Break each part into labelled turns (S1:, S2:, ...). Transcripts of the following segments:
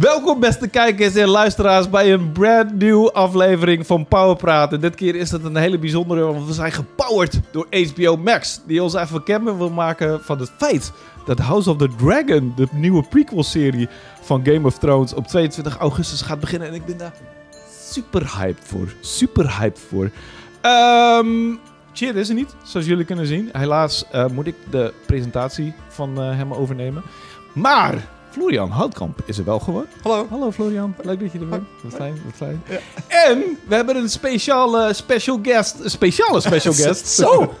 S1: Welkom beste kijkers en luisteraars bij een brand nieuwe aflevering van Powerpraat. En dit keer is het een hele bijzondere, want we zijn gepowered door HBO Max. Die ons even kennen wil maken van het feit dat House of the Dragon, de nieuwe prequel serie van Game of Thrones, op 22 augustus gaat beginnen. En ik ben daar super hyped voor. Super hyped voor. Ehm Cheer is er niet, zoals jullie kunnen zien. Helaas eh, moet ik de presentatie van eh, hem overnemen. Maar Florian Houtkamp is er wel gewoon.
S2: Hallo.
S1: Hallo Florian, leuk dat je er bent. Wat fijn, wat fijn.
S2: Ja.
S1: En we hebben een speciale special guest, een speciale special guest.
S2: Zo,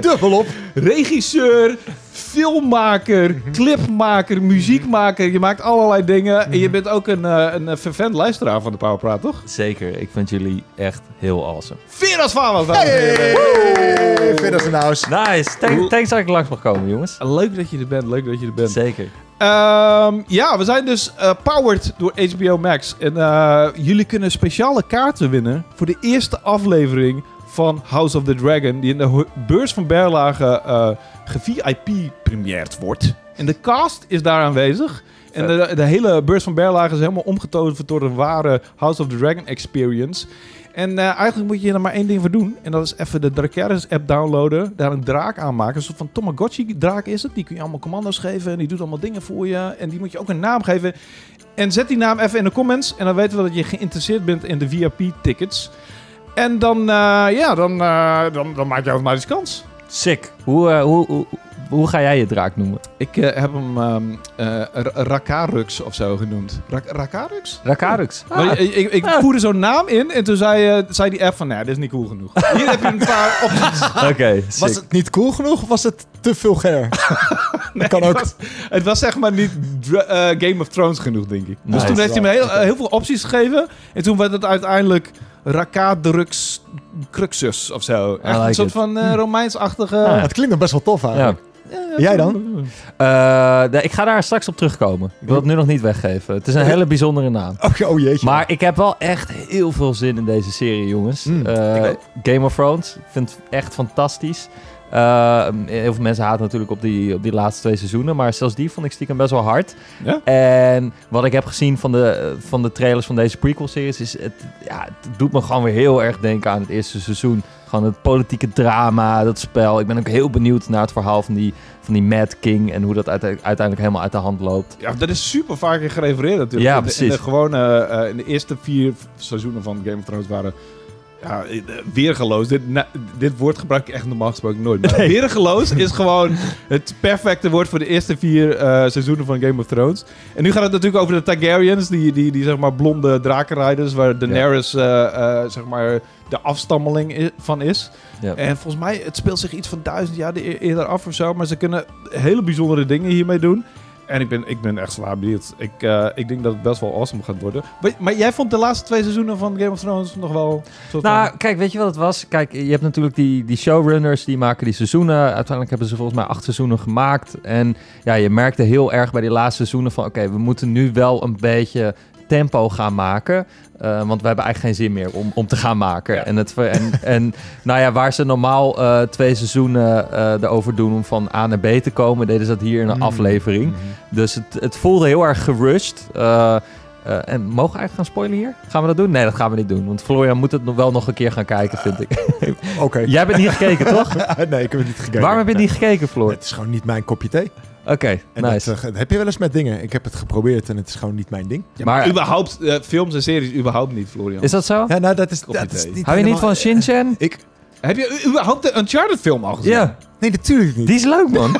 S2: dubbelop.
S1: Regisseur, filmmaker, clipmaker, muziekmaker. Je maakt allerlei dingen. En je bent ook een, eh, een eh, fervent luisteraar van de Powerpraat, toch?
S3: Zeker, ik vind jullie echt heel awesome.
S1: Veras Famas, dames en heren.
S2: Hey, Fidders in the house.
S3: Nice,
S1: Hoe-
S3: thanks, thanks dat ik langs mag komen, jongens.
S1: Leuk dat je er bent, leuk dat je er bent.
S3: Zeker.
S1: Ehm, ja, we zijn dus eh, powered door HBO Max. En eh, jullie kunnen speciale kaarten winnen voor de eerste aflevering van House of the Dragon. Die in de ho- beurs van Berlage eh ge-VIP-premierd wordt. En de cast is daar aanwezig. En de, de hele beurs van Berlage is helemaal omgetoverd door een ware House of the Dragon experience. En eh, eigenlijk moet je er maar één ding voor doen. En dat is even de Dracarys app downloaden. Daar een draak aan maken. Een soort van Tamagotchi draak is het. Die kun je allemaal commando's geven. En die doet allemaal dingen voor je. En die moet je ook een naam geven. En zet die naam even in de comments. En dan weten we dat je geïnteresseerd bent in de VIP-tickets. En dan, eh, ja, dan, eh, dan, dan maak je automatisch kans.
S3: Sick. Hoe, eh, hoe, hoe, hoe ga jij je draak noemen?
S1: Ik eh, heb hem ehm eh, Ra- Rakarux of zo genoemd. Ra Rakarux?
S3: Rakarux.
S1: Ah. Maar ik, ik, ik
S3: Ah.
S1: voerde zo'n naam in en toen zei, eh, zei die app van, nou, dit is niet cool genoeg. Hier heb je een paar opties.
S3: Oké,
S2: Was het niet cool genoeg of was het te vulgair?
S1: Nee,
S2: kan
S1: het
S2: ook.
S1: was- het was zeg maar niet dra- eh, Game of Thrones genoeg, denk ik. Dus
S3: Nice.
S1: toen heeft hij me heel, eh, heel veel opties gegeven en toen werd het uiteindelijk Rakadrux Cruxus of zo. Echt
S3: like
S1: een soort
S3: it. Hmm.
S1: van eh, Romeins-achtige...
S3: Ah,
S2: Het klinkt nog best wel tof
S3: ja.
S2: eigenlijk.
S1: Ja, ja,
S2: Jij
S1: zo-
S3: Eh, nee, ik ga daar straks op terugkomen. Ik wil Eh, het nu nog niet weggeven. Het is een hele bijzondere naam.
S2: Oh, oh jeetje.
S3: Maar ik heb wel echt heel veel zin in deze serie, jongens.
S2: Mm,
S3: Eh,
S2: ik ook.
S3: Game of Thrones. Ik vind het echt fantastisch. Eh, heel veel mensen haten natuurlijk op die, op die laatste twee seizoenen. Maar zelfs die vond ik stiekem best wel hard.
S1: Ja?
S3: En wat ik heb gezien van de, eh, van de trailers van deze prequel-series... is het, ja, het doet me gewoon weer heel erg denken aan het eerste seizoen. Gewoon het politieke drama, dat spel. Ik ben ook heel benieuwd naar het verhaal van die, van die Mad King... en hoe dat uite- uiteindelijk helemaal uit de hand loopt.
S1: Ja, dat is super vaak in gerefereerd natuurlijk.
S3: Ja,
S1: In de- In de,
S3: precies.
S1: gewone, eh, in de eerste vier seizoenen van Game of Thrones waren ja, eh, weergeloos. Dit, na- dit woord gebruik ik echt normaal gesproken nooit. Maar Weergeloos is gewoon het perfecte woord voor de eerste vier eh, seizoenen van Game of Thrones. En nu gaat het natuurlijk over de Targaryens, die, die, die zeg maar blonde drakenrijders, waar Daenerys eh, eh, zeg maar de afstammeling i- van is.
S3: Ja.
S1: En volgens mij, het speelt zich iets van duizend jaar e- eerder af of zo. Maar ze kunnen hele bijzondere dingen hiermee doen. En ik ben, ik ben echt zwaar benieuwd. Ik, eh, ik denk dat het best wel awesome gaat worden. Maar, maar jij vond de laatste twee seizoenen van Game of Thrones nog wel... een Soort
S3: Nou, kijk, weet je wat het was? Kijk, je hebt natuurlijk die, die showrunners, die maken die seizoenen. Uiteindelijk hebben ze volgens mij acht seizoenen gemaakt. En ja, je merkte heel erg bij die laatste seizoenen van... oké, we moeten nu wel een beetje tempo gaan maken. eh, want we hebben eigenlijk geen zin meer om, om te gaan maken.
S1: Ja.
S3: En, het, ver- en, en nou ja, waar ze normaal eh, twee seizoenen eh erover doen om van A naar B te komen... deden ze dat hier in een
S1: Mm.
S3: aflevering. Dus het, het voelde heel erg gerust. Eh, eh, en mogen we eigenlijk gaan spoilen hier? Gaan we dat doen? Nee, dat gaan we niet doen. Want Florian moet het nog wel nog een keer gaan kijken, vind ik.
S2: Oké.
S3: Jij bent niet gekeken, toch?
S2: nee, ik heb het niet gekeken.
S3: Waarom heb je niet gekeken, Floor?
S2: Het is gewoon niet mijn kopje thee.
S3: Oké,
S2: En
S3: nice.
S2: dat, eh, dat heb je wel eens met dingen. Ik heb het geprobeerd en het is gewoon niet mijn ding.
S1: Ja, maar
S3: maar-
S1: überhaupt, eh, films en series überhaupt niet, Florian.
S3: is dat zo?
S2: Ja, nou, dat is,
S1: Kopje
S2: dat is
S1: thee.
S2: niet
S3: Hou je niet
S2: helemaal-
S3: van Shin-Chan?
S2: Ik...
S1: Heb je u- überhaupt de Uncharted film al gezien?
S3: Ja,
S2: Nee, natuurlijk niet.
S3: die is leuk, man.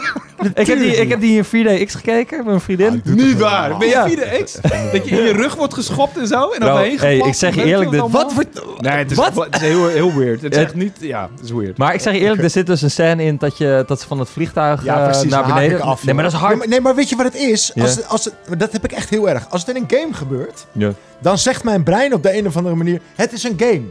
S3: ik, heb die, ik heb die in 4DX gekeken met mijn
S2: Ah,
S3: vriendin.
S2: ik doe het
S1: Niet
S2: toch
S1: waar.
S2: helemaal.
S1: Ben
S3: Ja.
S1: je 4 X? Dat je in je rug wordt geschopt en zo? En dan
S3: Bro,
S1: ben je
S3: hey,
S1: gepakt?
S3: ik zeg je
S1: Weet je
S3: eerlijk,
S1: wat
S3: dit-
S1: allemaal?
S2: Wat wordt...
S1: Nee, het is,
S3: Wat?
S1: het is heel, heel weird. Het is
S3: Ja.
S1: echt niet... Ja, het is weird.
S3: Maar ik zeg je eerlijk, er zit dus een scène in dat, je, dat ze van het vliegtuig eh,
S2: Ja, precies.
S3: naar
S2: dan haak
S3: beneden...
S2: ik af,
S3: nee, maar dat is
S2: joh. Nee,
S3: hard.
S2: maar, nee, maar weet je wat het is?
S3: Ja.
S2: Als het, als het, maar dat heb ik echt heel erg. Als het in een game gebeurt,
S3: Ja.
S2: dan zegt mijn brein op de een of andere manier: het is een game.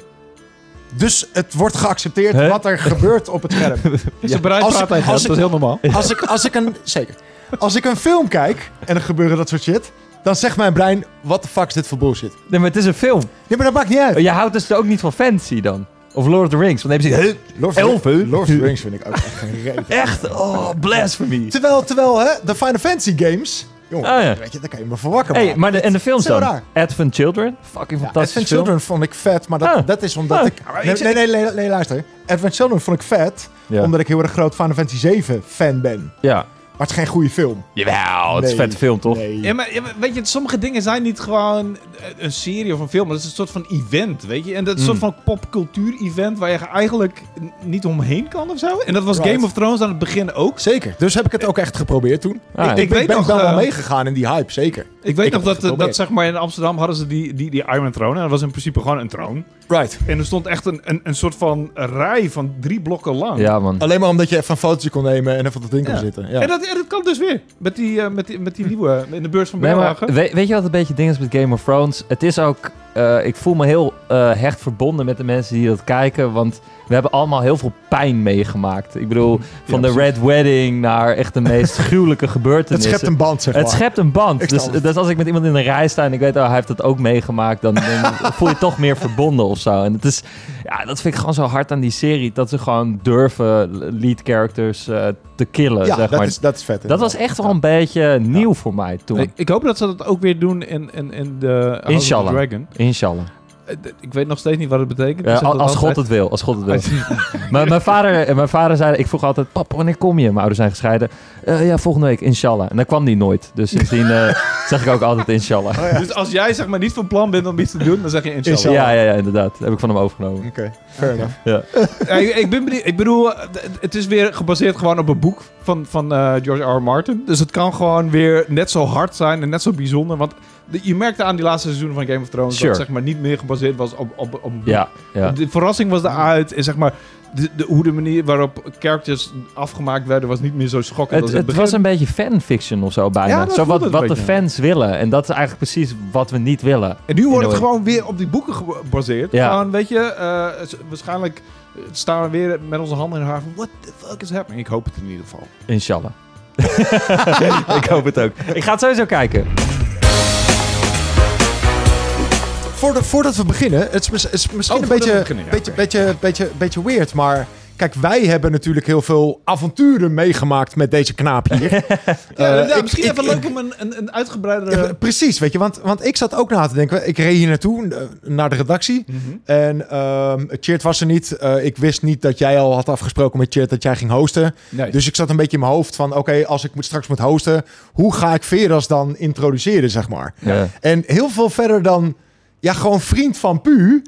S2: Dus het wordt geaccepteerd
S3: Hè?
S2: wat er gebeurt op het scherm.
S1: Is een bruid
S2: Als
S1: praat
S2: ik-
S1: tegen
S2: als
S1: dat, dat is heel normaal.
S2: Als ik, als ik een. Zeker. Als ik een film kijk en er gebeuren dat soort shit, dan zegt mijn brein: wat de fuck is dit voor bullshit?
S3: Nee, maar het is een film.
S2: Nee, maar dat maakt niet uit.
S3: Je houdt dus ook niet van fantasy dan. Of Lord of the Rings. Want dan hebben ze...
S2: Lord
S3: Elfen?
S2: Lord of the Rings vind ik ook echt geen reden.
S3: Echt? Oh, blasphemy.
S2: Terwijl, terwijl hè, de Final Fantasy games, Jongen,
S3: Ah, ja.
S2: weet je, daar kan je me voor wakker
S3: Hey,
S2: maken.
S3: maar de, en de films
S2: is heel
S3: dan?
S2: raar.
S3: Advent Children. Fucking
S2: Ja,
S3: fantastisch
S2: Advent
S3: film.
S2: Children vond ik vet, maar dat,
S3: Ah.
S2: dat is omdat
S3: Ah.
S2: ik...
S1: maar
S2: Nee,
S1: ik-
S2: nee, nee, nee, nee, luister. Advent Children vond ik vet,
S3: Ja.
S2: omdat ik heel erg groot Final Fantasy 7 fan ben.
S3: ja.
S2: Maar het is geen goede film.
S3: Jawel, Oh, het is een
S2: Nee.
S3: vette film, toch?
S2: Nee.
S1: Ja, maar, ja, maar weet je, sommige dingen zijn niet gewoon eh, een serie of een film. maar Dat is een soort van event, weet je. En dat is een
S3: Mm.
S1: soort van popcultuur-event waar je eigenlijk n- niet omheen kan of zo. En dat was
S2: Right.
S1: Game of Thrones aan het begin ook.
S2: Zeker. Dus heb ik het ook echt geprobeerd toen.
S3: Ah,
S2: ik
S3: ja.
S2: ik,
S1: Ik
S2: ben-
S1: weet
S2: ben
S1: nog,
S2: wel
S1: eh,
S2: wel meegegaan in die hype, zeker.
S1: Ik weet
S2: Ik
S1: nog
S2: heb
S1: dat,
S2: het
S1: eh, dat
S2: geprobeerd.
S1: zeg maar in Amsterdam hadden ze die, die, die Iron Throne. En dat was in principe gewoon een troon.
S2: Right.
S1: En er stond echt een, een, een soort van rij van drie blokken lang.
S3: Ja, man.
S2: Alleen maar omdat je even een fotootje kon nemen en even op dat ding kon
S1: Ja.
S2: zitten.
S1: En,
S2: Ja.
S1: dat, en dat kan dus weer. Met die, eh, met die, met die nieuwe, in de beurs van
S3: Nee, maar
S1: Berlage.
S3: weet, weet je wat een beetje het ding is met Game of Thrones? Het is ook... eh, ik voel me heel eh, hecht verbonden met de mensen die dat kijken. Want we hebben allemaal heel veel pijn meegemaakt. Ik bedoel, van de Red Wedding naar echt de meest gruwelijke
S2: Het
S3: gebeurtenissen.
S2: schept een band, zeg maar.
S3: Het schept een band.
S2: Ik
S3: Dus,
S2: snap het.
S3: dus als ik met iemand in een rij sta en ik weet, oh, hij heeft dat ook meegemaakt, dan, dan voel je toch meer verbonden of zo. En het is, ja, dat vind ik gewoon zo hard aan die serie, dat ze gewoon durven lead characters eh, te killen,
S2: ja,
S3: zeg
S2: dat,
S3: maar.
S2: is, dat is vet.
S3: dat was echt wel een beetje nieuw voor mij toen.
S1: Ik, ik hoop dat ze dat ook weer doen in, in, in de House of the
S3: Inshallah.
S1: Dragon.
S3: Inshallah.
S1: Eh, d- Ik weet nog steeds niet wat het betekent.
S3: Ja,
S1: Ik zeg
S3: al-
S1: dat
S3: als God
S1: altijd.
S3: het wil, als God het wil. Maar mijn vader, eh, mijn vader zei, ik vroeg altijd, papa, wanneer kom je? Mijn ouders zijn gescheiden. "Eh, ja, volgende week, inshallah. En dan kwam die nooit. Dus sindsdien eh, zeg ik ook altijd inshallah.
S1: Dus als jij zeg maar niet van plan bent om iets te doen, dan zeg je inshallah.
S2: Oh, Inshallah.
S3: Ja, ja, ja, inderdaad. heb ik van hem overgenomen.
S2: Oké, fair enough.
S1: Ja, ik, ik ben benieuwd. Ik bedoel, eh, d- het is weer gebaseerd gewoon op een boek van, van eh, George R. R. Martin. Dus het kan gewoon weer net zo hard zijn en net zo bijzonder. Want de- je merkte aan die laatste seizoenen van Game of Thrones
S3: Sure.
S1: dat het zeg maar niet meer gebaseerd was op, op, op een boek.
S3: Ja, ja.
S1: De verrassing was eruit en zeg maar... De, de, hoe de manier waarop characters afgemaakt werden was niet meer zo schokkend
S3: Het,
S1: als in
S3: het
S1: het
S3: was
S1: begin.
S3: een beetje fanfiction of zo bijna.
S1: Ja, dat
S3: zo
S1: voelde
S3: wat,
S1: het
S3: wat
S1: een
S3: de
S1: beetje.
S3: fans willen. En dat is eigenlijk precies wat we niet willen.
S1: En nu wordt het
S3: Anyway.
S1: gewoon weer op die boeken gebaseerd.
S3: Ja.
S1: Gewoon, weet je, eh, s- waarschijnlijk eh, staan we weer met onze handen in haar van... What the fuck is happening? Ik hoop het in ieder geval.
S3: Inshallah. ik hoop het ook. Ik ga het sowieso kijken.
S2: Voordat, voordat we beginnen, het is, mis- het is misschien
S1: Oh,
S2: een
S1: voordat
S2: beetje,
S1: we beginnen, ja,
S2: beetje,
S1: oké.
S2: beetje, beetje, beetje weird, maar... Kijk, wij hebben natuurlijk heel veel avonturen meegemaakt met deze knaap hier.
S1: Ja,
S2: Eh,
S1: ja,
S2: ik-
S1: misschien
S2: ik-
S1: even
S2: ik-
S1: leuk om een, een, een uitgebreidere...
S2: Ja, precies, weet je, want, want ik zat ook na te denken. Ik reed hier naartoe, eh, naar de redactie.
S1: Mhm.
S2: En ehm Cheert was er niet. Eh, ik wist niet dat jij al had afgesproken met Cheert dat jij ging hosten.
S1: Nee.
S2: Dus ik zat een beetje in mijn hoofd van... oké, als ik moet, straks moet hosten... hoe ga ik Veras dan introduceren, zeg maar?
S3: Ja.
S2: En heel veel verder dan... ja, gewoon vriend van Pu...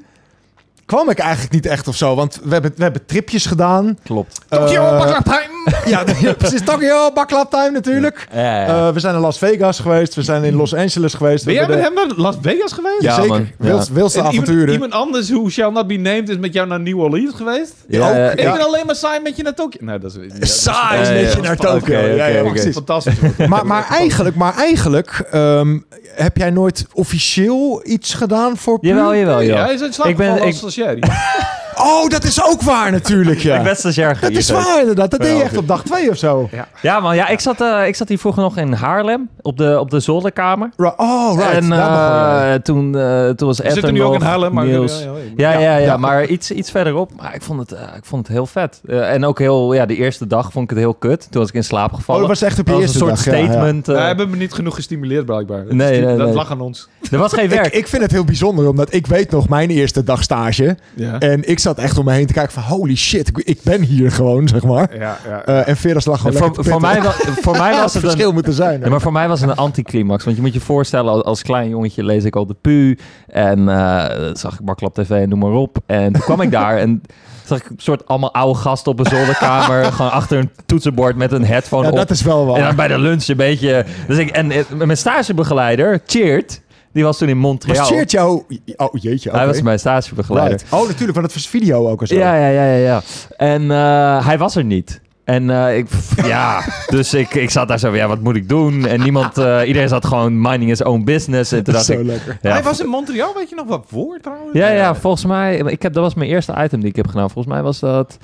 S2: kwam ik eigenlijk niet echt of zo. Want we hebben, we hebben tripjes gedaan.
S3: Klopt.
S1: Tokyo,
S2: Eh,
S1: Bakla Time!
S2: Ja, ja, precies. Tokyo, Baklap Time natuurlijk.
S3: Ja, ja.
S2: Eh, we zijn in Las Vegas geweest. We zijn in Los Angeles geweest.
S1: Ben
S2: we
S1: jij met
S2: hebben
S1: hem naar Las Vegas geweest?
S3: Ja,
S2: Ja, zeker.
S3: man.
S2: Wils-
S3: Ja.
S2: Wilste
S1: En
S2: avonturen.
S1: iemand, iemand anders, who shall not be named, is met jou naar New Orleans geweest?
S3: Ja,
S2: ook-
S3: ja,
S1: Ik
S3: ja.
S1: ben alleen maar saai met je naar Tokyo. Nou, dat is... ja, dat is-
S2: Saai
S1: dat is-
S3: met
S1: dat
S3: je
S1: is
S2: naar
S1: fantastisch.
S2: Tokyo.
S3: Oké,
S2: Ja, ja,
S3: oké,
S2: ja,
S3: oké.
S2: precies.
S1: Fantastisch. wordt het.
S2: Maar, maar eigenlijk, maar eigenlijk ehm, heb jij nooit officieel iets gedaan voor Pu?
S3: Jawel, jawel,
S1: Ja, hij
S3: jawel.
S1: is in slaap
S3: Ik ben-
S1: gevallen
S3: ik-
S1: als stagiair.
S2: Oh, dat is ook waar natuurlijk,
S3: Ik
S2: ja.
S3: ben stagiair
S2: Dat is
S3: geïrriteerd.
S2: waar inderdaad. Dat deed je
S3: Ja,
S2: echt op dag twee of zo.
S3: Ja, man. Ja, ik, zat, eh, ik zat hier vroeger nog in Haarlem. Op de, op de zolderkamer.
S2: Ri- Oh, right.
S3: En
S2: Daar begon je.
S3: eh, toen, eh, toen was
S1: We
S3: Ed
S1: zitten
S3: er
S1: nu ook in
S3: nog,
S1: Haarlem, maar...
S3: Niels.
S1: Ja, ja, ja.
S3: Ja, ja, ja,
S2: ja.
S3: maar iets, iets verderop. Maar ik vond het, eh, ik vond het heel vet. Eh, en ook heel, ja, de eerste dag vond ik het heel kut. Toen was ik in slaap
S2: oh,
S3: gevallen.
S2: dat was echt op je
S3: Dat was
S2: eerste
S3: een soort
S2: dag, ja, ja.
S3: statement. eh,
S1: Wij hebben me niet genoeg gestimuleerd, blijkbaar. Dat,
S3: Nee,
S1: is-
S3: nee,
S1: dat
S3: nee.
S1: lag aan ons.
S3: er was geen werk.
S2: Ik, ik vind het heel bijzonder, omdat ik weet nog mijn eerste dag stage.
S1: Ja.
S2: En ik zat echt om me heen te kijken van... holy shit, ik, ik ben hier gewoon, zeg maar.
S1: Ja, ja.
S2: Eh, en Veras lag gewoon lekker
S3: voor,
S2: te
S3: voor,
S2: pitten.
S3: mij wa- voor mij
S2: Ja,
S3: was het
S2: verschil
S3: een...
S2: moeten zijn.
S3: Ja, maar voor mij was het een anticlimax. Want je moet je voorstellen, als, als klein jongetje lees ik al de pu. En eh, zag ik Baklap TV en noem maar op. En toen kwam ik daar en zag ik een soort allemaal oude gasten op een zolderkamer. gewoon achter een toetsenbord met een headphone
S2: Ja,
S3: op.
S2: dat is wel waar.
S3: En dan bij de lunch een beetje... Dus ik, en eh, mijn stagebegeleider, Cheert, die was toen in Montreal.
S2: Maar cheert jou... Oh, jeetje.
S3: Hij
S2: oké.
S3: was mijn stagebegeleider.
S2: Right. Oh, natuurlijk, want het was video ook en zo.
S3: Ja, ja, ja, ja, ja. En eh, hij was er niet. En eh, ik, pff, ja, dus ik, ik zat daar zo van, ja, wat moet ik doen? En niemand, eh, iedereen zat gewoon minding his own business. En toen dacht
S2: zo
S3: ik,
S2: lekker.
S3: ja,
S1: Hij was in Montreal, weet je nog wat voor trouwens?
S3: ja, ja, volgens mij, ik heb, dat was mijn eerste item die ik heb gedaan. Volgens mij was dat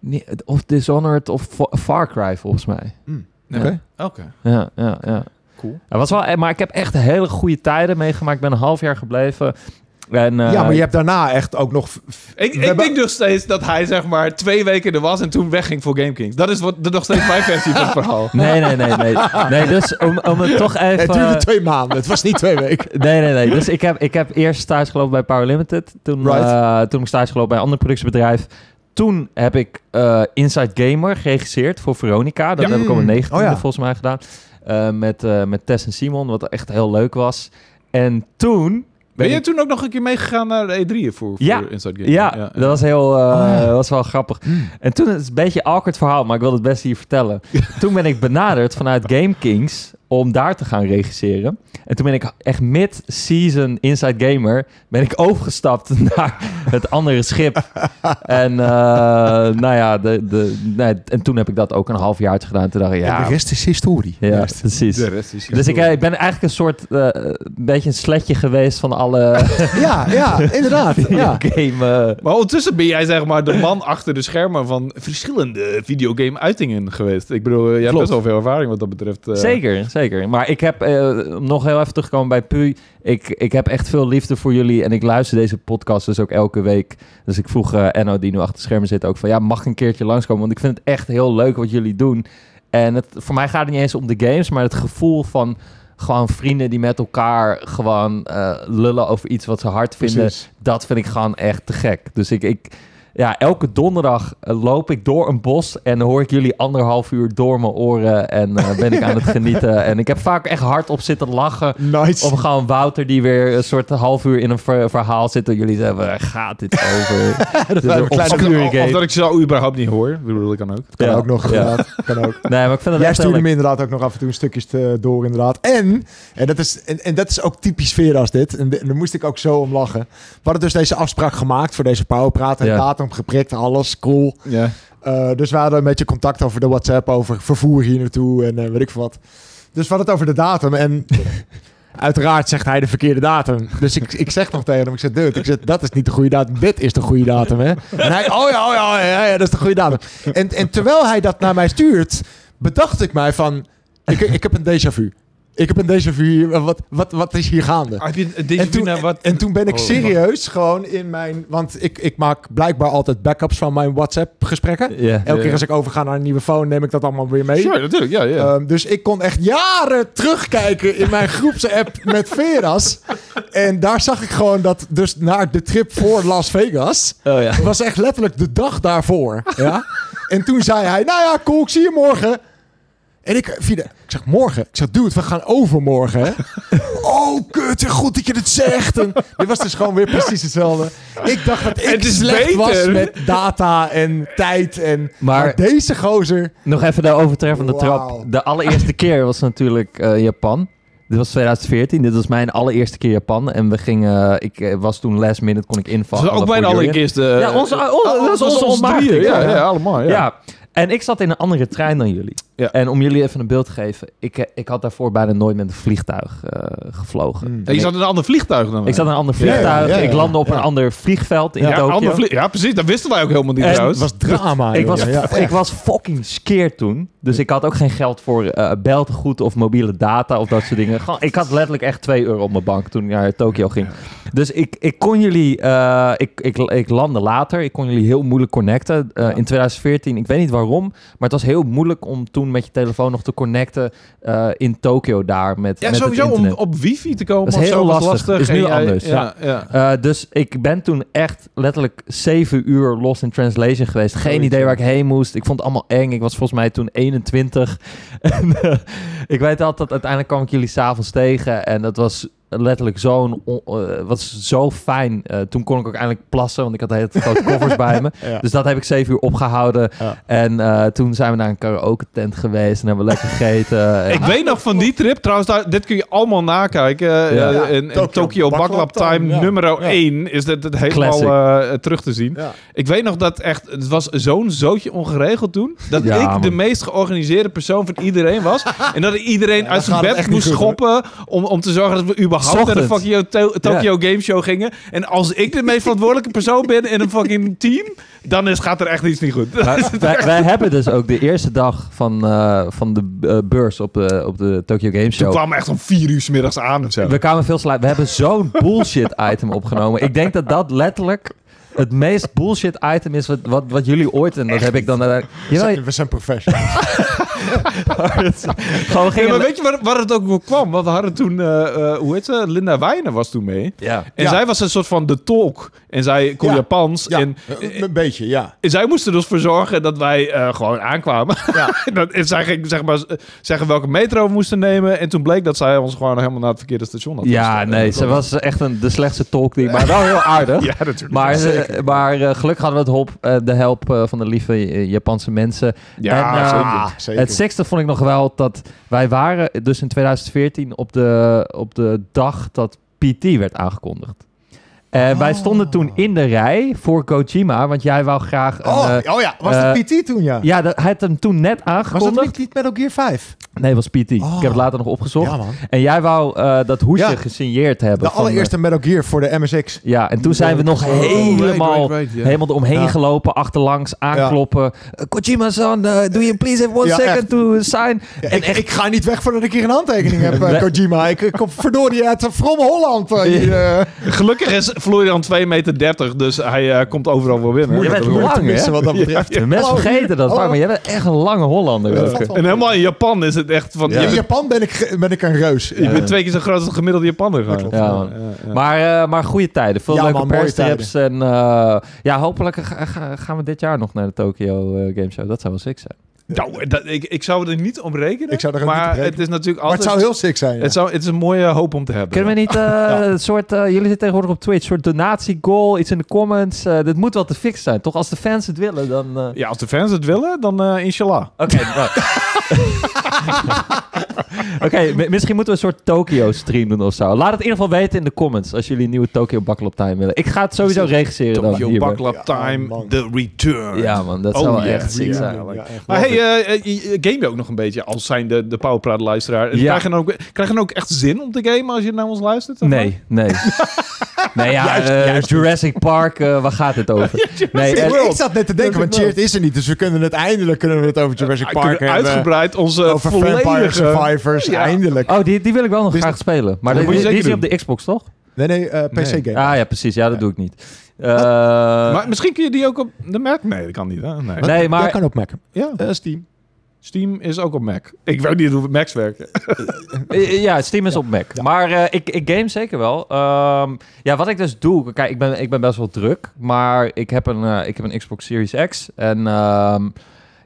S3: niet- of Dishonored of Fa- Far Cry, volgens mij.
S1: Nee.
S3: Oké.
S1: Oké.
S3: Ja, ja, ja.
S1: Cool.
S3: Het was wel, eh, maar ik heb echt hele goede tijden meegemaakt. Ik ben een half jaar gebleven. En, eh,
S2: ja, maar je hebt daarna echt ook nog...
S1: Ik, ik
S2: hebben-
S1: denk nog steeds dat hij zeg maar twee weken er was en toen wegging voor Game Kings. Dat is wat, dat nog steeds mijn versie van het verhaal.
S3: Nee, nee, nee, nee. Nee, dus om, om het toch even... eh,
S2: Het duurde twee maanden. Het was niet twee weken.
S3: Nee, nee, nee. Dus ik heb, ik heb eerst stage gelopen bij Power Limited. Toen,
S2: Right.
S3: eh, toen heb ik stage gelopen bij een ander productiebedrijf. Toen heb ik eh, Inside Gamer geregisseerd voor Veronica. Dat
S1: Ja.
S3: heb ik op mijn
S2: Mm.
S3: 19e
S2: Oh ja.
S3: volgens mij gedaan. Eh, met, eh, met Tess en Simon, wat echt heel leuk was. En toen...
S1: Ben je toen ook nog een keer meegegaan naar de E3 voor, voor
S3: Ja.
S1: Inside Game?
S3: Ja, dat was heel, eh,
S2: Oh, ja.
S3: dat was wel grappig. En toen, het is een beetje een awkward verhaal, maar ik wil het best hier vertellen. toen ben ik benaderd vanuit Game Kings om daar te gaan regisseren. En toen ben ik echt mid-season Inside Gamer, ben ik overgestapt naar het andere schip. en eh, nou ja, de, de, nee, en toen heb ik dat ook een halfjaartje gedaan. Toen dacht ik,
S2: En
S3: ja,
S2: de rest is historie.
S3: ja precies.
S1: De rest is
S3: Dus ik, eh, ik ben eigenlijk een soort, eh, een beetje een sletje geweest van alle
S2: Ja, ja, inderdaad. Ja.
S3: game... eh,
S1: Maar ondertussen ben jij zeg maar de man achter de schermen van verschillende videogame-uitingen geweest. Ik bedoel, eh, jij hebt
S3: Klopt.
S1: best wel veel ervaring wat dat betreft. eh.
S3: Zeker, zeker. Maar ik heb, eh, om nog heel even terug te komen bij Puy. Ik, ik heb echt veel liefde voor jullie en ik luister deze podcast dus ook elke week. Dus ik vroeg eh Enno, die nu achter de schermen zit, ook van ja, mag ik een keertje langskomen? Want ik vind het echt heel leuk wat jullie doen. En het, voor mij gaat het niet eens om de games, maar het gevoel van gewoon vrienden die met elkaar gewoon eh, lullen over iets wat ze hard vinden.
S2: Precies.
S3: Dat vind eh, ik gewoon echt te gek. Dus ik, ik ja, elke donderdag eh, loop ik door een bos en dan hoor ik jullie anderhalf uur door mijn oren en eh, ben ik aan het genieten. En ik heb vaak echt hard op zitten lachen. Of
S2: Nice.
S3: gewoon Wouter die weer een soort half uur in een ver- verhaal zit. En jullie zeggen, waar gaat dit over? Dit is
S2: waren
S3: een
S2: kleine-
S1: Of,
S3: obscure
S1: of- of dat
S3: game.
S1: ik ze al überhaupt niet hoor. Ik bedoel, dat kan ook.
S2: Kan
S3: Ja.
S2: ook nog,
S3: Ja.
S2: inderdaad. Kan ook.
S3: Nee, maar ik vind het
S2: Jij
S3: echt heel
S2: stuurde
S3: leuk.
S2: me inderdaad ook nog af en toe een stukjes te- door, inderdaad. En, en, dat is, en, en dat is ook typisch Vera's dit. En, de- en daar moest ik ook zo om lachen. We hadden dus deze afspraak gemaakt voor deze powerpraat. En
S3: Ja.
S2: datum geprikt, alles, cool.
S1: Ja.
S2: Eh, dus we hadden een beetje contact over de WhatsApp, over vervoer hier naartoe en eh, weet ik veel wat. Dus we hadden het over de datum en uiteraard zegt hij de verkeerde datum. Dus ik, ik zeg nog tegen hem, ik zeg, dude, ik zeg, dat is niet de goede datum, dit is de goede datum, hè. En hij, oh ja, oh ja, oh ja, ja, ja, dat is de goede datum. En, en terwijl hij dat naar mij stuurt, bedacht ik mij van, ik, ik heb een déjà vu. Ik heb een déjà vu, hier, wat, wat, wat is hier gaande?
S1: Heb je
S2: En toen,
S1: wat...
S2: en toen ben ik
S1: Oh,
S2: serieus gewoon in mijn... Want ik, ik maak blijkbaar altijd backups van mijn WhatsApp-gesprekken.
S3: Ja.
S2: Elke
S1: Ja.
S2: keer als ik overga naar een nieuwe phone, neem ik dat allemaal weer mee.
S1: Sure, natuurlijk. Ja, ja.
S2: Ehm, dus ik kon echt jaren terugkijken in mijn groepsapp met Veras. En daar zag ik gewoon dat, dus naar de trip voor Las Vegas,
S3: Oh ja.
S2: was echt letterlijk de dag daarvoor. Ja? En toen zei hij, nou ja, cool, ik zie je morgen. En ik, via de- ik zeg, morgen? Ik zeg, dude, we gaan overmorgen, hè? oh, kut, goed dat je dit zegt. En dit was dus gewoon weer precies hetzelfde. Ik dacht dat ik
S1: Het is
S2: slecht
S1: beter.
S2: was met data en tijd en...
S3: Maar-
S2: Maar, deze gozer...
S3: Nog even de overtreffende
S2: Wauw.
S3: trap. De allereerste keer was natuurlijk eh, Japan. Dit was 2014. Dit was mijn allereerste keer Japan. En we gingen... Ik eh, was toen last minute, kon ik
S1: Dat
S3: invallen.
S1: is ook mijn
S3: voor jullie.
S1: allereerste...
S3: Ja, onze, oh,
S1: Oh,
S3: dat was onze
S1: ons
S3: ontmaagding.
S1: drieën. Ja, ja, allemaal. Ja.
S3: Ja. En ik zat in een andere trein dan jullie.
S1: Ja.
S3: En om jullie even een beeld te geven. Ik, eh, ik had daarvoor bijna nooit met een vliegtuig eh, gevlogen.
S2: Mm.
S1: En Hmm. je zat in een ander vliegtuig dan wij.
S3: Ik zat in een ander
S1: Ja, ja,
S3: vliegtuig.
S2: ja, ja,
S3: Ik landde op
S2: ja.
S3: een ander vliegveld in
S1: ja,
S3: Tokio.
S1: ander vlie- ja, precies. Dat wisten wij ook helemaal niet
S3: En
S2: Het
S1: trouwens.
S2: was drama.
S3: Ik
S2: joh.
S3: was,
S2: Ja,
S3: ik was fucking scared toen. Dus ik had ook geen geld voor eh beltegoed of mobiele data of dat soort dingen. Gewoon, ik had letterlijk echt 2 euro op mijn bank toen ik naar Tokio ging. Dus ik, ik kon jullie... eh, ik, ik, ik landde later. Ik kon jullie heel moeilijk connecten. Eh, In 2014, ik weet niet waarom. Maar het was heel moeilijk om toen met je telefoon nog te connecten eh, in Tokio daar met,
S1: ja,
S3: met
S1: sowieso
S3: het
S1: om
S3: internet.
S1: op wifi te komen.
S3: Dat is
S1: of
S3: heel
S1: zo, was
S3: lastig. Is
S1: En
S3: nu
S1: jij-
S3: anders,
S1: ja. ja.
S3: Eh, dus ik ben toen echt letterlijk zeven uur lost in translation geweest. Geen
S2: Zoiets,
S3: idee
S2: ja.
S3: waar ik heen moest. Ik vond het allemaal eng. Ik was volgens mij toen 21. en, eh, ik weet altijd, dat uiteindelijk kwam ik jullie s'avonds tegen. En dat was letterlijk zo'n... on- eh, was zo fijn. Eh, toen kon ik ook eindelijk plassen, want ik had hele grote koffers bij me.
S2: Ja.
S3: Dus dat heb ik zeven uur opgehouden.
S2: Ja.
S3: En eh, toen zijn we naar een karaoke tent geweest en hebben we lekker gegeten. En-
S1: Ik weet nog van die trip, trouwens, daar, dit kun je allemaal nakijken. eh,
S3: Ja.
S1: eh, in, in
S2: Tokyo
S1: Tokyo Baklap
S2: Baklap
S1: Time,
S2: Time, ja.
S1: nummer
S2: Ja.
S1: 1 is dit, dit helemaal
S3: Classic.
S1: eh, terug te zien.
S2: Ja.
S1: Ik weet nog dat echt, het was zo'n zootje ongeregeld toen, dat
S3: Ja,
S1: ik
S3: man.
S1: de meest georganiseerde persoon van iedereen was. en dat ik iedereen
S2: Ja,
S1: uit
S2: dat
S1: zijn
S2: gaat
S1: bed
S2: echt niet
S1: moest
S2: goed, hoor.
S1: schoppen om, om te zorgen dat we überhaupt naar de
S3: Ochtend.
S1: fucking To- Tokyo Game Show gingen. En als ik de meest verantwoordelijke persoon ben in een fucking team, dan is, gaat er echt iets niet goed.
S3: Maar wij, wij hebben dus ook de eerste dag van, eh, van de eh, beurs op de, op de Tokyo Game
S1: Toen
S3: Show.
S1: kwam echt om vier uur 's middags aan of zo.
S3: We kwamen veel te laat. We hebben zo'n bullshit item opgenomen. Ik denk dat dat letterlijk het meest bullshit item is wat, wat, wat jullie ooit... En dat heb ik dan... eh, uiteindelijk-
S2: We
S3: Jawel,
S2: zijn, we zijn professionals.
S3: gewoon
S1: Nee,
S3: we gingen...
S1: maar weet je waar, waar het ook voor kwam? Want we hadden toen, eh, eh, hoe heet ze? Linda Wijnen was toen mee.
S3: ja.
S1: En
S2: Ja.
S1: zij was een soort van de tolk. En zij kon
S2: Ja.
S1: Japans.
S2: Ja,
S1: En,
S2: een, een beetje, ja.
S1: en zij moest er dus voor zorgen dat wij eh, gewoon aankwamen. en, dat, en zij ging zeg maar, z- zeggen welke metro we moesten nemen. En toen bleek dat zij ons gewoon helemaal naar het verkeerde station had
S3: Ja,
S1: gestuurd.
S3: nee, ze was echt een, de slechtste tolk die, maar wel heel aardig.
S1: Ja, natuurlijk.
S3: Maar, eh, maar eh, gelukkig hadden we het hop, eh, de help eh, van de lieve eh, Japanse mensen.
S1: Ja,
S3: En, eh,
S1: zeker.
S2: Ah, Zeker.
S3: Het sexte vond ik nog wel dat wij waren dus in 2014 op de, op de dag dat PT werd aangekondigd. En wij
S2: Oh.
S3: stonden toen in de rij voor Kojima, want jij wou graag een...
S2: oh,
S3: eh,
S2: oh ja, was
S3: eh,
S2: dat PT toen, ja?
S3: ja, dat, hij had hem toen net
S2: was dat
S3: aangekondigd.
S2: niet, niet Metal Gear 5?
S3: Nee, het was PT.
S2: Oh.
S3: Ik heb het later nog opgezocht.
S2: Ja, man.
S3: En jij wou eh, dat hoesje
S2: Ja.
S3: gesigneerd hebben.
S2: De
S3: van, eh,
S2: allereerste Metal Gear voor de MSX.
S3: Ja, en toen zijn we nog
S1: Oh, right,
S3: helemaal,
S1: right, right, ja.
S3: helemaal eromheen
S2: Ja.
S3: gelopen, achterlangs, aankloppen. Eh, Kojima-san, eh, do you please have one
S2: Ja,
S3: second
S2: echt.
S3: to sign?
S2: Ja,
S3: en
S2: ik,
S3: echt,
S2: ik ga niet weg voordat ik hier een handtekening heb, eh,
S3: Nee.
S2: Kojima. Ik, ik kom verdorie uit From Holland. eh, hier, eh.
S1: Gelukkig is Florian 2,30 meter, dus hij eh, komt overal wel binnen.
S3: Je
S1: Dat is-
S3: bent lang,
S2: Moeilijk te
S3: hè?
S2: missen wat dat betreft.
S3: de mensen
S2: Hallo,
S3: vergeten dat
S2: hallo.
S3: vaak, maar jij bent echt een lange Hollander.
S2: Oh, Ja, dat
S3: Wilke.
S2: valt wel.
S1: En helemaal in Japan is het echt van...
S3: Ja.
S1: Je,
S2: In
S1: bent,
S2: Japan ben ik, ge- ben ik een reus.
S1: je bent twee keer zo groot als een gemiddelde Japaner. gewoon.
S3: Ja, man.
S1: ja.
S3: Maar, eh, maar goede tijden, veel
S2: Ja,
S3: leuke
S2: man, mooie
S3: perstrips. En eh, ja, hopelijk ga- ga- gaan we dit jaar nog naar de Tokyo eh, Game Show. Dat zou wel sick zijn.
S1: Nou, dat, ik, ik zou er niet om rekenen.
S2: Ik zou er ook niet
S1: maar
S2: op rekenen.
S1: het is natuurlijk
S2: Maar
S1: altijd...
S2: het zou heel sick zijn. ja.
S1: Het, zou, het is een mooie hoop om te hebben.
S3: Kunnen we niet eh, een soort, eh, jullie zitten tegenwoordig op Twitch, een soort donatiegoal, iets in de comments. eh dit moet wel te fix zijn, toch? Als de fans het willen, dan... eh,
S1: Ja, als de fans het willen, dan eh, inshallah.
S3: Oké, nou. Oké, mi- misschien moeten we een soort Tokyo-stream doen of zo. Laat het in ieder geval weten in de comments als jullie een nieuwe Tokyo Bakkelop Time willen. Ik ga het sowieso regisseren dan
S1: Tokyo
S3: hierbij.
S1: Backlap
S2: Ja,
S1: Time,
S2: man.
S1: The Return.
S3: Ja man, dat
S1: Oh,
S3: zou wel
S1: yeah,
S3: echt sick
S1: yeah.
S3: zijn.
S2: Ja, echt.
S1: Maar hey, eh, eh, je- je game je ook nog een beetje als zijn de, de Powerpraat luisteraar. En
S3: Ja.
S1: Krijg, je dan ook, krijg je dan ook echt zin om te gamen als je naar ons luistert? zeg maar?
S3: Nee, nee. nee, ja, eh, Jurassic Park, eh, waar gaat het over? nee, eh,
S2: ik,
S3: en-
S2: eh, ik zat net te denken, want Cheert is er niet. Dus we kunnen het eindelijk kunnen we het over Jurassic
S1: Ja,
S2: Park
S1: Ah, kunnen
S2: hebben.
S1: uitgebreid onze
S2: over Vampire
S1: volledige...
S2: Survivors,
S1: eh, Ja.
S2: eindelijk.
S3: oh, die, die wil ik wel nog
S2: Die is-
S3: graag spelen. Maar
S1: Dat
S3: die,
S1: moet je
S3: die- die is
S1: zeker
S3: niet op de Xbox, toch?
S2: Nee, nee, eh,
S1: Nee.
S2: PC game.
S3: Ah ja, precies. Ja, dat doe ik niet. Eh,
S1: Maar misschien kun je die ook op de Mac... Nee, dat kan niet. Hè? Nee.
S3: nee, maar...
S2: Dat kan ook Mac.
S1: Ja,
S2: Eh, Steam.
S1: Steam is ook op Mac. Ik weet niet hoe Macs werken.
S3: Eh, Ja, Steam is op Mac. Maar eh, ik, ik game zeker wel. Ehm, ja, wat ik dus doe... Kijk, ik ben, ik ben best wel druk. Maar ik heb een, eh, ik heb een Xbox Series X. En ehm,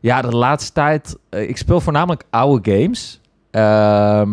S3: ja, de laatste tijd... eh, ik speel voornamelijk oude games. Ehm,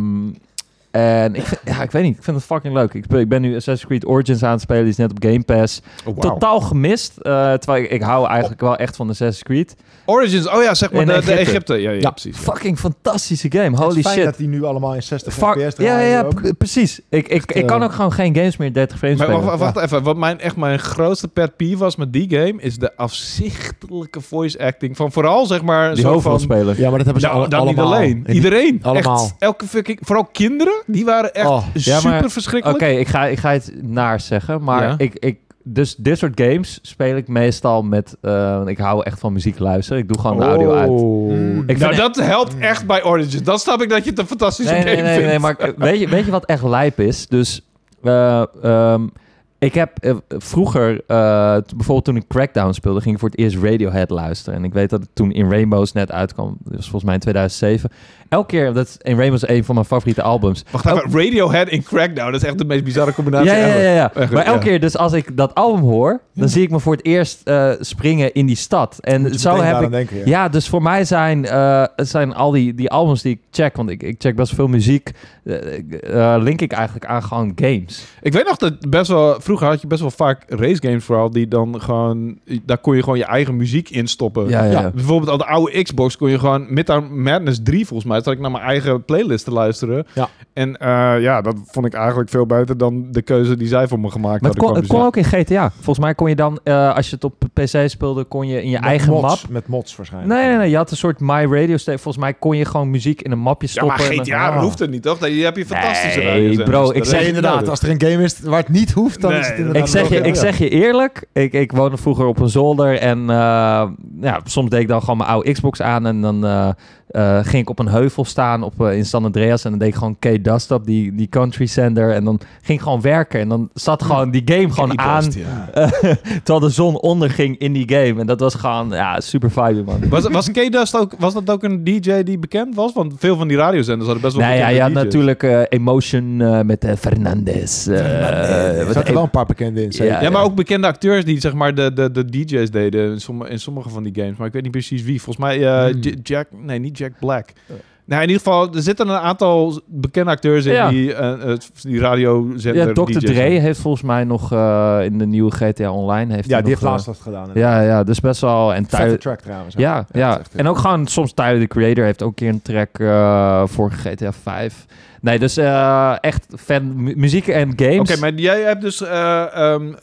S3: en ik, vind- ja, ik weet niet. Ik vind het fucking leuk. Ik, speel- ik ben nu Assassin's Creed Origins aan het spelen. Die is net op Game Pass. Totaal gemist. eh, terwijl ik, ik hou eigenlijk wel echt van Assassin's Creed.
S1: Origins, oh ja, zeg maar
S3: In
S1: de Egypte.
S3: Egypte.
S1: De Egypte. Ja, ja,
S2: Ja.
S1: precies. ja.
S3: Fucking fantastische game. Holy
S2: Het is fijn
S3: shit.
S2: dat die nu allemaal in 60
S3: Fuck,
S2: FPS
S3: ja, ja,
S2: draaien
S3: ja,
S2: ook.
S3: pre- precies. Ik, ik, ik
S2: eh,
S3: kan ook gewoon geen games meer 30 frames
S1: Maar
S3: spelen.
S1: wacht, wacht even, wat mijn, echt mijn grootste pet peeve was met die game... is de afzichtelijke voice acting van vooral, zeg maar... een
S3: Die
S1: soort van,
S3: hoofdrolspeler.
S2: Ja, maar dat hebben ze
S1: Nou,
S2: al-
S1: dan
S2: allemaal.
S1: niet alleen.
S2: In-
S1: Iedereen.
S2: allemaal.
S1: Echt, elke fucking... Vooral kinderen, die waren echt
S2: Oh,
S3: ja, maar-
S1: super
S3: Oké,
S1: verschrikkelijk.
S3: ik, ga, ik ga het naar zeggen, maar
S1: Ja.
S3: ik, ik, dus dit soort games speel ik meestal met, eh, want ik hou echt van muziek luisteren. Ik doe gewoon de audio uit.
S1: Mm.
S3: vind
S1: Oh. nou,
S3: het-
S1: dat helpt echt bij Origins. Dan snap ik dat je het een fantastische
S3: Nee,
S1: game
S3: nee, nee,
S1: vindt.
S3: nee, maar eh, weet je, weet je wat echt lijp is? Dus eh, ehm, ik heb eh, vroeger, eh, t- bijvoorbeeld toen ik Crackdown speelde, ging ik voor het eerst Radiohead luisteren. En ik weet dat het toen In Rainbows net uitkwam, dus volgens mij in 2007. Elke keer, dat is- In Rainbows is een van mijn favoriete albums.
S1: Wacht even, Radiohead in Crackdown. Nou, Dat is echt de meest bizarre combinatie
S3: Oh. Ja, ja, ja,
S1: ever.
S3: ja. ja.
S1: Echt,
S3: Maar elke
S1: ja.
S3: keer dus als ik dat album hoor, dan
S1: Ja.
S3: zie ik me voor het eerst eh, springen in die stad. En
S2: Moet je
S3: zo
S2: meteen
S3: heb
S2: daaraan
S3: ik...
S2: denken, ja.
S3: Ja, dus voor mij zijn, eh, het zijn al die, die albums die ik check, want ik, ik check best veel muziek, eh, ik, eh, link ik eigenlijk aan gewoon games.
S1: Ik weet nog dat best wel... Vroeger had je best wel vaak race games vooral... die dan gewoon... Daar kon je gewoon je eigen muziek in stoppen.
S3: Ja, ja, ja.
S1: Bijvoorbeeld aan de oude Xbox kon je gewoon Midtown Madness 3 volgens mij. Zat ik naar mijn eigen playlist te luisteren.
S2: Ja.
S1: En eh, ja, dat vond ik eigenlijk veel beter dan de keuze die zij voor me gemaakt
S3: Maar het
S1: hadden.
S3: kon, het
S1: qua
S3: kon
S1: muziek.
S3: ook in GTA. Volgens mij kon je dan, eh, als je het op PC speelde, kon je in je
S2: Met
S3: eigen
S2: mods,
S3: map...
S2: Met mods waarschijnlijk.
S3: Nee, nee, nee. Je had een soort My Radio Station. Volgens mij kon je gewoon muziek in een mapje
S1: dus Ja,
S3: stoppen.
S1: maar GTA
S3: en-
S2: Ah.
S1: hoeft het niet, toch? Daar heb je fantastische
S3: Nee,
S1: radiozenders.
S3: bro,
S1: Dat
S3: ik
S1: is
S3: zei
S2: Nee,
S1: niet
S2: inderdaad.
S1: nodig.
S2: Als er een game is waar het niet hoeft, dan
S1: Nee,
S2: is het
S1: dat-
S2: inderdaad...
S3: Ik zeg, je,
S2: wel
S3: ik
S2: weer-
S3: zeg je eerlijk, ik, ik woonde vroeger op een zolder en eh, ja, soms deed ik dan gewoon mijn oude Xbox aan en dan eh, eh, ging ik op een heuvel staan op, eh, in San Andreas en dan deed ik gewoon K Dust op, die, die country sender en dan ging ik gewoon werken en dan zat gewoon die game gewoon aan eh,
S1: Die best, ja.
S3: terwijl de zon onderging in die game en dat was gewoon ja, super vibe man.
S1: Was, was K-Dust ook, was dat ook een DJ die bekend was? Want veel van die radiozenders hadden best wel
S3: Nou ja, je had
S1: bekende DJ's.
S3: natuurlijk eh, Emotion eh, met eh, Fernandez. eh,
S2: Er
S3: wat
S2: zaten
S3: een-
S2: wel een paar bekende in. zeker.
S3: Ja,
S1: Ja, maar
S3: ja.
S1: ook bekende acteurs die zeg maar de, de, de DJ's deden in sommige, in sommige van die games. Maar ik weet niet precies wie. Volgens mij eh,
S2: Hmm.
S1: J- Jack... Nee, niet Jack Black. Nou, in ieder geval, er zitten een aantal bekende acteurs in
S3: Ja.
S1: die, eh, eh, die radiozender
S3: ja, Dr.
S1: DJ's.
S3: Dre heeft volgens mij nog eh, in de nieuwe GTA Online. Heeft
S2: Ja,
S3: hij
S2: die heeft
S3: nog, eh,
S2: laatst dat gedaan.
S3: Ja, ja, dus best wel. En
S2: Vette
S3: Tyler,
S2: track trouwens. ook.
S3: ja,
S2: dat
S3: ja.
S2: is echt-
S3: En ook gewoon soms Tyler the Creator heeft ook een keer een track eh, voor GTA 5. Nee, dus eh, echt fan mu- muziek en games.
S1: Oké, maar jij hebt dus eh, ehm,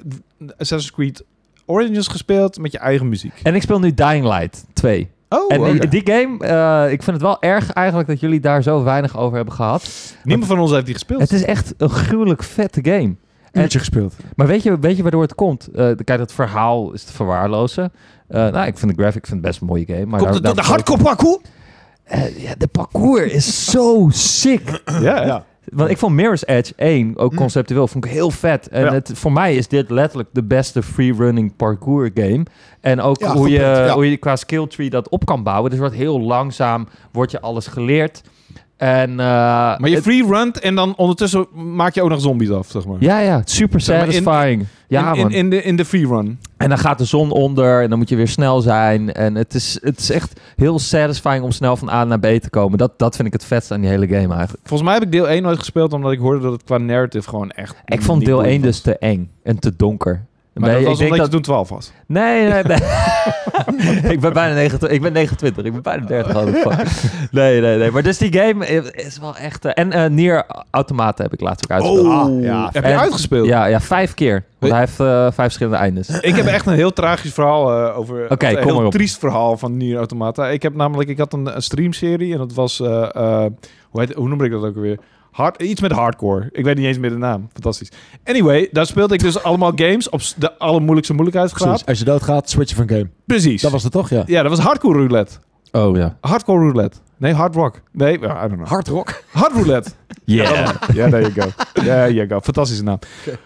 S1: Assassin's Creed Origins gespeeld met je eigen muziek.
S3: En ik speel nu Dying Light 2.
S1: Oh,
S3: en
S1: oké.
S3: die, die game, eh, ik vind het wel erg eigenlijk dat jullie daar zo weinig over hebben gehad.
S1: niemand van ons heeft die gespeeld.
S3: Het is echt een gruwelijk vette game.
S2: Uurtje gespeeld.
S3: Maar weet je, weet je waardoor het komt? Eh, kijk, dat verhaal is te verwaarlozen. Eh, nou, ik vind de graphic ik vind het best een mooie game. Maar
S1: Komt
S3: daar-
S1: het door de
S3: daar-
S1: hardcore parkour?
S3: Eh, ja, de parcours is zo sick.
S1: Ja, ja.
S2: Ja.
S3: Want ik vond Mirror's Edge 1, ook
S2: Mm.
S3: conceptueel, vond ik heel vet. En
S1: Ja.
S3: het, voor mij is dit letterlijk de beste free-running parkour game. En ook
S2: Ja,
S3: hoe,
S2: goed
S3: je,
S2: punt, ja.
S3: hoe je qua skill tree dat op kan bouwen. Dus wordt heel langzaam, wordt je alles geleerd. En, eh,
S1: Maar je
S3: het-
S1: free runt en dan ondertussen maak je ook nog zombies af, zeg maar.
S3: ja, ja, super
S1: Zeg maar, in-
S3: satisfying. ja,
S1: in, in,
S3: man.
S1: in de, in de free run.
S3: En dan gaat de zon onder en dan moet je weer snel zijn. En het is, het is echt heel satisfying om snel van A naar B te komen. Dat, dat vind ik het vetste aan die hele game eigenlijk.
S1: Volgens mij heb ik deel 1 nooit gespeeld, omdat ik hoorde dat het qua narrative gewoon echt...
S3: Ik vond
S1: niet
S3: deel
S1: goed
S3: 1
S1: Mm, was.
S3: dus te eng en te donker.
S1: Maar
S3: Nee,
S1: dat was
S3: ik denk
S1: omdat
S3: dat...
S1: je toen 12 was.
S3: Nee, nee, nee. ik ben bijna 29. Ik ben 29. Ik ben bijna 30. al. Nee, nee, nee. Maar dus die game is wel echt... eh, en eh Nier Automata heb ik laatst ook uitgespeeld.
S2: Ah, ja.
S1: Oh, heb je
S3: En-
S1: uitgespeeld?
S3: Ja, ja, vijf keer. Want hij heeft eh, vijf verschillende eindes.
S1: Ik heb echt een heel tragisch verhaal eh, over.
S3: Oké,
S1: een
S3: kom
S1: heel
S3: maar op.
S1: triest verhaal van Nier Automata. Ik heb namelijk, ik had een, een streamserie en dat was, eh, eh, hoe, heet, hoe noem ik dat ook weer? Hard, iets met hardcore. Ik weet niet eens meer de naam. Fantastisch. Anyway, daar speelde ik dus allemaal games op s- de allermoeilijkste moeilijkheidsgraad.
S2: Precies. Als je doodgaat, switchen van game.
S1: Precies.
S2: Dat was het toch, ja.
S1: Ja, dat was hardcore roulette.
S3: Oh ja.
S1: Hardcore roulette. Nee, hard rock. Nee, well, I don't know.
S2: Hard rock.
S1: Hard roulette.
S3: Yeah.
S1: Ja, there you go. There you go. Fantastische naam.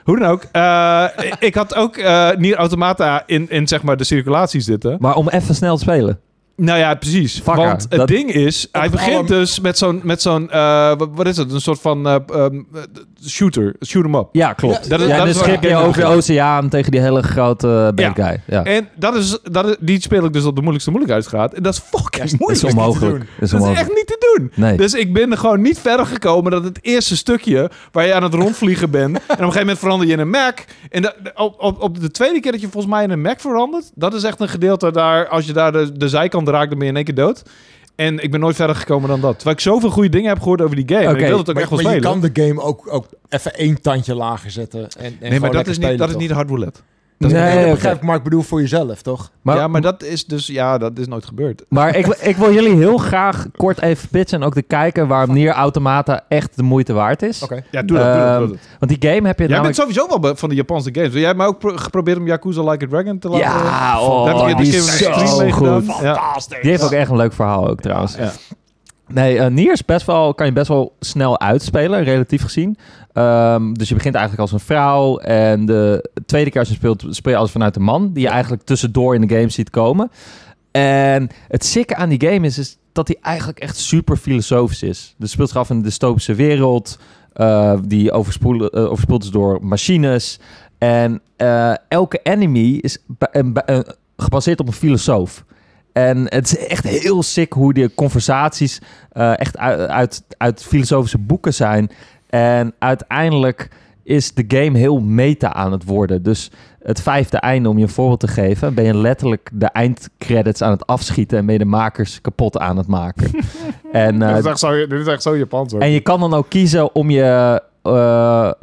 S1: Hoe dan ook. eh, ik had ook eh Nier Automata in, in zeg maar de circulatie zitten.
S3: Maar om even snel te spelen.
S1: Nou ja, precies.
S3: Fucker.
S1: Want het
S3: Dat-
S1: ding is, hij begint
S2: arm.
S1: dus met zo'n, met zo'n eh, wat- wat is het? Een soort van eh, ehm, eh, shooter, shoot 'em up.
S3: Ja,
S1: Ja,
S3: klopt. Ja,
S1: dat is- dat
S3: en
S1: is
S3: dan
S1: waar
S3: schip
S1: ik
S3: je
S1: denk
S3: over de
S1: aan.
S3: oceaan tegen die hele grote eh, bad guy. Ja.
S1: En dat is, dat is- die speel ik dus op de moeilijkste moeilijkheidsgraad. En dat is fucking
S2: Ja,
S3: Dat
S1: moeilijk.
S3: is
S2: niet te
S3: onmogelijk.
S2: doen.
S3: Dat is
S1: Dat is
S3: onmogelijk.
S1: echt niet te doen.
S3: Nee.
S1: Dus ik ben er gewoon niet verder gekomen dan het eerste stukje waar je aan het rondvliegen bent. en op een gegeven moment verander je in een Mac. En da- op, op, op de tweede keer dat je volgens mij in een Mac verandert, dat is echt een gedeelte daar, als je daar de, de zijkant raakt, dan ben je in één keer dood. En ik ben nooit verder gekomen dan dat. Terwijl ik zoveel goede dingen heb gehoord over die game. En
S3: Oké,
S1: ik wil het ook
S2: Maar,
S1: echt wel
S2: maar je
S1: spelen.
S2: kan de game ook, ook even één tandje lager zetten. En, en
S1: nee,
S2: gewoon
S1: maar dat
S2: lekker
S1: is, niet,
S2: spelen,
S1: dat is
S2: toch?
S1: niet hard roulette.
S2: Dat is-
S3: Nee,
S2: dat
S3: oké.
S2: begrijp ik, maar ik bedoel voor jezelf, toch?
S3: Maar,
S1: ja, maar dat is dus... Ja, dat is nooit gebeurd.
S3: maar ik, ik wil jullie heel graag kort even pitchen en ook de kijken waarom Nier Automata echt de moeite waard is.
S2: Oké.
S1: Ja, doe dat, doe dat, doe dat.
S3: Ehm, Want die game heb je
S1: Ehm, Jij bent
S2: nou,
S3: namelijk...
S1: sowieso wel be- van de Japanse games. Jij hebt mij ook pro- geprobeerd om Yakuza Like a Dragon te laten...
S3: Ja,
S1: Daar heb ik
S3: oh,
S1: een
S3: die
S1: keer
S3: is
S1: een stream
S3: zo
S1: mee
S3: goed.
S1: gedaan. Ja.
S3: Die heeft ook echt een leuk verhaal ook trouwens.
S1: Ja.
S3: Nee, eh, Nier is best wel, kan je best wel snel uitspelen, relatief gezien. Ehm, dus je begint eigenlijk als een vrouw. En de tweede keer als je speelt, speel je als vanuit een man. Die je eigenlijk tussendoor in de game ziet komen. En het sikke aan die game is, is dat hij eigenlijk echt super filosofisch is. Dus speelt zich af in een dystopische wereld. eh, die overspoel- eh, overspoeld is door machines. En eh, elke enemy is ba- een- ba- een- gebaseerd op een filosoof. En het is echt heel sick hoe die conversaties eh, echt uit, uit, uit filosofische boeken zijn. En uiteindelijk is de game heel meta aan het worden. Dus het vijfde einde, om je een voorbeeld te geven, ben je letterlijk de eindcredits aan het afschieten en ben je de makers kapot aan het maken. en, eh,
S1: Dit is echt zo- dit is echt zo Japans hoor.
S3: en je kan dan ook kiezen om je, eh, eh,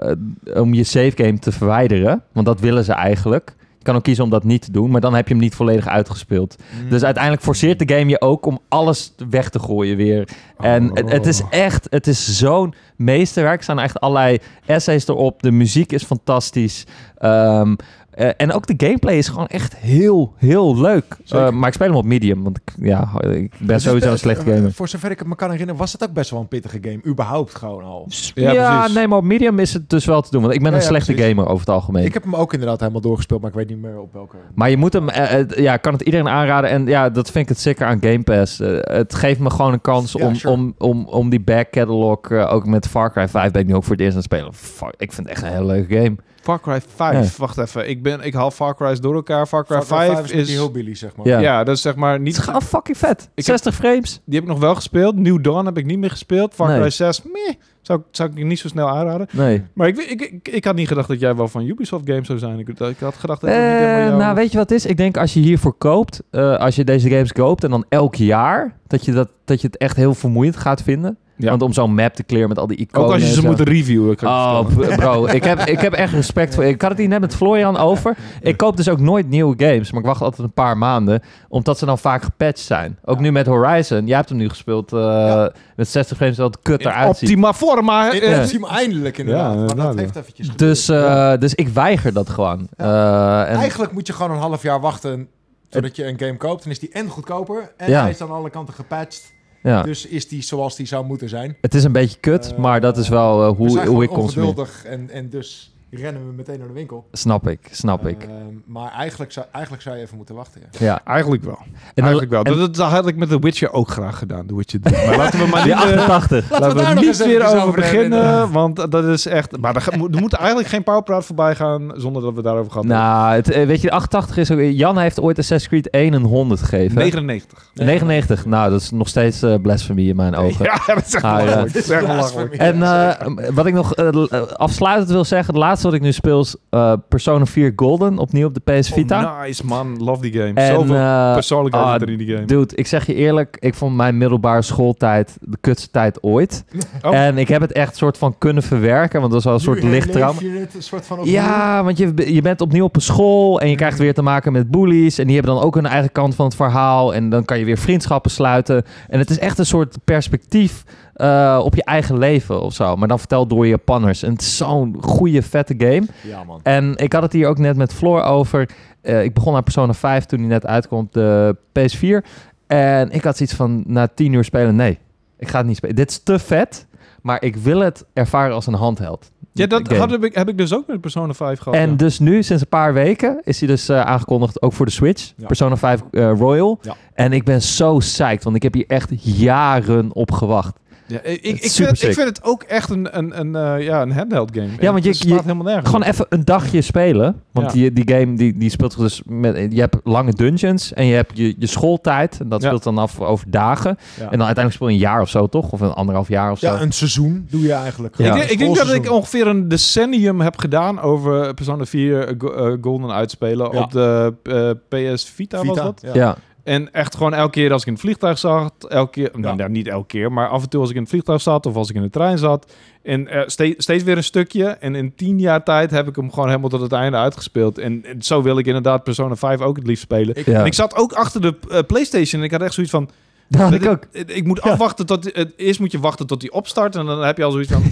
S3: om je save game te verwijderen. Want dat willen ze eigenlijk. Je kan ook kiezen om dat niet te doen, maar dan heb je hem niet volledig uitgespeeld. Dus uiteindelijk forceert de game je ook om alles weg te gooien weer. En het, het is echt, het is zo'n meesterwerk. Er staan echt allerlei essays erop. De muziek is fantastisch. Ehm, eh, en ook de gameplay is gewoon echt heel, heel leuk.
S1: Zeker.
S3: Eh, maar ik speel hem op medium, want ik, ja, ik ben
S2: Het is
S3: sowieso
S2: be-
S3: een slecht
S2: eh,
S3: gamer.
S2: Voor zover ik het me kan herinneren, was het ook best wel een pittige game. Überhaupt gewoon al.
S1: Ja,
S3: Ja,
S1: precies.
S3: nee, maar op medium is het dus wel te doen. Want ik ben
S2: Ja,
S3: een
S2: ja,
S3: slechte
S2: precies.
S3: gamer over het algemeen.
S2: Ik heb hem ook inderdaad helemaal doorgespeeld, maar ik weet niet meer op welke.
S3: Maar je moet hem, eh, eh, ja, ik kan het iedereen aanraden. En ja, dat vind ik het zeker aan Game Pass. Eh, het geeft me gewoon een kans
S2: Ja,
S3: om,
S2: sure.
S3: om, om, om die back catalog, eh, ook met Far Cry 5 ben ik nu ook voor het eerst aan het spelen. Fuck, ik vind het echt een hele leuke game.
S1: Far Cry 5. Wacht even. Ik, ben, ik haal Far Cry's door elkaar. Far Cry, 5
S2: met
S1: is...
S2: die hillbilly, zeg maar.
S3: Ja.
S1: ja. dat is zeg maar
S3: Het is
S1: niet...
S3: gewoon fucking vet.
S1: heb-
S3: 60 frames.
S1: Die heb ik nog wel gespeeld. New Dawn heb ik niet meer gespeeld. Far
S3: Nee.
S1: Cry 6, meh. Zou, ik- zou ik je niet zo snel aanraden.
S3: Nee.
S1: Maar ik, ik, ik, ik had niet gedacht dat jij wel van Ubisoft games zou zijn. Ik, ik had gedacht dat het niet helemaal
S3: Eh
S1: jou-
S3: nou, weet je wat het is? Ik denk als je hiervoor koopt, eh, als je deze games koopt en dan elk jaar, dat je, dat, dat je het echt heel vermoeiend gaat vinden.
S1: Ja.
S3: Want om zo'n map te clearen met al die iconen.
S1: Ook als je
S3: en
S1: ze
S3: zo.
S1: moet reviewen. kan ik je
S3: Oh,
S1: vertellen.
S3: b- bro, ik heb, ik heb echt respect voor. Ik had het hier net met Florian over. Ik koop dus ook nooit nieuwe games, maar ik wacht altijd een paar maanden, omdat ze dan vaak gepatcht zijn. Ook nu met Horizon. Jij hebt hem nu gespeeld eh, met 60 frames, dat het kut eruit ziet.
S1: Optima forma.
S2: Ik
S1: eh,
S2: ik zie hem eindelijk inderdaad. maar
S1: inderdaad,
S2: dat
S1: ja.
S2: heeft eventjes geduurd.
S3: Dus, eh, dus ik weiger dat gewoon. Eh, en
S2: Eigenlijk moet je gewoon een half jaar wachten totdat je een game koopt. Dan is die en goedkoper en
S3: Ja.
S2: hij is aan alle kanten gepatcht.
S3: ja,
S2: Dus is die zoals die zou moeten zijn.
S3: het is een beetje kut,
S2: Eh,
S3: maar dat is wel eh,
S2: we
S3: hoe,
S2: zijn
S3: hoe ik
S2: gewoon
S3: consumeer.
S2: ongeduldig en, en dus rennen we meteen naar de winkel.
S3: Snap ik, snap
S1: Eh,
S3: ik.
S2: Ehm, maar eigenlijk zou, eigenlijk zou je even moeten wachten. Ja.
S3: Ja.
S1: Eigenlijk wel.
S3: dan-
S1: Eigenlijk wel.
S3: en-
S1: dat, dat had ik met The Witcher ook graag gedaan, The Witcher 3. Maar laten we maar niet,
S3: Die
S1: eh,
S3: 88.
S1: laten we
S2: daar nog
S1: niet
S2: eens
S1: weer
S2: eventjes
S1: over
S2: over
S1: beginnen.
S2: herinneren.
S1: Want eh, dat is echt... Maar er, ga- mo- er moet eigenlijk geen powerpraat voorbij gaan zonder dat we daarover gaan.
S3: Nou, het, eh, weet je, 88 is ook... Jan heeft ooit Assassin's Creed 1 een 100 gegeven.
S1: 99.
S3: 99, nou dat is nog steeds eh blasphemy in mijn ogen.
S1: Ja, dat is echt
S3: Ah, ja.
S1: belachelijk. Dat is echt belachelijk.
S3: En eh, wat ik nog eh, l- eh, afsluitend wil zeggen, het laatste wat ik nu speel is eh, Persona 4 Golden, opnieuw op de PS Vita.
S1: Oh, nice, man. Love die game.
S3: en,
S1: Zoveel
S3: eh,
S1: persoonlijkheid
S3: ah,
S1: zit er in die game.
S3: Dude, ik zeg je eerlijk, ik vond mijn middelbare schooltijd de kutste tijd ooit.
S1: Oh.
S3: En ik heb het echt soort van kunnen verwerken, want dat was wel een soort lichttrauma.
S2: Je het een soort
S1: Oh,
S2: van
S3: Ja, want je, je bent opnieuw op een school en je krijgt weer te maken met bullies. En die hebben dan ook hun eigen kant van het verhaal. En dan kan je weer vriendschappen sluiten. En het is echt een soort perspectief eh, op je eigen leven of zo. Maar dan verteld door Japanners. En het is zo'n goede, vette game.
S2: ja man.
S3: En ik had het hier ook net met Floor over. Eh, ik begon aan Persona 5 toen die net uitkwam op de PS4. En ik had zoiets van, na tien uur spelen, nee, ik ga het niet spelen. Dit is te vet, maar ik wil het ervaren als een handheld.
S1: Ja, dat
S3: game.
S1: had, heb, ik, heb ik dus ook met Persona 5 gehad.
S3: En
S1: ja.
S3: dus nu, sinds een paar weken, is hij dus eh, aangekondigd ook voor de Switch.
S2: Ja.
S3: Persona 5 eh, Royal.
S2: Ja.
S3: En ik ben zo psyched, want ik heb hier echt jaren op gewacht.
S1: Ja, ik,
S3: is
S1: ik, ik,
S3: super
S1: vind, ik
S3: sick.
S1: vind het ook echt een, een, een, eh, ja, een handheld game.
S3: Ja, want je-
S1: het slaat
S3: je-
S1: helemaal nergens.
S3: Gewoon
S1: op.
S3: even een dagje spelen. Want
S1: Ja.
S3: die, die game die, die speelt dus met... Je hebt lange dungeons en je hebt je, je schooltijd. En dat
S1: Ja.
S3: speelt dan af over dagen.
S1: Ja.
S3: En dan uiteindelijk speel je een jaar of zo, toch? Of een anderhalf jaar of zo.
S2: Ja, een seizoen doe je eigenlijk.
S3: Ja.
S1: Ik,
S2: Gewoon
S1: denk, ik
S2: een
S1: denk dat ik
S2: schoolseizoen.
S1: ongeveer een decennium heb gedaan over Persona 4 eh, go- eh, Golden uitspelen
S2: Ja.
S1: op de eh, PS Vita, was
S2: Vita,
S1: dat.
S2: oh, ja.
S3: Ja.
S1: En echt gewoon elke keer als ik in het vliegtuig zat, elke keer, nou,
S2: Ja.
S1: nou, niet elke keer, maar af en toe als ik in het vliegtuig zat of als ik in de trein zat. En eh, ste- steeds weer een stukje. En in tien jaar tijd heb ik hem gewoon helemaal tot het einde uitgespeeld. En, en zo wil ik inderdaad Persona 5 ook het liefst spelen.
S2: Ik-
S3: Ja.
S1: En ik zat ook achter de eh, PlayStation en ik had echt zoiets van,
S3: Dat had
S1: Dat
S3: ik ook.
S1: Ik, ik moet afwachten tot... het- Eerst moet je wachten tot die opstart. En dan heb je al zoiets van...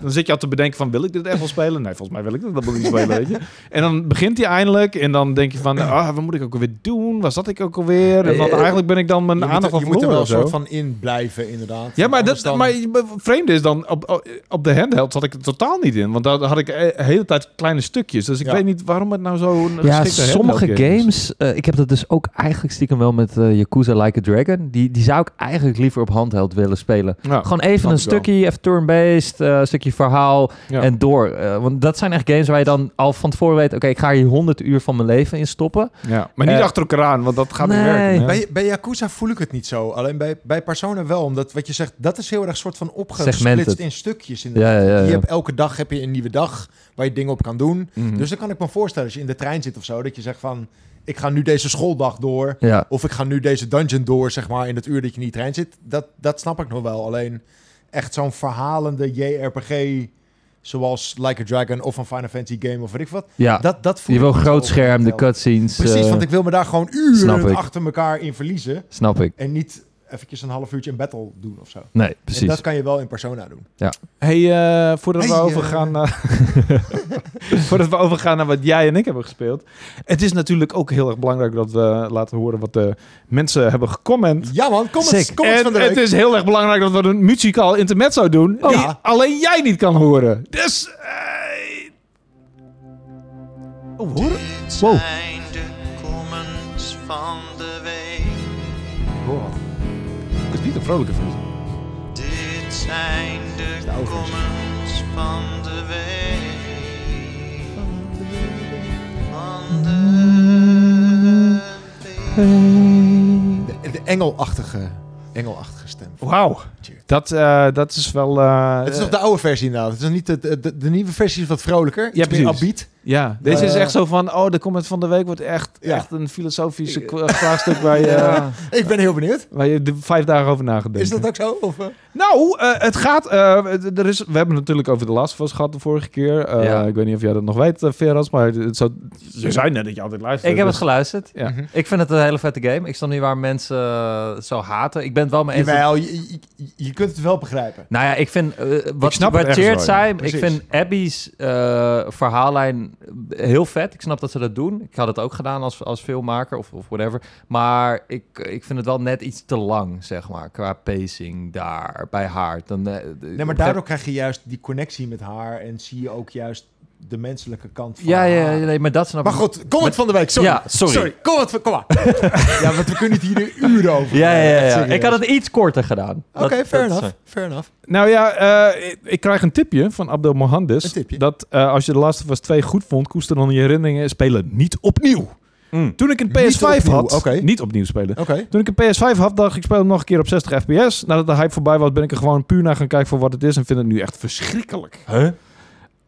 S1: Dan zit je al te bedenken van... Wil ik dit echt wel spelen? Nee, volgens mij wil ik dit helemaal niet spelen, weet je. En dan begint hij eindelijk. En dan denk je van... Ah, wat moet ik ook alweer doen? Waar zat ik ook alweer? En dan
S3: Eh,
S1: eigenlijk ben ik dan mijn
S2: Je moet,
S1: aandacht
S2: er-
S1: al
S2: je moet
S1: verloren
S2: er wel
S1: of
S2: een
S1: zo.
S2: soort van in blijven, inderdaad.
S1: Ja, maar, dat,
S2: Anders dan-
S1: maar het vreemde is dan, op, op de handheld zat ik er totaal niet in. Want daar had ik eh, de hele tijd kleine stukjes. Dus ik
S2: Ja.
S1: weet niet waarom het nou zo'n
S3: Ja,
S1: geschikte
S3: sommige
S1: handheld game is.
S3: games, eh, ik heb dat dus ook eigenlijk stiekem wel met eh, Yakuza Like a Dragon. Die, die zou ik eigenlijk liever op handheld willen spelen.
S1: Ja,
S3: Gewoon even
S1: snap
S3: een
S1: ik wel.
S3: stukje, even turn-based, eh, een stukje verhaal
S1: Ja.
S3: en door. Eh, want dat zijn echt games waar je dan al van tevoren weet, oké, ik ga hier 100 uur van mijn leven in stoppen.
S1: ja. Maar niet
S3: Eh,
S1: achter elkaar aan, want dat gaat niet
S3: nee.
S1: werken. hè?
S2: Bij, bij Yakuza voel ik het niet zo. Alleen bij, bij Persona wel. Omdat wat je zegt, dat is heel erg soort van opgesplitst
S3: Segmented.
S2: in stukjes. Inderdaad.
S3: Ja, ja, ja.
S2: Je
S3: ja.
S2: hebt elke dag heb je een nieuwe dag waar je dingen op kan doen.
S1: Mhm.
S2: Dus dan kan ik me voorstellen als je in de trein zit of zo, dat je zegt van ik ga nu deze schooldag door.
S3: Ja.
S2: Of ik ga nu deze dungeon door, zeg maar, in het uur dat je in die trein zit. Dat, dat snap ik nog wel. Alleen echt zo'n verhalende JRPG Zoals Like a Dragon of een Final Fantasy game of weet ik wat.
S3: Ja,
S2: Dat, dat voel
S3: je
S2: ik
S3: wil
S2: niet zo
S3: groot scherm, de
S2: verteld.
S3: cutscenes.
S2: Precies,
S3: eh,
S2: want ik wil me daar gewoon
S3: snap ik.
S2: uren achter elkaar in verliezen.
S3: Snap ik.
S2: En niet eventjes een half uurtje in battle doen of zo.
S3: Nee,
S2: En
S3: precies.
S2: dat kan je wel in Persona doen.
S1: Hey, eh, voordat, we
S2: Hey, eh.
S1: overgaan naar, voordat we overgaan naar wat jij en ik hebben gespeeld. Het is natuurlijk ook heel erg belangrijk dat we laten horen wat de mensen hebben gecomment.
S2: Ja man, kom eens,
S3: Sick.
S2: kom eens van
S1: en
S2: de week.
S1: het is heel erg belangrijk dat we een muzikaal intermezzo doen.
S2: Oh,
S1: die
S2: ja.
S1: alleen jij niet kan horen. Dus. eh, Oh, hoor. Wow.
S4: zijn de comments van de week.
S1: Het is niet een vrolijke versie.
S4: Dit zijn de
S2: de oude versie.
S4: comments van de week. Van de week.
S2: De, de engelachtige, engelachtige stem.
S1: Wauw. Dat, eh, dat is wel. eh,
S2: Het is nog de oude versie inderdaad. Het is nog niet de, de, de- de nieuwe versie is wat vrolijker. Iets meer
S1: precies.
S2: abiet.
S1: Ja, deze
S2: Eh,
S1: is echt zo van, oh, de comment van de week wordt echt,
S2: Ja.
S1: echt een filosofische k- eh, vraagstuk waar je,
S3: Ja.
S2: Ik ben heel benieuwd.
S1: waar je de vijf dagen over na gaat
S2: Is
S1: denken.
S2: dat ook zo? Of, eh?
S1: Nou, eh, het gaat, eh, d- er is, we hebben het natuurlijk over de Last of Us gehad de vorige keer. Eh,
S3: Ja.
S1: Ik weet niet of jij dat nog weet, eh, Veras, maar het, het zou, je zei net dat je altijd luistert.
S3: Ik heb het
S1: dus-
S3: geluisterd.
S1: Ja.
S2: Mhm.
S3: Ik vind het een hele vette game. Ik snap niet waar mensen eh, zo haten. Ik ben het wel mee eens. dat-
S2: Jawel, je, je, je kunt het wel begrijpen.
S3: Nou ja, ik vind eh, wat,
S1: Ik snap het ergens
S3: wat Jared
S1: wel,
S3: zei, ik
S2: Precies.
S3: vind Abby's eh, verhaallijn heel vet. Ik snap dat ze dat doen. Ik had het ook gedaan als, als filmmaker of, of whatever. Maar ik, ik vind het wel net iets te lang, zeg maar, qua pacing daar bij haar. Dan, eh,
S2: Nee, maar daardoor krijg je juist die connectie met haar en zie je ook juist de menselijke kant van
S3: Ja,
S2: haar.
S3: ja, ja, nee, maar dat snap
S2: Maar
S3: ik.
S2: goed, kom het van de week. Sorry.
S3: Ja, sorry.
S2: Kom het van, kom maar. ja, want we kunnen het hier een uur over.
S3: Ja, ja, ja,
S2: Echt
S3: ja.
S2: serieus.
S3: Ik had het iets korter gedaan.
S2: Oké,
S3: Dat-
S2: fair
S3: dat is-
S2: enough. Fair enough.
S1: Nou ja, eh, ik, ik krijg een tipje van Abdel Mohandes.
S2: Een tipje?
S1: Dat eh, als je de Last of Us 2 goed vond, koester dan je herinneringen en spelen niet opnieuw.
S3: Mm.
S1: Toen ik een
S2: Niet
S1: PS5 had,
S2: opnieuw, oké.
S1: niet opnieuw spelen.
S2: Oké.
S1: Toen ik een PS5 had, dacht ik, ik speel hem nog een keer op 60 fps. Nadat de hype voorbij was, ben ik er gewoon puur naar gaan kijken voor wat het is. En vind het nu echt verschrikkelijk.
S3: Huh?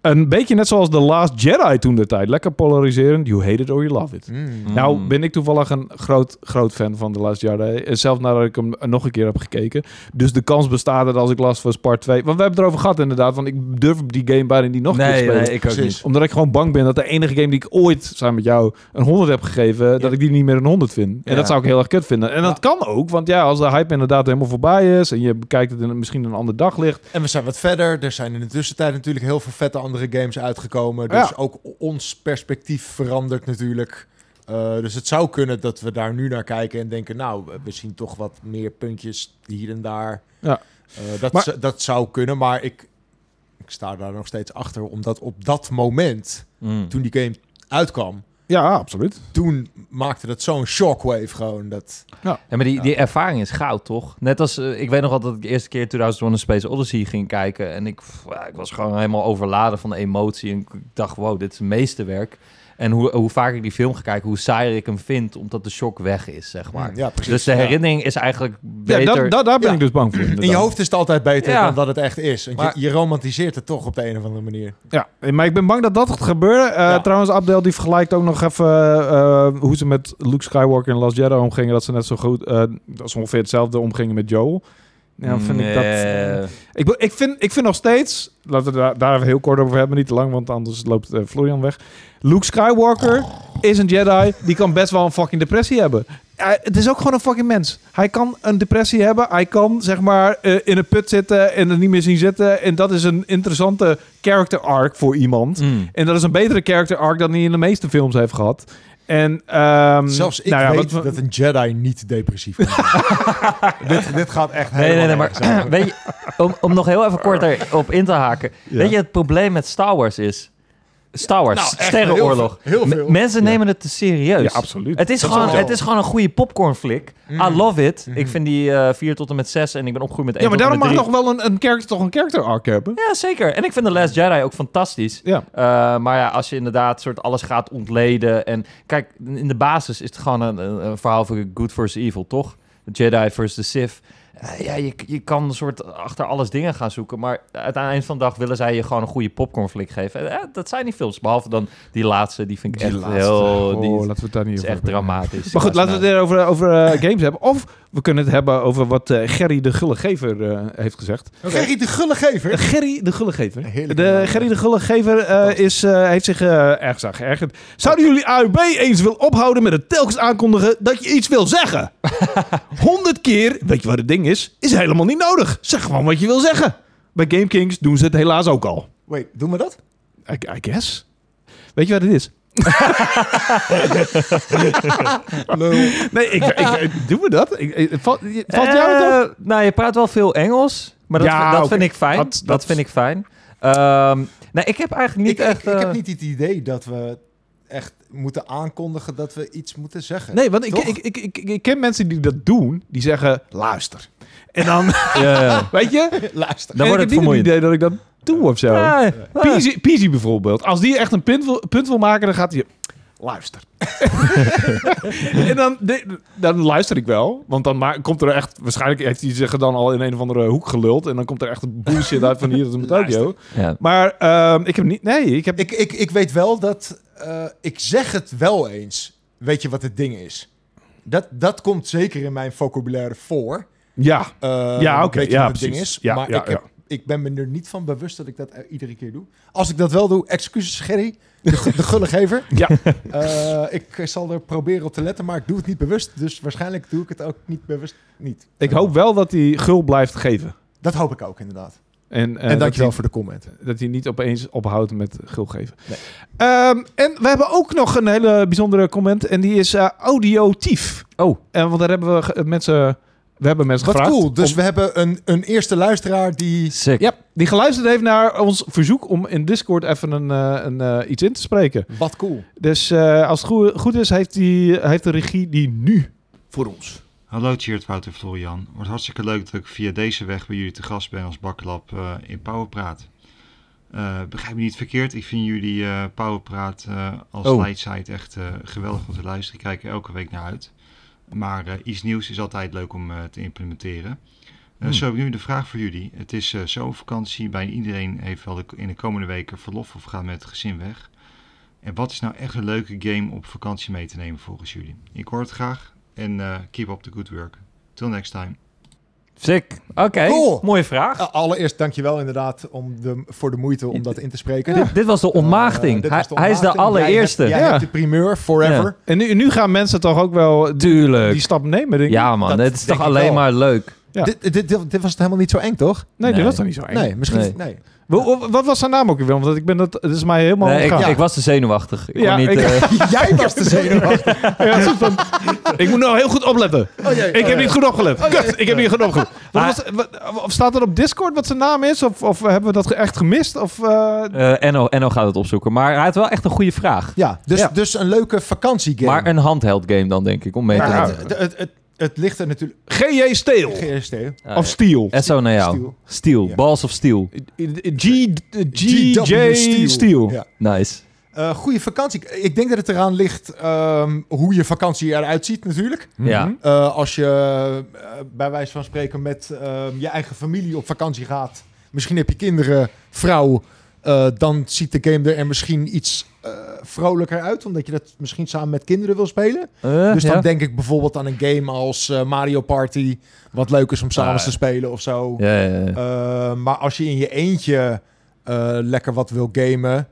S1: Een beetje net zoals The Last Jedi toen de tijd. Lekker polariserend. You hate it or you love it.
S2: Hmm.
S3: Hmm.
S1: Nou
S3: Mm.
S1: ben ik toevallig een groot, groot fan van The Last Jedi. En Zelfs nadat ik hem nog een keer heb gekeken. Dus de kans bestaat dat als ik Last of Us Part 2... Want we hebben het erover gehad inderdaad. Want ik durf die game bijna niet nog een keer te
S3: nee,
S1: spelen.
S3: nee, ik ook
S2: Precies.
S3: niet.
S1: Omdat ik gewoon bang ben dat de enige game die ik ooit samen met jou een 100 heb gegeven, dat ik die niet meer een 100 vind. En
S3: Ja.
S1: dat zou ik heel erg kut vinden. En dat kan ook, want ja, als de hype inderdaad helemaal voorbij is en je bekijkt het in een- misschien een ander daglicht.
S2: En we zijn wat verder. Er zijn in de tussentijd natuurlijk heel veel vette andere games uitgekomen. Dus
S1: Ja.
S2: ook o- ons perspectief verandert natuurlijk. Eh, dus het zou kunnen dat we daar nu naar kijken en denken... nou, we- we zien toch wat meer puntjes hier en daar.
S1: Ja.
S2: Eh, dat,
S1: Maar-
S2: z- dat zou kunnen, maar ik, ik sta daar nog steeds achter. Omdat op dat moment,
S3: Mm.
S2: toen die game uitkwam...
S1: Ja, absoluut.
S2: toen maakte dat zo'n shockwave gewoon. Dat...
S3: Ja, maar die, die ervaring is goud, toch? Net als, eh, ik weet nog wel dat ik de eerste keer 2001 Space Odyssey ging kijken. En ik, pff, ja, ik was gewoon helemaal overladen van de emotie. En ik dacht, wow, dit is een meesterwerk. En hoe, hoe vaker ik die film ga kijken, hoe saaier ik hem vind. Omdat de shock weg is, zeg maar.
S2: Ja, precies.
S3: dus de
S2: Ja.
S3: herinnering is eigenlijk beter.
S1: Ja, dat, dat, daar ben
S2: Ja.
S1: ik dus bang voor.
S2: In je hoofd is het altijd beter
S3: Ja.
S2: dan dat het echt is. Want je-
S3: Maar-
S2: je, romantiseert het toch op de een of andere manier.
S1: Ja, maar ik ben bang dat dat gaat gebeuren. Eh,
S2: Ja.
S1: Trouwens, Abdel die vergelijkt ook nog even eh, hoe ze met Luke Skywalker en Last Jedi omgingen. Dat ze net zo goed, eh, dat ze ongeveer hetzelfde omgingen met Joel. Ja, Nou, vind ik dat... eh,
S3: Nee.
S1: Ik, be- ik, vind, ik vind nog steeds, laten we daar, daar even heel kort over hebben, niet te lang, want anders loopt eh, Florian weg. Luke Skywalker is een Jedi, die kan best wel een fucking depressie hebben. Eh, het is ook gewoon een fucking mens. Hij kan een depressie hebben, hij kan zeg maar eh, in een put zitten en er niet meer zien zitten. En dat is een interessante character arc voor iemand.
S3: Mm.
S1: En dat is een betere character arc dan hij in de meeste films heeft gehad. En, ehm,
S2: Zelfs ik
S1: nou ja,
S2: weet
S1: wat-
S2: dat een Jedi niet depressief kan zijn. dit, dit gaat echt
S3: Nee, nee, nee,
S2: helemaal nergens
S3: maar weet je, om, om nog heel even korter op in te haken. Weet je, het probleem met Star Wars is... Star Wars,
S2: Nou, echt
S3: Sterrenoorlog.
S2: heel veel, heel
S3: Me-
S2: veel.
S3: Mensen nemen het te serieus.
S1: Ja, absoluut.
S3: Het is, Mm.
S2: Dat
S3: gewoon,
S2: sowieso.
S3: het is gewoon een goede popcornflik. I love it. Ik vind die 4 tot en met 6 en ik ben opgegroeid met 1
S1: ja, maar
S3: tot en
S1: daarom
S3: met
S1: mag nog
S3: 3.
S1: wel een, een character toch een character arc hebben.
S3: Ja, zeker. En ik vind The Last Jedi ook fantastisch.
S1: Ja.
S3: Eh, maar ja, als je inderdaad soort alles gaat ontleden. En kijk, in de basis is het gewoon een, een, een verhaal van good versus evil, toch? Jedi versus the Sith. eh, ja, je, je kan een soort achter alles dingen gaan zoeken. Maar aan het eind van de dag willen zij je gewoon een goede popcornflik geven. En, eh, dat zijn die films. Behalve dan die laatste, die vind ik echt heel... Die
S1: oh, laten we het daar niet
S3: is
S1: over hebben.
S3: echt dramatisch. nou-
S1: Maar goed,
S3: Ja,
S1: laten we het weer over, over eh, games hebben. Of we kunnen het hebben over wat eh, Gerry de Gullegever eh, heeft gezegd. Eh,
S2: Gerrie de Gullegever.
S1: Gerry de Gullegever.
S2: Een heerlijke
S1: De
S2: naam.
S1: Gerry de Gullegever eh, is, eh, heeft zich eh, ergens aan geërgerd. Zouden jullie AUB eens willen ophouden met het telkens aankondigen dat je iets wil zeggen? Honderd keer, weet je wat het ding is? Is helemaal niet nodig. Zeg gewoon wat je wil zeggen. Bij GameKings doen ze het helaas ook al.
S2: Wait, doen we dat?
S1: I, I guess. Weet je wat het is? Nee, ik, ik, ik- doen we dat? Ik, ik- valt valt jou het op?
S3: Eh, Nou, je praat wel veel Engels, maar dat,
S1: Ja,
S3: dat
S1: oké.
S3: vind ik fijn.
S1: Dat-
S3: Dat,
S1: dat-
S3: vind ik fijn. Ehm, nee, ik heb eigenlijk niet
S2: ik,
S3: echt...
S2: ik, ik
S3: eh,
S2: heb niet het idee dat we echt moeten aankondigen dat we iets moeten zeggen.
S1: Nee, want ik,
S2: Toch?
S1: ik, ik, ik, ik ken mensen die dat doen, die zeggen luister. En dan,
S3: ja, ja.
S1: weet je, en
S2: Luister.
S3: Dan
S1: ik
S3: wordt
S1: heb
S3: het
S1: niet
S3: vermoeiend.
S1: idee dat ik dat doe of zo.
S2: eh,
S3: Ja, ja.
S1: Peasy, Peasy bijvoorbeeld. Als die echt een punt wil, punt wil maken, dan gaat hij... Luister. en dan, de- dan luister ik wel. Want dan ma- komt er echt... Waarschijnlijk heeft hij zich er dan al in een of andere hoek geluld. En dan komt er echt een bullshit uit van hier tot en met Tokyo.
S3: Ja.
S1: Maar ehm, ik heb niet... Nee, ik heb...
S2: Ik, ik, ik weet wel dat... eh, ik zeg het wel eens. Weet je wat het ding is? Dat, dat komt zeker in mijn vocabulaire voor.
S1: ja.
S2: Eh,
S1: Ja, oké,
S2: Weet je
S1: ja,
S2: wat het ding
S1: precies.
S2: is?
S1: Ja,
S2: maar
S1: ja,
S2: ik, heb- ik ben me er niet van bewust dat ik dat eh, iedere keer doe. Als ik dat wel doe, excuses Gerry, de, gu- de gullegever.
S1: Ja.
S2: Eh, ik zal er proberen op te letten, maar ik doe het niet bewust. Dus waarschijnlijk doe ik het ook niet bewust niet.
S1: Ik hoop wel dat hij gul blijft geven.
S2: Dat hoop ik ook inderdaad.
S1: En, eh,
S2: en
S1: dat,
S2: dankjewel
S1: hij,
S2: voor de comment.
S1: dat hij niet opeens ophoudt met gul geven.
S2: Nee.
S1: Ehm, en we hebben ook nog een hele bijzondere comment. En die is eh, audiotief.
S3: Oh,
S1: En want daar hebben we ge- mensen... We hebben mensen
S2: Wat
S1: gevraagd.
S2: cool. Dus
S1: om-
S2: we hebben een, een eerste luisteraar die...
S3: sick.
S1: Ja, die geluisterd heeft naar ons verzoek om in Discord even een, eh, een, eh, iets in te spreken.
S2: Wat cool.
S1: Dus eh, als het goe- goed is, heeft, die, heeft de regie die nu voor ons.
S5: Hallo Tjeerd, Wouter, Florian. Wordt hartstikke leuk dat ik via deze weg bij jullie te gast ben als Bakkelab eh, in Powerpraat. Eh begrijp me niet verkeerd, ik vind jullie eh Powerpraat eh, als
S3: Oh.
S5: leidsite echt eh, geweldig om te luisteren. Ik kijk er elke week naar uit. Maar eh, iets nieuws is altijd leuk om eh, te implementeren. Eh, Zo heb ik nu de vraag voor jullie. Het is eh zomervakantie, bijna iedereen heeft wel de, in de komende weken verlof of gaat met het gezin weg. En wat is nou echt een leuke game op vakantie mee te nemen volgens jullie? Ik hoor het graag. En eh, keep up the good work. Till next time.
S3: Sick. Oké,
S2: Cool.
S3: mooie vraag.
S2: Eh, Allereerst dankjewel inderdaad om de, voor de moeite om dat in te spreken.
S3: Dit, dit was de
S2: Eh,
S3: ontmaagding.
S2: dit
S3: hij,
S2: was de
S3: hij is de
S2: ontmaagding. Jij
S3: allereerste.
S2: hebt- Jij,
S1: Ja.
S2: hebt de primeur, forever.
S3: Ja.
S1: En nu, nu gaan mensen toch ook wel die,
S3: Tuurlijk.
S1: die stap nemen, denk ik.
S3: ja man,
S2: dat
S3: het is
S2: denk
S3: toch
S2: ik
S3: alleen
S2: wel.
S3: maar leuk.
S1: Ja.
S2: Dit, dit, dit, dit was het helemaal niet zo eng, toch?
S1: Nee,
S3: Nee.
S1: dat was dan niet zo eng.
S2: Nee, misschien...
S3: Nee.
S2: Nee.
S1: Wa- wa- Wat was zijn naam ook weer? Want ik ben dat, het is mij helemaal
S3: Nee, ik,
S1: ontgaan.
S3: ik was te zenuwachtig. Ik
S1: Ja,
S3: kon niet,
S1: ik-
S3: eh,
S2: Jij was de zenuwachtig.
S1: Ja, het is van- ik moet nou heel goed opletten.
S2: Oh, jee.
S1: Ik heb
S2: Oh,
S1: niet goed opgelet. Kut, ik heb niet goed opgelet. Wat
S3: Ah.
S1: was, wat- of staat er op Discord wat zijn naam is? Of, of hebben we dat ge- echt gemist? Of, eh,
S3: eh, Enno, Enno gaat het opzoeken. Maar hij had wel echt een goede vraag.
S2: Ja, dus,
S1: Ja.
S2: dus een leuke vakantiegame.
S3: Maar een handheld game dan, denk ik, om mee te
S2: Maar
S1: Ja.
S3: nemen.
S2: het, het, het, het, het ligt er natuurlijk...
S1: G.J. Steel.
S2: GST.
S3: Ah,
S1: Of
S3: ja.
S1: Steel.
S3: En zo naar jou. Steel.
S2: Steel. Ja.
S3: Balls of Steel.
S1: G, G.J. Steel.
S2: Ja.
S3: Nice.
S2: Eh, goede vakantie. Ik denk dat het eraan ligt ehm, hoe je vakantie eruit ziet natuurlijk.
S1: Mhm.
S3: Ja.
S2: Eh, als je eh, bij wijze van spreken met ehm, je eigen familie op vakantie gaat. Misschien heb je kinderen, vrouw. eh, dan ziet de game er, er misschien iets eh, vrolijker uit. Omdat je dat misschien samen met kinderen wil spelen.
S3: Eh,
S2: Dus dan
S3: ja.
S2: denk ik bijvoorbeeld aan een game als eh, Mario Party. Wat leuk is om s'avonds
S3: Ah.
S2: te spelen of zo.
S3: Ja, ja, ja.
S2: Eh, maar als je in je eentje eh, lekker wat wil gamen.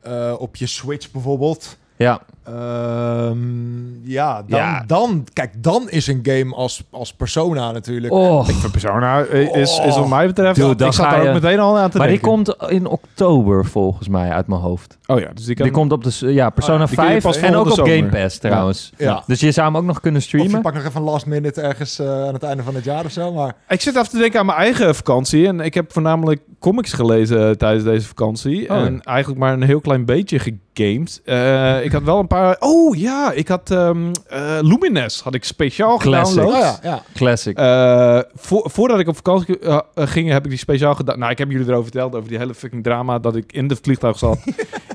S2: eh, op je Switch bijvoorbeeld.
S3: ja.
S2: Ehm, ja, dan,
S3: Ja.
S2: dan, kijk, dan is een game als, als Persona natuurlijk.
S3: Oh.
S1: Van Persona eh, is, is wat
S2: Oh.
S1: mij betreft...
S3: Dude, dan
S1: ik zat
S3: ga
S1: daar
S3: je-
S1: ook meteen al aan te
S3: Maar die
S1: denken.
S3: komt in oktober volgens mij uit mijn hoofd.
S1: Oh ja, dus die kan...
S3: Die komt op de s- ja, Persona
S1: die kun je
S3: 5
S1: pas
S3: en ook op
S1: volgende
S3: Game
S1: zomer.
S3: Pass trouwens.
S2: Ja.
S3: Dus je zou hem ook nog kunnen
S2: Of je
S3: streamen.
S2: pakt nog even een last minute ergens eh, aan het einde van het jaar of zo. Maar
S1: Ik zit af te denken aan mijn eigen vakantie. En ik heb voornamelijk comics gelezen eh, tijdens deze vakantie.
S3: Oh, ja.
S1: En eigenlijk maar een heel klein beetje gegamed. Eh, ik had wel een paar... Oh ja, ik had ehm eh, Lumines. Had ik speciaal
S3: Classic.
S1: gedownload.
S2: oh ja, ja.
S3: Classic.
S1: Eh, vo- voordat ik op vakantie eh, eh, ging, heb ik die speciaal gedaan. Nou, ik heb jullie erover verteld, over die hele fucking drama dat ik in de vliegtuig zat.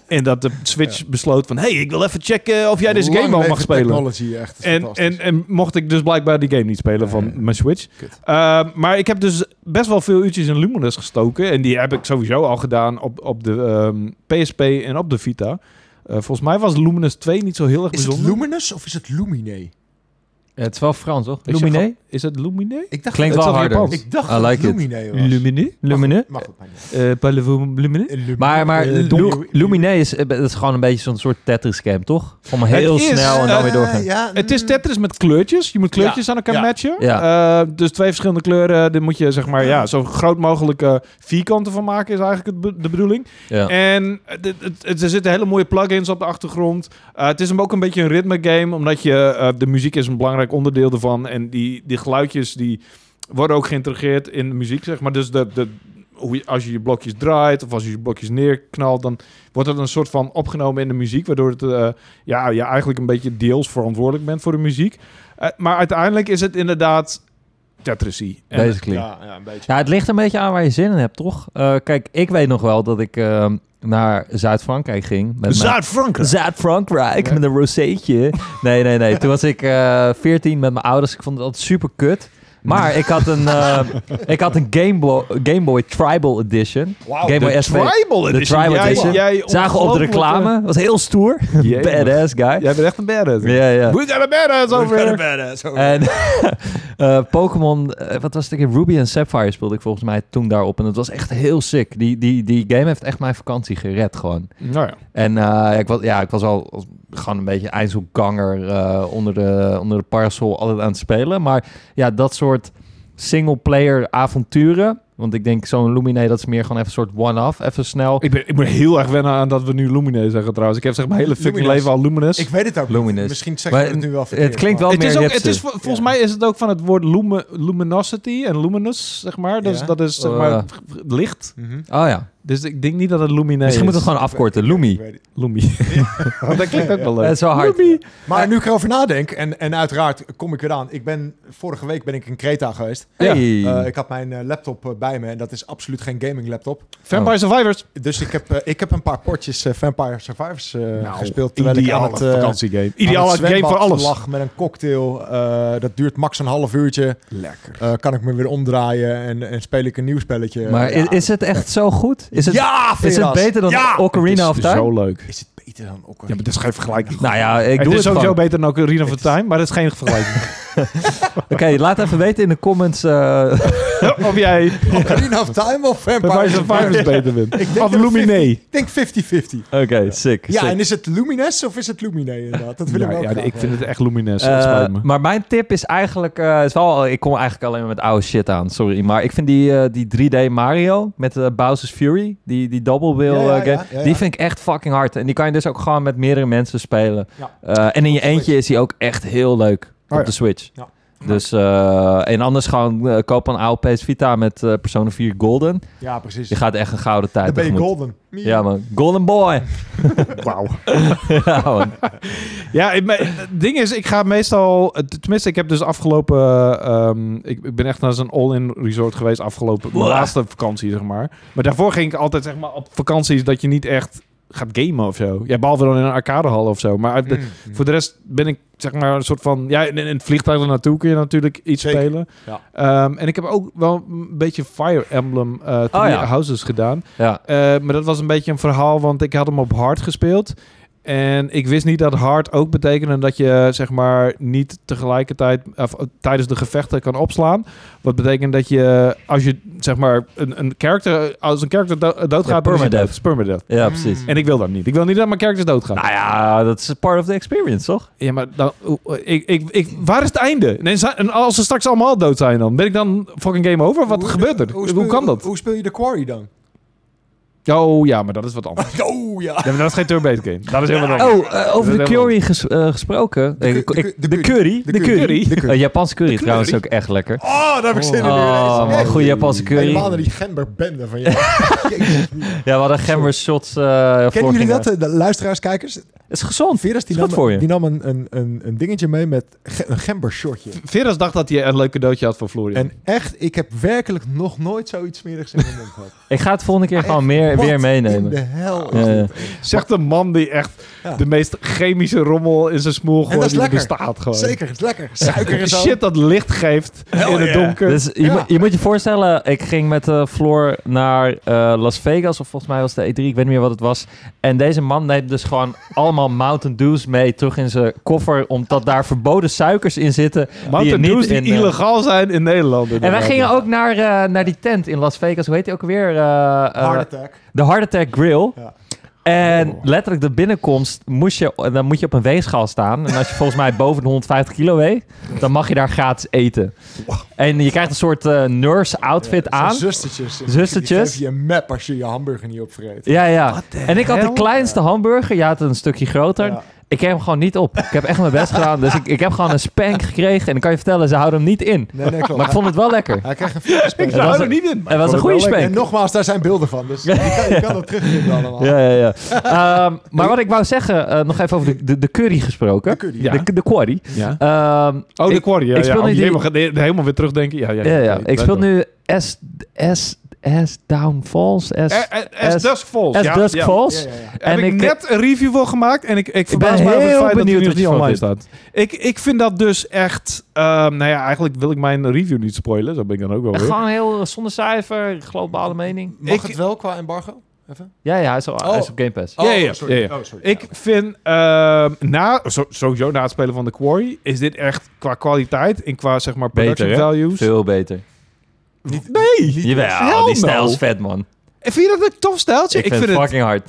S1: En dat de Switch besloot van... hey, ik wil even checken of jij deze game wel
S2: Lang
S1: mag
S2: leven
S1: spelen.
S2: Technology, echt. is
S1: En,
S2: fantastisch.
S1: en, en mocht ik dus blijkbaar die game niet spelen van
S2: Nee.
S1: mijn Switch.
S2: Kut.
S1: Eh, maar ik heb dus best wel veel uurtjes in Luminous gestoken. En die heb ik sowieso al gedaan op, op de ehm, PSP en op de Vita. Eh, volgens mij was Luminous 2 niet zo heel erg
S2: Is het
S1: bijzonder.
S2: Luminous of is het Lumine?
S3: Eh, Het is wel Frans, toch?
S1: Ik zeg
S3: Luminé?
S1: Is het Lumine?
S2: Ik dacht
S3: Klinkt
S2: dat
S3: wel
S2: het
S3: harder.
S1: Japans.
S2: Ik dacht
S3: I like
S2: dat
S3: it.
S2: het Lumine was.
S1: Lumine?
S3: Luminé?
S2: Mag het mij niet.
S1: Eh, Parlez-vous Lumine?
S2: Lumine.
S3: Maar, maar
S2: Eh,
S3: Lu-
S2: Domino-
S3: Luminé is, eh, dat is gewoon een beetje zo'n soort Tetris-game, toch? Gewoon heel
S1: Het is,
S3: snel en nou, dan weer
S2: Eh,
S3: doorgaan.
S2: ja,
S1: Het is
S2: mm,
S1: Tetris met kleurtjes. Je moet kleurtjes aan elkaar
S2: Ja.
S1: matchen.
S3: Ja.
S1: Eh, dus twee verschillende kleuren. Dit moet je zeg maar ja, zo groot mogelijk eh, vierkanten van maken is eigenlijk het be- de bedoeling.
S3: Ja.
S1: En het, het- het- er zitten hele mooie plugins op de achtergrond. Eh, het is hem ook een beetje een ritme game, omdat je, eh, de muziek is een belangrijk onderdeel ervan. En die, die geluidjes die worden ook geïntegreerd in de muziek, zeg maar. Dus de, de, hoe je, als je je blokjes draait of als je je blokjes neerknalt, dan wordt dat een soort van opgenomen in de muziek, waardoor het, eh, ja, je eigenlijk een beetje deels verantwoordelijk bent voor de muziek. Eh, maar uiteindelijk is het inderdaad Tetrisy. En-
S3: Basically.
S2: Ja, ja, een beetje.
S3: Ja, het ligt een beetje aan waar je zin in hebt, toch? Eh, kijk, ik weet nog wel dat ik ehm, naar Zuid-Frankrijk ging. met mijn-
S1: Zuid-Frankrijk.
S3: Zuid-Frankrijk met een rosétje. Nee, nee, nee. Toen was ik eh 14 met mijn ouders. Ik vond het altijd super kut. Maar ik had een, eh, ik had een Game, Boy, Game Boy Tribal Edition. Game Boy
S1: de
S3: SV.
S1: Tribal
S3: de
S1: Edition.
S3: Tribal
S1: Jij-
S3: Edition.
S1: jij
S3: Zagen op de
S1: ongelooflijke-
S3: reclame. Was heel stoer.
S1: Jee,
S3: Badass guy.
S1: Jij bent echt een badass.
S3: Ja, ja.
S1: We got a badass over here.
S3: En eh, Pokémon, eh, wat was het? ook weer? Ruby en Sapphire speelde ik volgens mij toen daarop. En dat was echt heel sick. Die, die, die game heeft echt mijn vakantie gered gewoon.
S1: Nou ja.
S3: En eh, ja, ik was, ja, ik was al als- gewoon een beetje eindselganger eh, onder, de, onder de parasol altijd aan het spelen. Maar ja, dat soort single-player avonturen. Want ik denk zo'n Lumine, dat is meer gewoon even een soort one-off. Even snel.
S1: Ik, ben, ik moet heel erg wennen aan dat we nu Lumine zeggen trouwens. Ik heb zeg mijn hele fucking
S2: Luminous.
S1: leven al Luminous.
S2: Ik weet het ook
S3: Luminous.
S2: niet. Misschien zeg
S3: Maar
S2: ik het nu wel verkeerd.
S3: Het klinkt wel
S2: maar-
S1: het
S3: meer
S1: is ook, het
S3: hipster.
S1: is, vo- volgens mij is het ook van het woord lume- luminosity en luminous, zeg maar. Dus
S2: Ja.
S1: dat is zeg
S3: Oh,
S1: maar
S3: ja.
S1: g- g- licht.
S2: Mhm.
S3: Oh ja,
S1: Dus ik denk niet dat het Lumine
S3: misschien
S1: is.
S3: moeten we het gewoon afkorten.
S2: Ik
S3: Lumi.
S2: weet het.
S1: Lumi. Want dat klinkt ook wel leuk.
S3: Dat is wel hard.
S1: Lumi.
S2: Maar nu ik erover nadenk, en, en uiteraard kom ik weer aan. Ik ben, vorige week ben ik in Creta geweest.
S3: Hey.
S2: Eh, ik had mijn eh, laptop eh, bij me en dat is absoluut geen gaming laptop.
S1: Vampire Survivors.
S2: Dus ik heb, eh, ik heb een paar potjes eh, Vampire Survivors eh, gespeeld. Terwijl ik aan
S1: Ideale
S2: het, eh,
S1: vakantiegame.
S2: aan
S1: Ideale
S2: het
S1: game voor
S2: zwembad
S1: alles.
S2: lag met een cocktail. Eh, dat duurt max een half uurtje.
S1: Lekker.
S2: Eh, kan ik me weer omdraaien en, en speel ik een nieuw spelletje.
S3: Maar
S2: ja,
S3: i- is het echt zo goed? Is het,
S2: eh, ja,
S3: is het
S2: Veras!
S3: beter dan
S2: Ja!
S3: Ocarina of Time?
S1: Zo leuk.
S2: Is het beter dan Ocarina?
S1: Ja, maar dat is geen vergelijking.
S3: Nou ja, ik
S1: het
S3: doe
S1: is
S3: het,
S1: sowieso
S3: gewoon.
S1: beter dan Ocarina of Time, maar dat is geen vergelijking.
S3: Oké, laat even weten in de comments. eh,
S1: of jij
S2: Ocarina of Time of
S1: Vampire
S2: Vampire
S1: Survivors
S2: Survivors?
S1: beter bent.
S2: denk
S1: Of
S2: dat het
S1: Lumine.
S2: Ik denk 50-50.
S3: Oké, sick.
S2: Ja,
S3: sick.
S2: en is het Lumines of is het Lumine inderdaad? Dat willen
S1: Ja,
S2: we
S1: Nou ja,
S2: ook graag
S1: ik vind het echt lumineus.
S3: Eh,
S1: dat spijt me.
S3: maar mijn tip is eigenlijk, eh, is wel, ik kom eigenlijk alleen maar met oude shit aan, sorry. Maar ik vind die, eh, die 3D Mario met eh, Bowser's Fury, die, die double wheel
S2: Ja, ja,
S3: eh,
S2: ja,
S3: game,
S2: ja, ja.
S3: die vind ik echt fucking hard. En die kan je dus ook gewoon met meerdere mensen spelen.
S2: Ja.
S3: Eh, en in je eentje is die ook echt heel leuk op
S1: Oh ja.
S3: de Switch.
S2: Ja.
S3: Dus, eh, en anders gewoon eh, koop een oude PS Vita met eh Persona 4 Golden.
S2: Ja, precies.
S3: Je gaat echt een gouden tijd
S2: Dan ben je
S3: tegemoet.
S2: golden.
S3: Ja man, Golden Boy.
S1: Wauw.
S3: ja man.
S1: Ja, ik- maar het ding is, ik ga meestal... eh, Tenminste, ik heb dus afgelopen... eh, ehm, ik, ik ben echt naar zo'n all-in resort geweest afgelopen... Mijn
S3: Wow.
S1: laatste vakantie, zeg maar. Maar daarvoor ging ik altijd, zeg maar, op vakanties... dat je niet echt gaat gamen of zo. Ja, behalve dan in een arcadehal of zo. Maar uit de- Mm. voor de rest ben ik, zeg maar, een soort van... Ja, in, in het vliegtuig er naartoe kun je natuurlijk iets
S2: Zeker,
S1: spelen.
S2: ja.
S1: Ehm, en ik heb ook wel een beetje Fire Emblem eh Three
S3: ja.
S1: Houses gedaan.
S3: Ja.
S1: Eh, maar dat was een beetje een verhaal, want ik had hem op hard gespeeld. En ik wist niet dat hard ook betekende dat je zeg maar niet tegelijkertijd of, eh, tijdens de gevechten kan opslaan. Wat betekent dat je als je zeg maar een, een character als een character do- eh, doodgaat, dan is hij
S3: permadeath.
S1: dood. Permadeath.
S3: ja,
S2: Hmm.
S3: precies.
S1: En ik wil dat niet. Ik wil niet dat mijn characters doodgaan.
S3: Nou ja, dat is part of the experience, toch?
S1: Ja, maar dan, oe- oe- ik, ik, ik, waar is het einde? En zijn- En als ze straks allemaal dood zijn dan? Ben ik dan fucking game over? Wat gebeurt er? Hoe,
S2: speel-
S1: kan dat?
S2: Hoe speel je de quarry dan?
S1: Oh ja, maar dat is wat anders.
S2: Oh ja.
S1: Ja, maar dat is geen turn-based game. Dat is helemaal anders.
S3: Oh, eh, over de
S1: Dat is helemaal-
S3: curry ges- eh, gesproken.
S2: De cu-
S3: Ik- ik-
S2: de
S3: De
S2: curry.
S3: curry.
S2: De
S3: De
S2: curry.
S3: curry.
S2: De curry.
S3: Eh, Japanse curry
S1: curry.
S3: trouwens ook echt lekker.
S2: Oh, daar heb ik zin in.
S3: Oh, man, goede Japanse curry.
S2: Helemaal naar die gemberbende van je. Jezus.
S3: Ja, we hadden gember shots. eh
S2: Kennen jullie dat, eh, de luisteraars, kijkers?
S3: is gezond.
S2: Veras die
S3: Is goed
S2: nam,
S3: voor je.
S2: die nam een, een, een, een dingetje mee met ge- een gembershotje.
S1: Veras dacht dat hij een leuk cadeautje had voor Florian.
S2: En echt, ik heb werkelijk nog nooit zoiets smerigs in mijn mond gehad.
S3: Ik ga het volgende keer gewoon
S2: Echt,
S3: meer,
S2: wat
S3: weer
S2: in
S3: meenemen.
S2: de hel
S3: Ja,
S2: is
S3: ja.
S2: dit
S1: Zegt een man die echt
S2: Ja.
S1: de meest chemische rommel in zijn smoel
S2: dat
S1: gooit
S2: is
S1: die er
S2: lekker.
S1: bestaat gewoon.
S2: Zeker, het is lekker. Suiker en zo.
S1: Shit dat licht geeft in het
S2: yeah.
S1: donker.
S3: Dus je,
S2: Ja.
S3: moet- je moet je voorstellen, ik ging met eh, Floor naar eh, Las Vegas, of volgens mij was het de E3, ik weet niet meer wat het was. En deze man neemt dus gewoon allemaal Mountain Dews mee terug in zijn koffer, omdat daar verboden suikers in zitten. je
S1: Mountain
S3: niet
S1: Dews die
S3: in, eh,
S1: illegaal zijn in Nederland.
S3: En wij
S1: inderdaad.
S3: gingen ook naar, eh, naar die tent in Las Vegas, hoe heet die ook weer? Eh, eh,
S2: Heart attack.
S3: de Hard Attack Grill.
S2: Ja. Oh.
S3: En letterlijk de binnenkomst moest je, dan moet je op een weegschaal staan. En als je volgens mij boven de 150 kilo weegt, dan mag je daar gratis eten. En je krijgt een soort eh, nurse outfit
S2: Zo'n
S3: aan.
S2: Zustertjes.
S3: Zustertjes.
S2: Die geven je een map als je je hamburger niet opvreet.
S3: Ja, ja. En ik had de
S1: hell?
S3: kleinste hamburger. Je had een stukje groter.
S2: Ja.
S3: Ik kreeg hem gewoon niet op. Ik heb echt mijn best gedaan. Dus ik, ik heb gewoon een spank gekregen. En ik kan je vertellen, ze houden hem niet in.
S2: Nee, nee, klopt.
S3: Maar ik vond het wel lekker.
S2: Hij krijgt een filmpje.
S1: Ik
S3: Het was
S1: zou er
S3: een-
S1: niet in.
S3: Het was een goede
S2: En
S3: spank.
S2: nogmaals, daar zijn beelden van. Dus je kan, je kan dat terugvinden allemaal.
S3: Ja, ja, ja. Ehm, maar wat ik wou zeggen, eh, nog even over de, de, de curry gesproken.
S2: De curry.
S1: Ja.
S3: De, de quarry.
S1: Ja.
S3: Ehm,
S1: Oh, de
S3: ik-
S1: quarry. Ja,
S3: ik
S1: ja.
S3: speel
S1: Oh,
S3: nu
S1: jee,
S3: die-
S1: we gaan he- helemaal weer terugdenken. Ja, ja,
S3: Ja, ja.
S1: weet
S3: Ik speel
S1: het wel.
S3: nu S, S, S Down Falls. S,
S1: Eh, eh, As
S3: S-
S1: Dusk Falls.
S3: S
S1: ja,
S3: Dusk
S1: ja.
S3: Falls.
S2: Ja, ja, ja.
S1: Heb
S3: En
S1: ik,
S3: ik-
S1: net een review voor gemaakt en ik, ik verbaas
S3: ben
S1: me over het
S3: heel
S1: feit dat die
S3: benieuwd
S1: nu nog
S3: wat je
S1: niet
S3: van
S1: online staat. Ik, ik vind dat dus echt... ehm, nou ja, eigenlijk wil ik mijn review niet spoilen. Zo ben ik dan ook wel weer.
S3: Gewoon heel eh, zonder cijfer, globale mening.
S2: Mag
S1: Ik-
S2: het wel qua embargo? Even?
S3: Ja, ja, hij is, al, hij
S1: Oh.
S3: is op Game Pass.
S1: Ja, ja,
S2: Oh, sorry.
S1: ja, ja.
S2: Oh, sorry.
S1: Ik vind, ehm, na, zo- sowieso na het spelen van de Quarry, is dit echt qua kwaliteit en qua zeg maar production
S3: Beter, hè?
S1: values.
S3: Veel beter.
S1: Nee,
S3: Jawel,
S1: hell
S3: die stijl
S1: no.
S3: is vet, man.
S1: Vind je dat een tof stijltje?
S3: Ik, vind het fucking hard.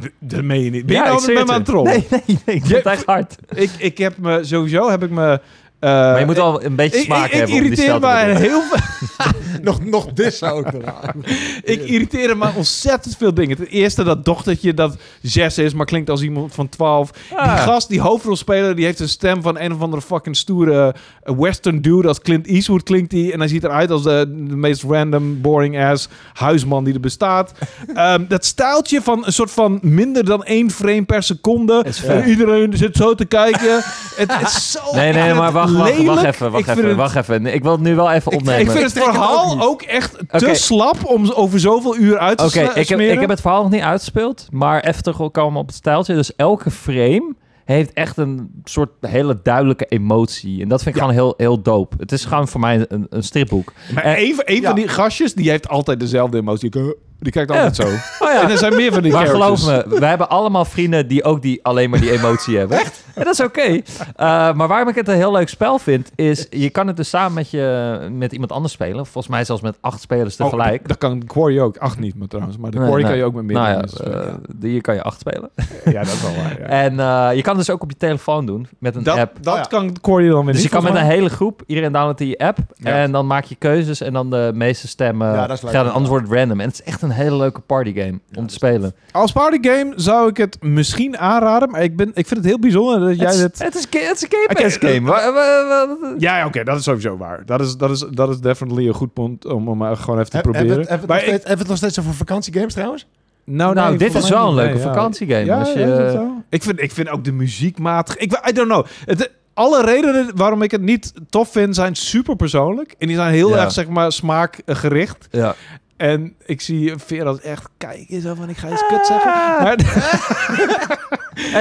S1: het... Dat meen je niet. Ben je
S3: Ja,
S1: nou
S3: ik zweer
S1: met me aan
S3: het
S1: het
S3: je.
S1: trollen?
S3: Nee, nee, nee. Ik vind
S1: Je-
S3: het echt hard.
S1: Ik, ik heb me, sowieso heb ik me... eh,
S3: Maar je moet al een beetje
S1: ik,
S3: smaak
S1: ik, ik
S3: hebben om die
S1: irriteer
S3: stijl te
S1: me
S3: bedenken.
S1: heel veel,
S2: Nog, nog dit zou ik eraan.
S1: ik irriteer me aan ontzettend veel dingen. Ten eerste dat dochtertje dat zes is, maar klinkt als iemand van twaalf. Die
S3: Ah.
S1: gast, die hoofdrolspeler, die heeft een stem van een of andere fucking stoere eh, western dude. Als Clint Eastwood klinkt hij. En hij ziet eruit als de, de meest random, boring ass huisman die er bestaat. Ehm, dat stijltje van een soort van minder dan één frame per seconde.
S3: Is vet.
S1: En iedereen zit zo te kijken. het, het is zo
S3: Nee, nee, maar wacht, wacht, wacht
S1: lelijk.
S3: even,
S1: Ik
S3: wacht
S1: vind
S3: even,
S1: het-
S3: wacht even. Nee, Ik wil het nu wel even
S2: Ik-
S3: opnemen.
S1: ik vind het
S2: Ik trek het
S1: verhaal
S2: ook
S1: ook,
S2: niet.
S1: echt te
S3: Oké.
S1: slap om over zoveel uur uit te
S3: Oké,
S1: sla-
S3: ik, heb,
S1: smeren.
S3: ik heb het verhaal nog niet uitgespeeld, maar even terugkomen op het stijltje. Dus elke frame heeft echt een soort hele duidelijke emotie. En dat vind ik gewoon heel, heel dope. Het is gewoon voor mij een, een stripboek.
S1: Maar
S3: Eh,
S1: een, van- een
S2: ja.
S1: van die gastjes, die heeft altijd dezelfde emotie. Die, die kijkt
S3: Ja.
S1: altijd zo.
S3: Oh ja.
S1: En er zijn meer van die
S3: Maar
S1: characters.
S3: geloof me, wij hebben allemaal vrienden die ook die, alleen maar die emotie hebben. En dat is oké. Eh, maar waarom ik het een heel leuk spel vind, is je kan het dus samen met, je, met iemand anders spelen. Volgens mij zelfs met acht spelers
S1: Oh,
S3: tegelijk.
S1: dat- dat kan Quarry ook. Acht niet, maar trouwens. Maar de
S3: Nee,
S1: Quarry
S3: nee.
S1: kan je ook met meer
S3: nou ja,
S1: mensen spelen.
S3: eh, hier kan je acht spelen.
S1: ja, dat is wel waar. ja.
S3: En eh, je kan het dus ook op je telefoon doen met een
S1: dat
S3: app.
S1: dat
S2: Oh ja.
S1: kan Quarry dan weer
S3: Dus je
S1: niet.
S3: kan met
S1: volgens
S3: een
S1: mij.
S3: hele groep, iedereen downloadt die app.
S2: Ja.
S3: En dan maak je keuzes en dan de meeste stemmen
S2: Ja, dat is leuk.
S3: gaan. En anders wordt het random. En het is echt een hele leuke partygame om te spelen.
S1: Als party game zou ik het misschien aanraden. Maar ik, ben, ik vind het heel bijzonder dat jij
S3: het, is,
S1: dit...
S3: het, is, ga- het is een game.
S1: Oké,
S3: het is een game. Wa- wa- wa- wa-
S1: Ja, ja, oké, dat is sowieso waar. Dat is, dat is, dat is definitely een goed punt om, om eh, gewoon even te
S2: Hebben
S1: proberen.
S2: we het nog
S1: Maar ik-
S2: steeds- hebben we het nog steeds over vakantiegames trouwens?
S1: Nou,
S3: nou,
S1: nee,
S3: dit
S1: volgens
S3: is
S1: mij
S3: wel een
S1: niet.
S3: leuke
S1: Nee, ja.
S3: vakantiegame.
S1: Ja,
S3: als je, eh,
S1: ja, is dat zo? Ik vind, ik vind ook de muziek matig. Ik, I don't know. Het, alle redenen waarom ik het niet tof vind zijn super persoonlijk. En die zijn heel
S3: Ja.
S1: erg, zeg maar, smaakgericht.
S3: ja.
S1: En ik zie Veer als echt, kijk eens zo van, ik ga eens kut zeggen.
S3: Ah,
S1: Maar,
S3: het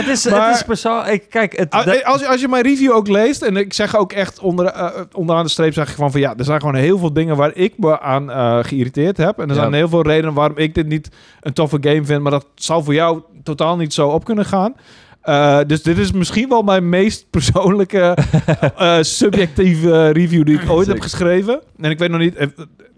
S3: is,
S1: Maar-
S3: het is persoonlijk. Kijk, het,
S1: Ah,
S3: dat-
S1: eh, als, je- als je mijn review ook leest, en ik zeg ook echt onder, eh, onderaan de streep, zeg ik van, van ja, er zijn gewoon heel veel dingen waar ik me aan eh, geïrriteerd heb. En er
S3: Ja.
S1: zijn heel veel redenen waarom ik dit niet een toffe game vind, maar dat zal voor jou totaal niet zo op kunnen gaan. Eh, dus dit is misschien wel mijn meest persoonlijke, eh, subjectieve review die ik ooit heb
S3: Zeker.
S1: geschreven. En ik weet nog niet, eh,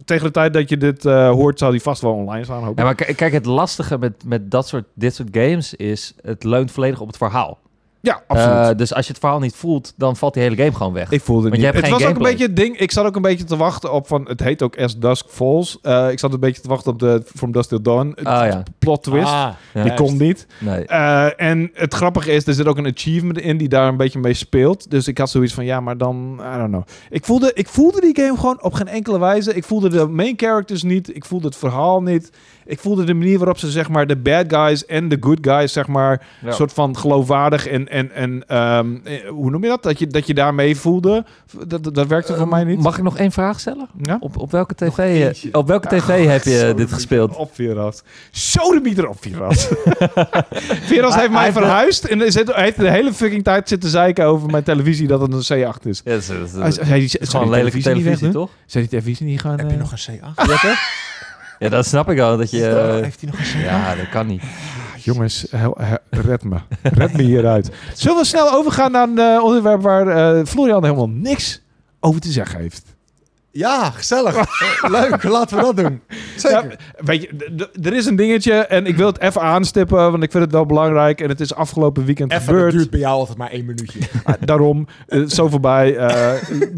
S1: tegen de tijd dat je dit eh, hoort, zal die vast wel online staan. Hoop ik.
S3: Ja, maar k- kijk, het lastige met, met dat soort, dit soort games is, het leunt volledig op het verhaal.
S1: Ja, absoluut.
S3: Eh, dus als je het verhaal niet voelt, dan valt die hele game gewoon weg.
S1: Ik voelde het
S3: Want
S1: niet. Het
S3: je
S1: was
S3: hebt geen
S1: ook een
S3: gameplay.
S1: beetje het ding. Ik zat ook een beetje te wachten op van. Het heet ook As Dusk Falls. Eh, ik zat een beetje te wachten op de From Dusk Till Dawn eh,
S3: Ah ja,
S1: plot twist.
S2: Ah,
S3: ja.
S1: die komt niet.
S3: nee.
S1: Eh, en het grappige is, er zit ook een achievement in die daar een beetje mee speelt. Dus ik had zoiets van, ja, maar dan, I don't know. Ik voelde, ik voelde die game gewoon op geen enkele wijze. Ik voelde de main characters niet. Ik voelde het verhaal niet. Ik voelde de manier waarop ze zeg maar de bad guys en de good guys zeg maar
S3: Ja.
S1: soort van geloofwaardig en, en, en ehm, eh, hoe noem je dat? Dat je, dat je daarmee voelde. Dat, dat, dat werkte voor
S3: Eh,
S1: mij niet.
S3: Mag ik nog één vraag stellen?
S1: ja?
S3: Op, op welke tv, eh, op welke TV heb je eh, dit gespeeld?
S1: Op Veras. Zo de mieter op Veras. Veras
S3: Hij-
S1: heeft mij
S3: hij-
S1: verhuisd en hij zit- hij heeft de hele fucking tijd zitten zeiken over mijn televisie dat het een C8 is.
S3: Ja, dat is- dat is-
S1: Hij-
S3: dat
S1: hij- hij-
S3: is
S1: zou
S3: gewoon
S1: die
S3: een lelijke
S1: niet weg
S3: televisie,
S1: doen?
S3: toch?
S1: Zou die televisie niet gaan... eh,
S2: een C8?
S3: Jeppe? Ja, dat snap ik al. Dat je, eh,
S2: hij nog een
S3: ja, dat kan niet.
S1: Jongens, hel- he- red me. Red me hieruit. Zullen we snel overgaan naar een eh, onderwerp waar eh, Florian helemaal niks over te zeggen heeft?
S2: Ja, gezellig. Eh, Leuk, laten we dat doen. Zeker.
S1: Ja, weet je, d- d- er is een dingetje en ik wil het even aanstippen, want ik vind het wel belangrijk. En het is afgelopen weekend
S2: Even, dat
S1: gebeurd.
S2: duurt bij jou altijd maar één minuutje.
S1: Ah, daarom, eh, zo voorbij. eh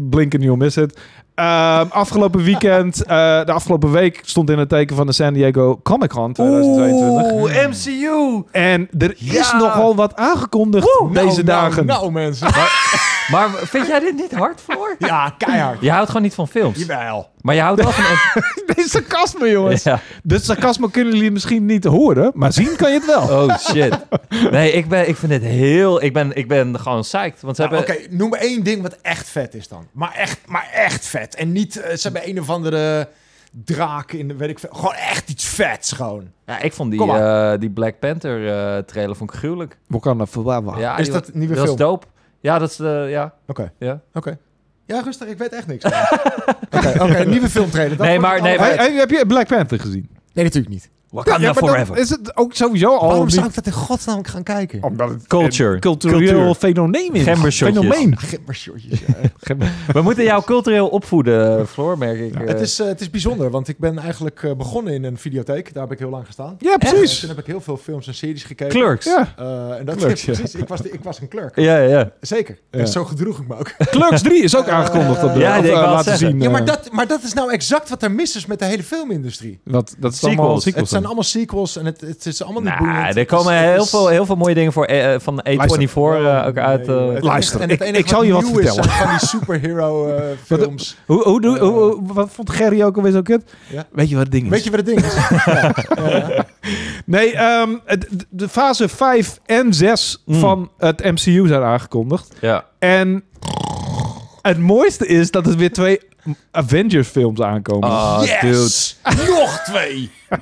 S1: blinken, you'll miss it. Ehm, afgelopen weekend, eh, de afgelopen week stond in het teken van de San Diego Comic Con 2022.
S3: MCU!
S1: En er is
S3: Ja.
S1: nogal wat aangekondigd
S2: Nou,
S1: deze
S2: nou,
S1: dagen.
S2: Nou, mensen.
S3: Maar vind jij dit niet hard, Floor?
S2: Ja, keihard.
S3: Je houdt gewoon niet van films.
S2: Jawel.
S3: Maar je houdt wel van...
S1: Dit is sarcasme, jongens.
S3: Ja.
S1: Dit sarcasme kunnen jullie misschien niet horen, maar zien kan je het wel.
S3: Oh shit. Nee, ik, ben, ik vind het heel. Ik ben, ik ben gewoon psyched. Want ze
S2: Nou, Oké,
S3: hebben.
S2: noem één ding wat echt vet is dan. Maar echt, maar echt vet. En niet, eh, ze hebben een of andere draak in, de- weet ik veel. Gewoon echt iets vets gewoon.
S3: Ja, ik vond die,
S2: Kom
S3: eh, die Black Panther eh, trailer vond ik gruwelijk.
S1: We kan er voorbij wachten.
S3: Ja,
S2: is
S3: die
S2: dat
S3: was-
S2: een nieuwe
S3: dat
S2: film?
S3: is dope. Ja, dat is. eh, ja,
S2: Oké, oké.
S3: ja.
S2: Ja, rustig, ik weet echt niks. Oké, oké, nieuwe filmtrailer. dat
S3: Nee,
S2: wordt
S3: maar-
S2: het allemaal
S3: nee,
S1: Hey,
S3: maar-
S2: vet.
S1: hey, heb je Black Panther gezien?
S2: Nee, natuurlijk niet.
S3: Wakanda
S1: Ja, maar dan
S3: Forever.
S1: Is het ook sowieso al
S2: Waarom Oh,
S1: niet-
S2: zou ik dat in godsnaam gaan kijken?
S1: Omdat het
S3: Culture.
S1: een cultureel
S3: Cultuur.
S1: fenomeen is.
S3: Gembershotjes.
S1: Fenomeen.
S2: nou, Geef maar shortjes. ja.
S3: We moeten jou cultureel opvoeden, Floor, merk ik. eh.
S2: het, is, eh, het is bijzonder, want ik ben eigenlijk eh, begonnen in een videotheek. Daar heb ik heel lang gestaan.
S1: Ja,
S2: En
S1: precies.
S2: toen heb ik heel veel films en series gekeken.
S3: Clerks. Ja,
S1: Ja.
S2: Eh, en dat
S1: Clerks, ja.
S2: precies. Ik was, de- ik was een clerk.
S3: ja. ja.
S2: Zeker.
S1: Ja.
S2: En zo gedroeg ik me ook.
S1: Clerks 3 is ook aangekondigd op de
S3: Ja,
S1: of,
S3: ik
S1: eh,
S3: wou het
S1: laten
S3: zeggen.
S1: zien.
S2: Ja, maar
S1: eh,
S2: dat, maar dat is nou exact wat er mis is met de hele filmindustrie.
S1: wat, dat is
S3: Sequels.
S1: allemaal sequels.
S2: Het zijn
S1: dan.
S2: allemaal sequels en het, het is allemaal niet
S3: Nou,
S2: boeiend.
S3: er komen
S2: Het is- het
S3: heel
S2: is-
S3: veel, heel veel mooie dingen voor, eh, eh, van A24 eh, ook uit. eh.
S2: Nee, het
S1: Luister,
S2: enige- en het
S1: ik-
S2: enige
S1: ik zal je wat
S2: nieuw is,
S1: vertellen.
S2: zijn Van die superhero eh, films.
S1: Hoe, hoe, doe- hoe, hoe- wat vond Gerry ook alweer zo kut?
S2: Ja.
S1: Weet je wat het ding is?
S2: Weet je wat het ding is?
S1: Nee, ehm, het- de- de fase 5 en 6
S3: Mm.
S1: van het MCU zijn aangekondigd.
S3: Ja.
S1: En het mooiste is dat er weer twee Avengers films aankomen.
S3: Ah, dude.
S2: yes! Nog twee!
S1: We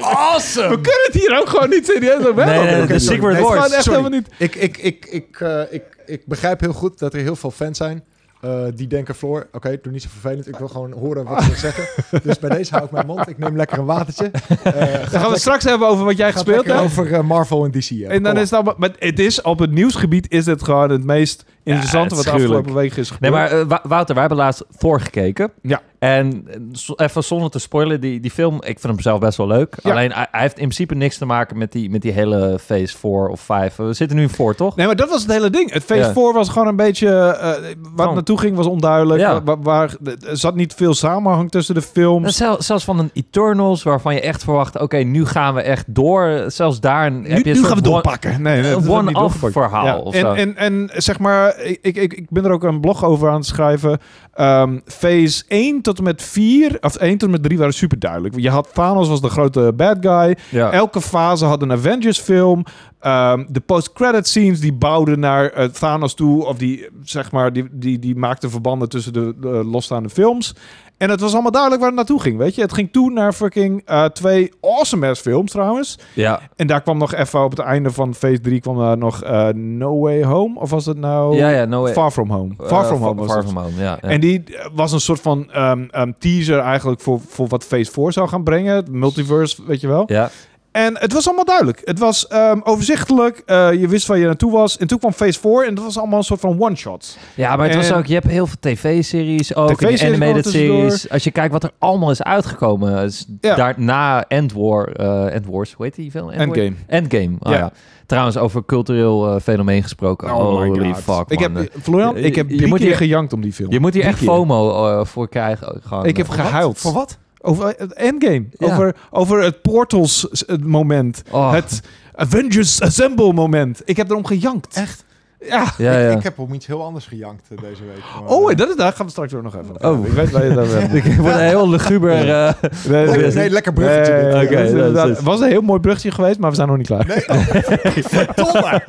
S2: Awesome!
S1: kunnen het hier ook gewoon niet serieus over
S3: Nee,
S1: hebben.
S3: nee,
S1: Oké,
S3: de
S1: sorry.
S3: Secret
S1: Het is
S3: Wars.
S1: gewoon echt
S2: Sorry.
S1: helemaal niet...
S2: Ik, ik, ik, ik, eh, ik, ik begrijp heel goed dat er heel veel fans zijn. eh, die denken, Floor, oké, doe niet zo vervelend. Ik wil gewoon horen wat ze zeggen. Dus bij deze hou ik mijn mond. Ik neem lekker een watertje. Eh, gaat
S1: Dan gaan we
S2: lekker-
S1: het straks hebben over wat jij
S2: gaat
S1: gespeeld
S2: lekker
S1: hebt.
S2: over eh, Marvel en DC.
S1: En dan is het allemaal... Maar het is, op het nieuwsgebied is het gewoon het meest interessante
S3: het
S1: wat
S3: is
S1: de
S3: gruwelijk.
S1: afgelopen week is
S3: Nee,
S1: gebeurd.
S3: maar eh, Wou- Wouter, wij hebben laatst Thor gekeken.
S1: Ja.
S3: En eh, zo- even zonder te spoilen, die, die film, ik vind hem zelf best wel leuk.
S1: Ja.
S3: Alleen, hij, hij heeft in principe niks te maken met die, met die hele Phase 4 of 5. We zitten nu in 4, toch?
S1: Nee, maar dat was het hele ding. Het feest
S3: Ja.
S1: voor was gewoon een beetje... eh, eh, waar het
S3: Gewoon.
S1: naartoe ging was onduidelijk.
S3: Ja.
S1: Wa- Waar, er zat niet veel samenhang tussen de
S3: En
S1: films.
S3: zel- Eh, zelfs van een Eternals, waarvan je echt verwacht, oké, nu gaan we echt door. Zelfs daar
S1: Nu,
S3: heb je een
S1: nu
S3: soort
S1: gaan we
S3: one-
S1: doorpakken. Nee, nee, dat
S3: Een
S1: hebben we niet
S3: one-off
S1: doorgepakt.
S3: verhaal of zo.
S1: En, en, en zeg maar, ik, ik, ik ben er ook een blog over aan het schrijven. Ehm phase 1 tot en met 4, of 1 tot en met 3 waren super duidelijk. Je had Thanos was de grote bad guy.
S3: Ja.
S1: Elke fase had een Avengers film. Ehm, de post-credit scenes die bouwden naar eh, Thanos toe. Of die, eh, zeg maar, die, die, die maakten verbanden tussen de, de losstaande films. En het was allemaal duidelijk waar het naartoe ging, weet je. Het ging toe naar fucking eh, twee awesome-ass films trouwens.
S3: ja.
S1: En daar kwam nog even op het einde van phase 3 kwam daar nog eh, No Way Home. Of was het nou
S3: ja, ja, no way.
S1: Far From Home? Far
S3: Eh,
S1: From Home
S3: Far,
S1: was het.
S3: From Home, ja. ja.
S1: En die eh, was een soort van ehm, ehm, teaser eigenlijk voor, voor wat phase 4 zou gaan brengen. Het multiverse, weet je wel.
S3: ja.
S1: En het was allemaal duidelijk. Het was ehm, overzichtelijk. eh, je wist waar je naartoe was. En toen kwam phase 4 en dat was allemaal een soort van one-shot.
S3: Ja, maar het was
S1: En-
S3: ook, je hebt heel veel tv-series ook,
S1: TV -series
S3: en die animated
S1: kwam er tussendoor.
S3: series. Als je kijkt wat er allemaal is uitgekomen, is
S1: Ja.
S3: daarna End, War, eh, End Wars, hoe heet die film? End War?
S1: Endgame.
S3: Endgame, ah,
S1: Ja.
S3: ja. Trouwens, over cultureel eh, fenomeen gesproken, holy fuck
S1: Oh ik
S3: man.
S1: heb, Florian,
S3: Je-
S1: ik heb
S3: je
S1: drie
S3: moet
S1: keer
S3: hier-
S1: gejankt om die film.
S3: je moet hier
S1: Drie
S3: echt
S1: keer.
S3: FOMO eh, voor krijgen. ook Gewoon.
S1: Ik heb gehuild.
S2: Voor wat?
S1: Over eh, het endgame.
S3: Ja.
S1: Over, over het portals s- het moment.
S3: Oh.
S1: Het Avengers Assemble moment. Ik heb erom gejankt.
S2: Echt?
S1: Ja.
S3: Ja,
S2: ik,
S3: ja.
S2: ik heb om iets heel anders gejankt eh, deze week. maar,
S1: Oh,
S2: eh,
S1: dat is, daar gaan we straks ook nog even naar.
S3: Oh.
S1: Ik weet waar je dat
S3: Ik word een heel luguber. eh,
S1: Nee,
S2: lekker-
S1: nee,
S2: nee, lekker bruggetje.
S1: nee,
S2: dit. eh.
S1: nee,
S3: Oké,
S1: dat is
S3: dat is
S1: inderdaad-
S3: het.
S1: was een heel mooi bruggetje geweest, maar we zijn nog niet klaar.
S2: Nee, verdomme.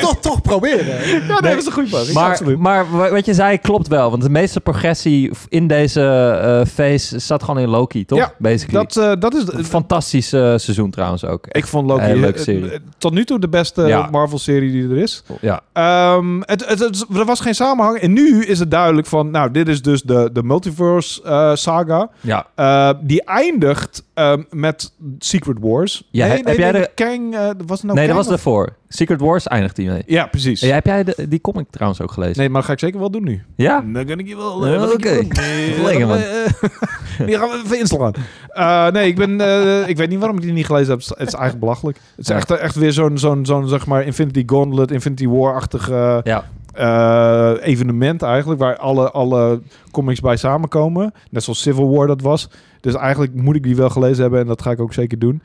S2: toch, toch proberen.
S1: Ja, nee, dat is een goede pas.
S3: maar,
S1: absoluut.
S3: maar wa- wat je zei klopt wel. Want de meeste progressie f- in deze eh phase staat gewoon in Loki, toch?
S1: Ja,
S3: Basically.
S1: Dat, eh, dat is...
S3: Een Fantastisch eh, seizoen trouwens ook.
S1: ik vond Loki
S3: Hele leuke
S1: eh,
S3: serie.
S1: eh, tot nu toe de beste
S3: Ja.
S1: Marvel-serie die er is.
S3: Ja.
S1: Ehm, het, het, het- er was geen samenhang. En nu is het duidelijk van... Nou, dit is dus de, eh, de multiverse-saga.
S3: ja.
S1: Eh, die eindigt ehm, met Secret Wars.
S3: Ja,
S1: nee,
S3: he-
S1: nee,
S3: heb jij
S1: nee,
S3: de-
S1: Kang... eh, was het nou
S3: nee, dat
S1: Kang
S3: was
S1: of-
S3: daarvoor. Secret Wars eindigt die mee.
S1: Ja, precies.
S3: Ja, heb jij de- die comic trouwens ook gelezen?
S1: Nee, maar dat ga ik zeker wel doen nu.
S3: Ja?
S1: Dan kan ik je wel.
S3: Ja,
S1: eh, wat ik
S3: oké.
S1: wil. Nee,
S3: Lekker,
S1: dan,
S3: man.
S1: eh, Die gaan we even inslaan. Eh, nee, ik, ben, eh, ik weet niet waarom ik die niet gelezen heb. Het is eigenlijk belachelijk. Het is
S3: Ja.
S1: echt, echt weer zo'n, zo'n, zo'n zeg maar Infinity Gauntlet, Infinity War-achtig eh,
S3: Ja.
S1: eh, evenement eigenlijk. Waar alle, alle comics bij samenkomen. Net zoals Civil War dat was. Dus eigenlijk moet ik die wel gelezen hebben. En dat ga ik ook zeker doen.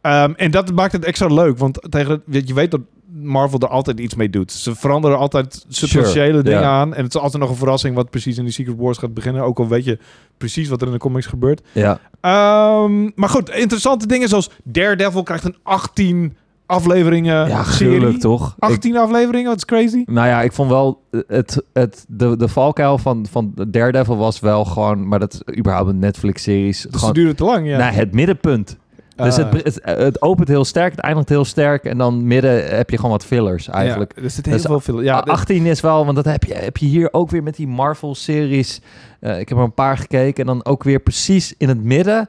S1: Ehm, en dat maakt het extra leuk. Want tegen, het- weet- je weet dat Marvel er altijd iets mee doet. Ze veranderen altijd substantiële
S3: Sure,
S1: dingen
S3: ja.
S1: aan. En het is altijd nog een verrassing wat precies in die Secret Wars gaat beginnen. Ook al weet je precies wat er in de comics gebeurt.
S3: Ja.
S1: Ehm, maar goed, interessante dingen zoals Daredevil krijgt een 18 afleveringen
S3: ja,
S1: Eh, serie.
S3: gruwelijk toch? Ik-
S1: 18 afleveringen, dat is crazy.
S3: Nou ja, ik vond wel eh, het, het, de, de valkuil van, van Daredevil was wel gewoon, maar dat is überhaupt een Netflix-series.
S1: Dus
S3: gewoon
S1: het duurde te lang, ja.
S3: nou, het middenpunt. Dus
S1: Eh,
S3: het, het, het opent heel sterk, het eindigt heel sterk en dan midden heb je gewoon wat fillers eigenlijk.
S1: Ja, er zit
S3: Dat
S1: heel
S3: is
S1: veel filler. Ja,
S3: Ah,
S1: dit-
S3: 18 is wel, want dat heb je, heb je hier ook weer met die Marvel-series. Eh, ik heb er een paar gekeken en dan ook weer precies in het midden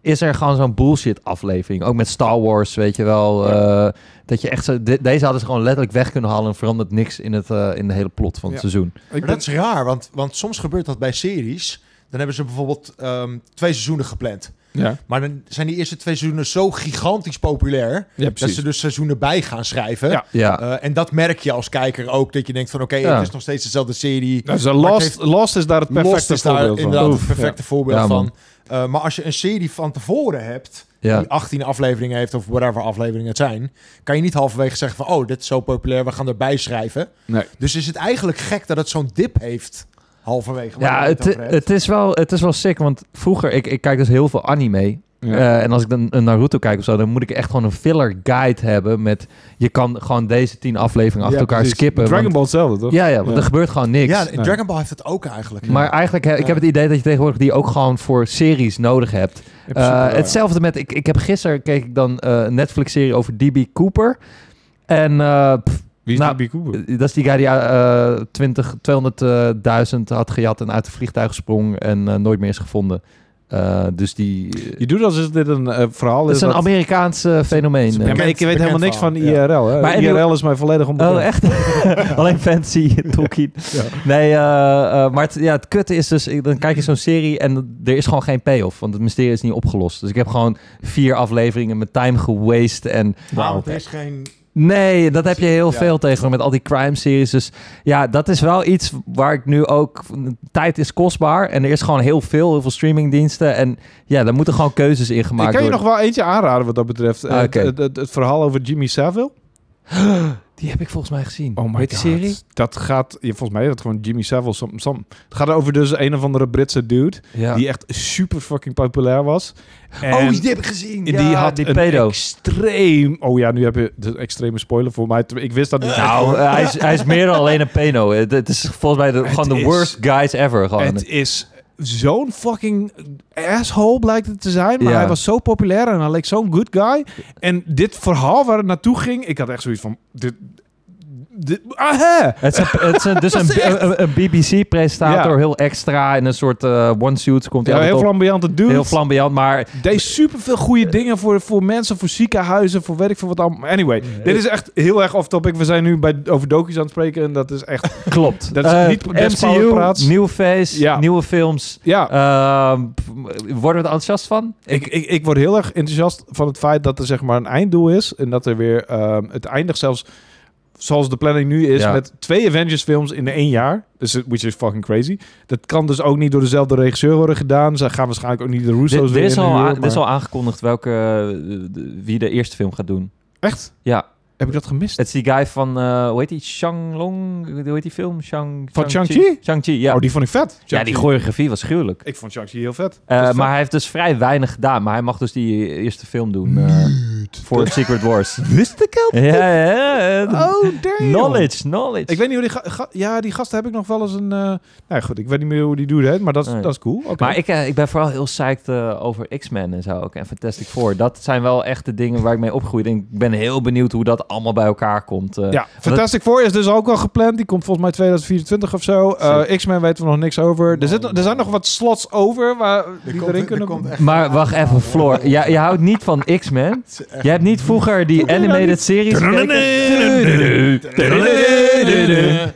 S3: is er gewoon zo'n bullshit-aflevering. Ook met Star Wars, weet je wel. eh, dat je echt zo, de- deze hadden ze gewoon letterlijk weg kunnen halen en verandert niks in, het, eh, in de hele plot van het
S1: Ja.
S3: seizoen.
S1: ik
S2: Maar
S1: ben-
S2: dat is raar, want, want soms gebeurt dat bij series. Dan hebben ze bijvoorbeeld ehm, twee seizoenen gepland.
S1: ja.
S2: Maar dan zijn die eerste twee seizoenen zo gigantisch populair...
S1: ja,
S2: dat
S1: precies.
S2: ze dus seizoenen bij gaan schrijven.
S1: Ja.
S3: Ja,
S2: Eh, en dat merk je als kijker ook. Dat je denkt van oké,
S3: Ja.
S2: het is nog steeds dezelfde serie.
S1: Nou, ze
S2: Maar het
S1: Lost,
S2: heeft-
S1: Lost is daar het perfecte
S2: Lost is daar
S1: voorbeeld van.
S2: inderdaad
S1: Oef,
S2: het perfecte voorbeeld
S3: Ja,
S2: van.
S3: man.
S2: Eh, maar als je een serie van tevoren hebt...
S3: ja.
S2: die 18 afleveringen heeft of whatever afleveringen het zijn... kan je niet halverwege zeggen van... oh, dit is zo populair, we gaan erbij schrijven.
S1: Nee.
S2: Dus is het eigenlijk gek dat het zo'n dip heeft halverwege. waar
S3: Ja,
S2: je
S3: het,
S2: over hebt.
S3: het, is wel, het is wel sick, want vroeger, ik, ik kijk dus heel veel anime.
S1: Ja.
S3: Eh, en als ik dan een Naruto kijk of zo, dan moet ik echt gewoon een filler guide hebben met... Je kan gewoon deze tien afleveringen achter
S1: Ja,
S3: elkaar
S1: precies.
S3: skippen.
S1: Dragon
S3: want-
S1: Ball hetzelfde, toch?
S3: Ja, ja, want
S1: Ja.
S3: er gebeurt gewoon niks.
S2: ja,
S1: Nee.
S2: Dragon Ball heeft het ook eigenlijk.
S3: Maar eigenlijk, hè, ik
S2: Ja.
S3: heb het idee dat je tegenwoordig die ook gewoon voor series nodig hebt.
S1: In
S3: Eh,
S1: principe wel, ja.
S3: hetzelfde met, ik, ik heb gisteren keek ik dan eh, een Netflix-serie over DB Cooper. En eh, pff,
S1: Wie is
S3: Nou,
S1: die B. Cooper?
S3: dat is die guy die eh 20 200.000 had gejat en uit het vliegtuig sprong en eh, nooit meer is gevonden. Eh, dus die...
S1: Je doet alsof dit een eh, verhaal
S3: dat
S1: is.
S3: is een
S1: dat-
S3: Amerikaans eh, fenomeen.
S1: Ja, maar
S2: bekend-
S1: ik weet helemaal
S2: bekend
S1: niks van
S2: verhaal, ja.
S1: IRL. Hè?
S3: Maar anyway-
S1: IRL is mij volledig onbekend.
S3: Oh, echt? Alleen fancy Tolkien. Nee, eh, eh, maar het, ja, het kutte is dus... ik- Dan kijk je zo'n serie en er is gewoon geen payoff. Want het mysterie is niet opgelost. Dus ik heb gewoon vier afleveringen met time gewaste. En
S2: Wauw, het is geen...
S3: nee, dat heb je heel
S2: Ja.
S3: veel tegen met al die crime series. Dus ja, dat is wel iets waar ik nu ook... Tijd is kostbaar en er is gewoon heel veel. Heel veel streamingdiensten. En ja, daar moeten gewoon keuzes in gemaakt
S1: ik kan je nog
S3: worden.
S1: wel eentje aanraden wat dat betreft. Eh,
S3: Ah, oké.
S1: het, het, het verhaal over Jimmy Savile.
S3: Die heb ik volgens mij gezien.
S1: Oh my
S3: Weet je die serie?
S1: Dat gaat, ja, volgens mij is dat gewoon Jimmy Savile. Sam, Sam. Het gaat over dus een of andere Britse dude.
S3: Ja. Oh,
S1: Die echt super fucking populair was. En
S3: heb ik gezien.
S1: die
S3: Ja,
S1: had
S3: die
S1: een
S3: pedo.
S1: extreem... Oh ja, nu heb je de extreme spoiler voor mij. Ik wist dat niet.
S3: Nou, eh, hij is, hij is meer dan alleen een peno. Het, het is volgens mij de,
S1: Het
S3: gewoon de
S1: is-
S3: worst guys ever. Gewoon.
S1: Het is zo'n fucking asshole blijkt het te zijn. Maar
S3: Ja.
S1: hij was zo populair en hij leek zo'n good guy. En dit verhaal waar het naartoe ging, ik had echt zoiets van... Dit, dit, ah, hè.
S3: Het is, een- het is een- dus een, een, BBC-presentator,
S1: Ja.
S3: heel extra. In een soort eh, one-suit komt hij
S1: Ja, heel
S3: altijd op.
S1: flamboyante dude.
S3: Heel flamboyant, maar
S1: Deed superveel goede dingen voor, voor mensen, voor ziekenhuizen, voor weet ik veel wat allemaal. Anyway, dit is echt heel erg off-topic. We zijn nu bij, over docu's aan het spreken en dat is echt...
S3: klopt.
S1: Dat is
S3: Eh,
S1: niet best
S3: MCU,
S1: powerpraat.
S3: nieuw face,
S1: Ja.
S3: nieuwe films.
S1: Ja,
S3: Ehm, p- worden we er enthousiast van?
S1: Ik, ik, ik word heel erg enthousiast van het feit dat er zeg maar een einddoel is. En dat er weer ehm, het eindigt zelfs zoals de planning nu is.
S3: Ja.
S1: Met twee Avengers films in één jaar. Dus, het- which is fucking crazy. Dat kan dus ook niet door dezelfde regisseur worden gedaan. Ze gaan waarschijnlijk ook niet de
S3: Dit,
S1: Russo's
S3: dit
S1: weer
S3: is al
S1: inhuren,
S3: aan- dit is
S1: maar-
S3: al aangekondigd welke, eh, de- wie de eerste film gaat doen.
S1: Echt?
S3: Ja,
S1: Heb ik dat gemist?
S3: Het is die guy van, eh, hoe heet die? Shanglong? Hoe heet die film? Shang,
S1: Van
S3: Shang-Chi?
S1: Shang-Chi?
S3: Shang-Chi, ja.
S1: Oh, die vond ik vet.
S3: ja, die
S1: Shang-Chi.
S3: choreografie was gruwelijk.
S1: Ik vond Shang-Chi heel vet.
S3: Eh,
S1: Dat is
S3: maar hij heeft dus vrij weinig gedaan. Maar hij mag dus die eerste film doen. eh, voor Secret Wars.
S1: vet. Wist ik al?
S3: ja, ja, ja. eh,
S1: Oh, damn.
S3: Knowledge, knowledge.
S1: Ik weet niet hoe die... ga- ga- ja, die gasten heb ik nog wel eens een... eh, Nou ja, goed, ik weet niet meer hoe die dude heet, maar dat is,
S3: Nee.
S1: dat is cool. Oké.
S3: Maar ik, eh, ik ben vooral heel psyched eh, over X-Men en zo ook. En Fantastic Four. Dat zijn wel echt de dingen waar ik mee opgegroeid. En ik ben heel benieuwd hoe dat allemaal bij elkaar komt. eh.
S1: ja, Fantastic Four is dus ook al gepland. Die komt volgens mij 2024 of zo. Eh, X-Men weten we nog niks over. Er, zit, nog- er zijn nog wat slots over waar die erin kunnen...
S3: Maar wacht even, Floor. Jij, je houdt niet van X-Men. Jij hebt niet vroeger die animated series gekeken.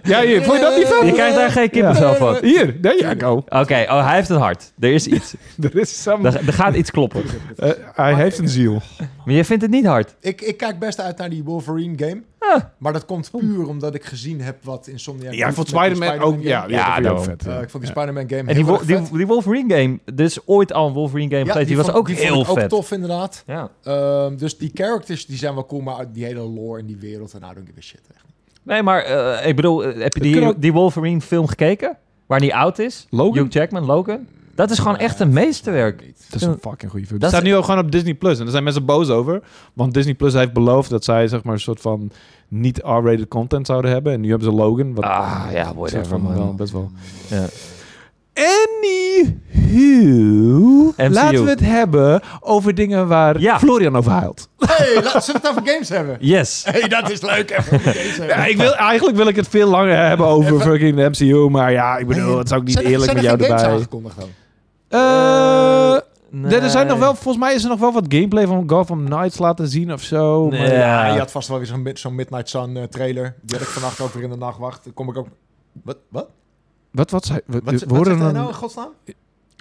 S1: Ja, hier, vond je dat niet vet?
S3: Je krijgt daar geen kippenvel van.
S1: Hier, there you go.
S3: Oké, oh, hij heeft een hart. Er is iets.
S1: Er is some-
S3: Er, er gaat iets kloppen.
S1: Eh, hij heeft een ziel.
S3: Maar je vindt het niet hard.
S2: Ik, ik kijk best uit naar die Wolverine game.
S3: Ah.
S2: Maar dat komt puur omdat ik gezien heb wat Insomniac...
S1: Ja, ik
S2: doet
S1: vond
S2: met die
S1: Spider-Man ook...
S2: Spider-Man
S1: Ja, die
S2: game.
S1: vond ik
S3: daarom.
S1: ook vet.
S2: Eh, ik vond die Spider-Man game
S3: En die,
S2: heel
S3: Wol-
S2: erg
S3: die,
S2: vet.
S3: die Wolverine game, er is ooit al een Wolverine game
S2: Ja,
S3: geweest. Die, was
S2: vond-
S3: ook
S2: die vond
S3: heel
S2: ik ook
S3: vet.
S2: tof inderdaad.
S3: Ja.
S2: Ehm, dus die characters die zijn wel cool, maar die hele lore en die wereld en nou don't give a shit. Echt.
S3: Nee, maar eh, ik bedoel, eh, heb je
S1: Het kan
S3: die,
S1: ook-
S3: die Wolverine film gekeken? Waar die oud is?
S1: Logan?
S3: Hugh Jackman, Logan. Dat is gewoon echt een meesterwerk.
S2: Niet.
S1: Dat is een fucking goede film.
S3: Dat
S1: Dat staat
S3: is-
S1: nu ook gewoon op Disney Plus. En daar zijn mensen boos over. Want Disney Plus heeft beloofd dat zij zeg maar een soort van niet R-rated content zouden hebben. En nu hebben ze Logan. Wat
S3: Ah, ja,
S1: een
S3: whatever,
S1: soort van
S3: man.
S1: wel, best wel.
S3: Ja.
S1: Anywho, laten we het hebben over dingen waar
S3: Ja.
S1: Florian over huilt.
S2: Hey, laten we het over games hebben.
S3: Yes.
S1: Eh,
S2: Hey, dat is leuk. Even over games hebben.
S1: Ja, ik wil, eigenlijk wil ik het veel langer hebben over fucking de MCU. Maar ja, ik bedoel, het is ook niet
S2: Zijn er-
S1: eerlijk
S2: zijn
S1: met
S2: er
S1: jou
S2: geen games
S1: erbij.
S2: aangekondigd dan?
S1: Eh,
S3: Nee.
S1: Er zijn nog wel, volgens mij is er nog wel wat gameplay van Gotham Knights laten zien of zo. maar-
S3: Nee. Ja.
S2: Ja, Ah, je had vast wel weer zo'n mid- zo'n Midnight Sun eh, trailer. Die had ik vannacht over in de nachtwacht. Dan kom ik ook... Wat? Wat?
S1: Wat, wat, zei, wat,
S2: Wat,
S1: we
S2: wat,
S1: hoorden
S2: zegt hij
S1: een-
S2: nou in godsnaam?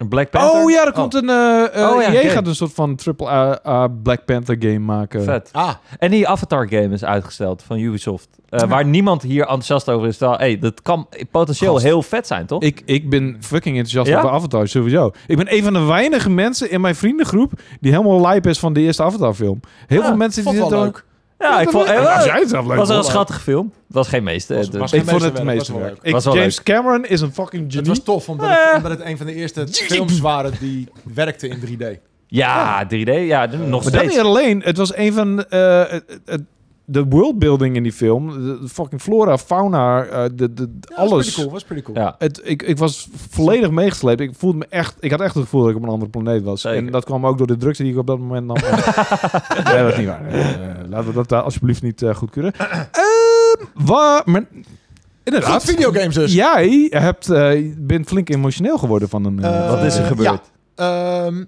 S3: Black Panther.
S1: Oh ja, er komt een... eh eh,
S3: Oh ja,
S1: EA
S3: oké.
S1: gaat een soort van triple A, A Black Panther game maken.
S3: Vet.
S2: Ah,
S3: En die Avatar game is uitgesteld van Ubisoft. Eh, Waar niemand hier enthousiast over is. Terwijl, hey, dat kan potentieel
S1: Gast.
S3: heel vet zijn, toch?
S1: Ik, ik ben fucking enthousiast
S3: Ja?
S1: over Avatar, sowieso. Ik ben een van de weinige mensen in mijn vriendengroep... die helemaal lijp is van de eerste Avatar-film. Heel
S3: Ah,
S1: veel mensen
S2: vond
S1: die
S2: wel
S1: zitten-
S2: leuk.
S3: ja, ik vond... eh,
S1: Ja,
S3: wel-
S1: jij het zelf leuk
S3: was wel een
S1: vond.
S3: schattige film. Het was geen meester.
S2: Was-
S3: dus-
S2: was
S1: Ik vond het het
S2: meesterwerk, was
S1: meeste
S2: wel
S1: werk.
S2: leuk.
S1: Ik-
S3: Was wel
S1: James Cameron is een fucking
S2: Het
S1: genie.
S2: was tof, omdat het,
S3: Eh.
S2: omdat het een van de eerste films waren die werkte in 3D.
S3: Ja, 3D. Ja, d- nog
S1: maar dat
S3: steeds.
S1: niet alleen. Het was een van... eh, eh, eh, de worldbuilding in die film, de de fucking flora, fauna, eh, de, de,
S2: Ja, Was
S1: alles.
S2: pretty cool, was pretty cool.
S3: Ja.
S1: Het, ik, ik was volledig meegesleept. Ik voelde me echt. Ik had echt het gevoel dat ik op een andere planeet was.
S3: Zeker.
S1: En dat kwam ook door de drugs die ik op dat moment nam. nee, dat is niet waar. Eh, eh, laten we dat daar alsjeblieft niet goed goedkeuren. Ehm waar, maar,
S2: Goed,
S1: inderdaad.
S2: videogames dus.
S1: Jij hebt, eh, bent flink emotioneel geworden van een. eh,
S2: Eh,
S3: Wat is er gebeurd?
S2: Ja. Ehm,